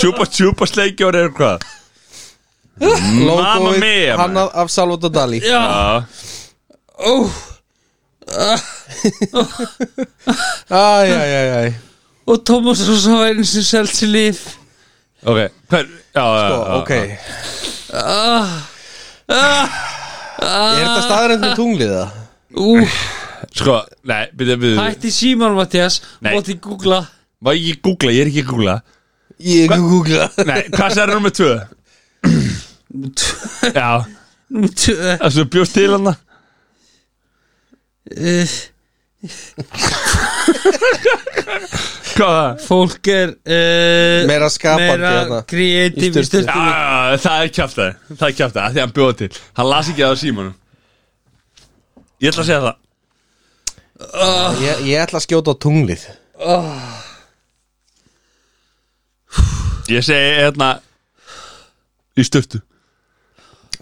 [SPEAKER 1] Tjúpa tjúpa sleikjóri er hvað? Mamma mia,
[SPEAKER 2] Logóið
[SPEAKER 1] maður.
[SPEAKER 2] hannað af Salvador Dali
[SPEAKER 1] Já
[SPEAKER 2] Æj, æj, æj, Sko, æj
[SPEAKER 3] Og Thomas Rosa var einu sem selt sér líf
[SPEAKER 1] Ok, hver, já, já,
[SPEAKER 2] Sko,
[SPEAKER 1] já,
[SPEAKER 2] ok Ah, Er ah. þetta staðarinn með tunglið það?
[SPEAKER 3] Ú,
[SPEAKER 1] já. Sko, nei, byrja, byrja
[SPEAKER 3] hætti síman Mattias
[SPEAKER 1] Nei.
[SPEAKER 3] Mátti googla
[SPEAKER 1] Má ég ekki googla, ég er ekki að googla
[SPEAKER 2] Ég ekki googla
[SPEAKER 1] Nei, hvað sér nummer tvö? Já,
[SPEAKER 3] Nú tvö
[SPEAKER 1] það sem þú bjóst til hana
[SPEAKER 3] uh,
[SPEAKER 1] Hvað það?
[SPEAKER 3] Fólk er uh,
[SPEAKER 2] Meira skapandi hérna.
[SPEAKER 3] Meira
[SPEAKER 2] þarna.
[SPEAKER 3] kreatív
[SPEAKER 2] Í
[SPEAKER 3] í styrtu
[SPEAKER 1] Já,
[SPEAKER 2] sturtu.
[SPEAKER 1] já, já, það er kjaftaði Það er kjaftaði, því hann bjóða til Hann las ekki það á símanum Ég ætla að segja það
[SPEAKER 2] ég, ég ætla að skjóta á tunglið
[SPEAKER 1] Ég segi, hérna Í störtu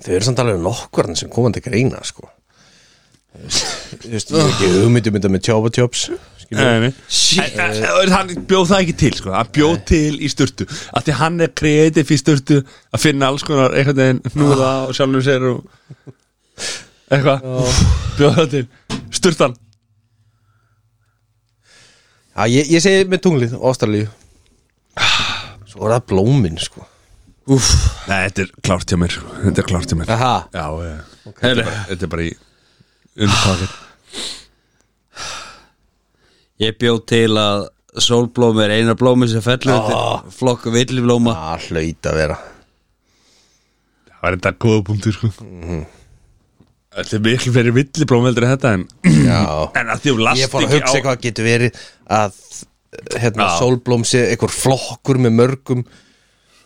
[SPEAKER 2] Þau eru samt alveg nokkurn sem komandi greina sko Þú veist, ég hef ekki hugmyndum um þetta með tjópa tjóps
[SPEAKER 1] Nei, nei.
[SPEAKER 3] Shit
[SPEAKER 1] En- en Hann bjóð það ekki til, sko Hann bjóð til í störtu Af því hann er kreatíf í störtu Að finna alls konar einhvern veginn Hnúða
[SPEAKER 2] Ah.
[SPEAKER 1] og sjálfum sér og Eitthvað Bjóð það til Sturtan
[SPEAKER 2] Já, ég, ég segi með tunglið, ástralíu Svo er það blómin sko
[SPEAKER 1] Úf Nei, þetta er klárt hjá mér sko. Þetta er klárt hjá mér
[SPEAKER 2] Aha,
[SPEAKER 1] Já, já Þetta er bara- þetta er bara í Undtakir
[SPEAKER 3] Ég bjóð til að sólblómi er eina blómi sem fellur oh. Flokku villiflóma
[SPEAKER 2] það hlaut að vera
[SPEAKER 1] Það var þetta góða punktur sko
[SPEAKER 2] Mhm.
[SPEAKER 1] Þetta er miklu fyrir villiblóm heldur en þetta en,
[SPEAKER 2] Já
[SPEAKER 1] en að því um last
[SPEAKER 2] Ég fór að hugsa
[SPEAKER 1] ekki á
[SPEAKER 2] eitthvað getur verið að hérna,
[SPEAKER 1] Já.
[SPEAKER 2] sólblóm sé einhver flokkur með mörgum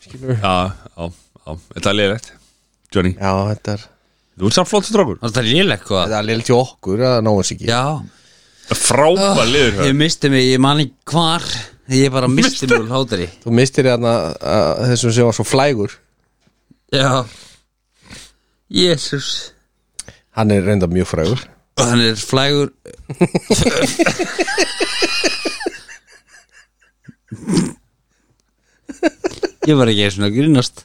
[SPEAKER 1] Já, já, já, þetta er leiðilegt Johnny,
[SPEAKER 2] Já, þetta er
[SPEAKER 1] þú ert samt flott strákur
[SPEAKER 3] Það er léleg hvað
[SPEAKER 2] Það er lill til okkur að ná þessi ekki
[SPEAKER 3] Já,
[SPEAKER 1] Frábær liður
[SPEAKER 3] ég
[SPEAKER 1] hér
[SPEAKER 3] misti mig, ég man ekki hvar Ég bara misti mig úr hlátari
[SPEAKER 2] Þú mistir þarna að þessum sem var svo flægur
[SPEAKER 3] Já Jésús
[SPEAKER 2] Hann er reynda mjög frægur
[SPEAKER 3] Hann er flægur Ég var ekki eins og að grínast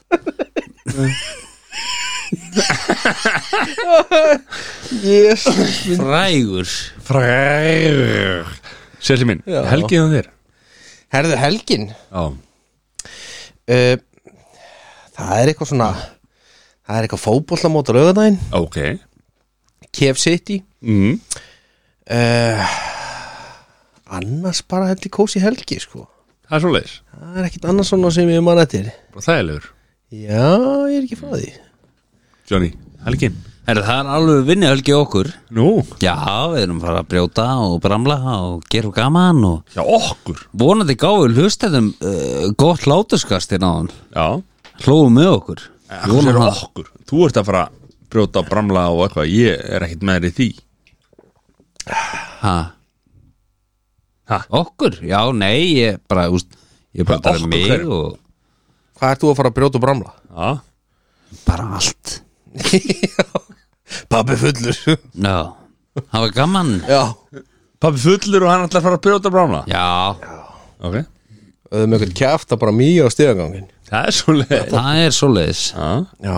[SPEAKER 2] Yes
[SPEAKER 3] Frægur
[SPEAKER 1] Fræður Sérli minn,
[SPEAKER 2] Já.
[SPEAKER 1] helgið um þér
[SPEAKER 2] Herðu helgin
[SPEAKER 1] Já,
[SPEAKER 2] uh, Það er eitthvað svona Það er eitthvað fótbolta móta laugardaginn
[SPEAKER 1] ok
[SPEAKER 2] KF City
[SPEAKER 1] mm.
[SPEAKER 2] uh, Annars bara heldur kósi helgi sko
[SPEAKER 1] Það er svo leiðis,
[SPEAKER 2] Það er ekkit annars svona sem ég man eftir
[SPEAKER 1] bara þægilegur
[SPEAKER 2] Já, ég er ekki frá því
[SPEAKER 1] Johnny, helgin
[SPEAKER 3] Herra, það er alveg vinni helgi hjá okkur
[SPEAKER 1] Nú,
[SPEAKER 3] Já, við erum fara að brjóta og bramla og gera gaman og
[SPEAKER 1] já okkur
[SPEAKER 3] vonandi gáðu hlustæðum uh, gott látuskast í náðan
[SPEAKER 1] Já,
[SPEAKER 3] Hlóðum með okkur
[SPEAKER 1] það er okkur Þú ert að fara að brjóta bramla og eitthvað Ég er ekkert með þér í því
[SPEAKER 3] Ha?
[SPEAKER 1] Ha?
[SPEAKER 3] Okkur? Já, nei, ég bara, úst, ég bara
[SPEAKER 1] Hvað,
[SPEAKER 3] tala um
[SPEAKER 1] okkur
[SPEAKER 3] mig
[SPEAKER 1] hverju?
[SPEAKER 3] og
[SPEAKER 2] Hvað ert þú að fara að brjóta og bramla?
[SPEAKER 1] Já,
[SPEAKER 3] bara allt
[SPEAKER 2] Pabbi fullur
[SPEAKER 3] Já, það var gaman
[SPEAKER 2] Já
[SPEAKER 1] Pappi fullur og hann ætlar að fara að brjóta brána
[SPEAKER 3] Já,
[SPEAKER 1] Ok
[SPEAKER 2] Öðum eitthvað kjæft að bara mýja á stegangangin
[SPEAKER 1] Það er svo leið
[SPEAKER 3] það er svoleiðis
[SPEAKER 2] Já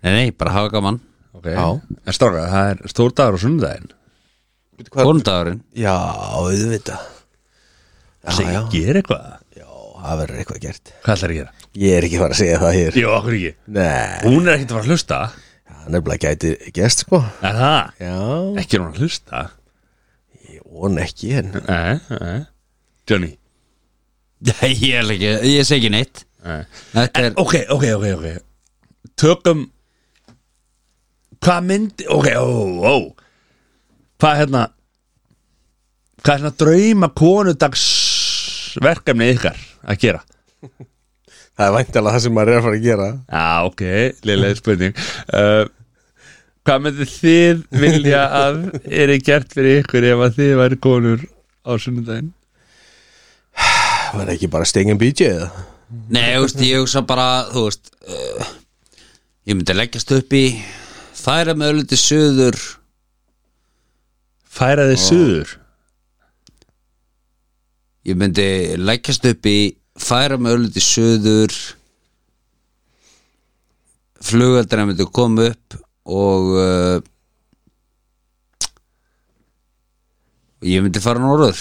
[SPEAKER 3] Nei, nei, bara hafa gaman
[SPEAKER 1] okay.
[SPEAKER 2] Já.
[SPEAKER 1] En stráka, það er stór dagur og sunnudaginn
[SPEAKER 3] Konundagurinn
[SPEAKER 2] Já, auðvitað Já, já,
[SPEAKER 1] Segir eitthvað
[SPEAKER 2] já, það verður eitthvað gert
[SPEAKER 1] Hvað ætlar að gera?
[SPEAKER 2] Ég er ekki fara að segja það hér
[SPEAKER 1] Jó, okkur ekki
[SPEAKER 2] Nei,
[SPEAKER 1] Hún er ekkert að fara að hlusta
[SPEAKER 2] hann er bara gæti gest sko
[SPEAKER 1] Er það?
[SPEAKER 2] Já,
[SPEAKER 1] Ekki er hún að hlusta
[SPEAKER 2] ég von ekki en
[SPEAKER 1] Nei, nei eh. Johnny
[SPEAKER 3] Nei, ég er ekki, ég segi ekki neitt
[SPEAKER 1] nei.
[SPEAKER 3] Þetta er,
[SPEAKER 1] Eh. Ok, ok, ok, ok Tökum Hvað myndi Ok, ó, ó Hvað hérna Hvað er hérna drauma konudags verkefni ykkar að gera?
[SPEAKER 2] Það er væntalega það sem maður er að fara að gera
[SPEAKER 1] Já, ok, liðlega spurning uh, Hvað myndir þið vilja að er þið gert fyrir ykkur ef að þið væri konur á sunnudaginn?
[SPEAKER 2] Var ekki bara stengin BJ eða?
[SPEAKER 3] Nei, þú veist, ég hugsa bara, þú veist uh, Ég myndi leggjast upp í Færa með ölliti söður
[SPEAKER 1] Færa þið suður
[SPEAKER 3] Ég myndi leggjast upp í Færa með ölliti söður Flugaldina myndi koma upp Og uh, Ég myndi fara norður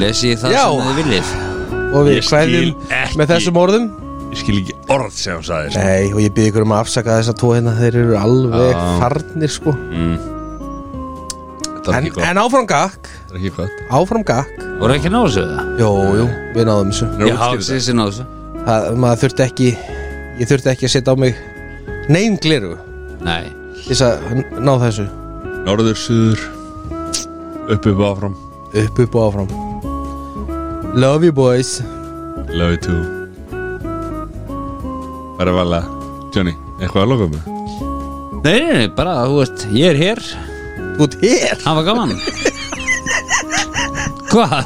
[SPEAKER 3] Lesi ég það
[SPEAKER 2] Já.
[SPEAKER 3] sem þið viljið
[SPEAKER 2] Og við
[SPEAKER 1] Ég skil
[SPEAKER 2] kveðjum
[SPEAKER 1] ekki.
[SPEAKER 2] með þessum orðum
[SPEAKER 1] Ég skil ekki orð sem hún sagði sko.
[SPEAKER 2] Nei, og ég byggur um að afsaka þessa tvo hérna Þeir eru alveg farnir sko
[SPEAKER 1] Þetta er
[SPEAKER 2] en,
[SPEAKER 1] ekki gott
[SPEAKER 2] en áfram gakk,
[SPEAKER 1] Þetta er ekki gott
[SPEAKER 2] áfram gakk
[SPEAKER 3] Voru ekki að ná þessu það?
[SPEAKER 2] Jó, jú, við náðum þessu
[SPEAKER 1] Nú,
[SPEAKER 3] Já,
[SPEAKER 1] útskýrðu
[SPEAKER 3] þessi ná þessu
[SPEAKER 2] það, Maður þurfti ekki Ég þurfti ekki að setja á mig Nein gleru
[SPEAKER 3] Nei,
[SPEAKER 2] Þess að n- ná þessu
[SPEAKER 1] það. Norður, suður Upp, upp, áfram
[SPEAKER 2] Upp, upp og áfram Love you boys
[SPEAKER 1] Love you too Bara vala Johnny, eitthvað að loka með?
[SPEAKER 3] nei, nei, nei bara, þú veist, ég er hér
[SPEAKER 2] Út hér,
[SPEAKER 3] Það var gaman Hvað?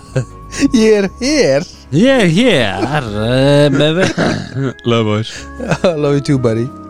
[SPEAKER 2] ég er hér
[SPEAKER 3] Ég er hér uh, með við
[SPEAKER 1] Love boys
[SPEAKER 2] Love you too buddy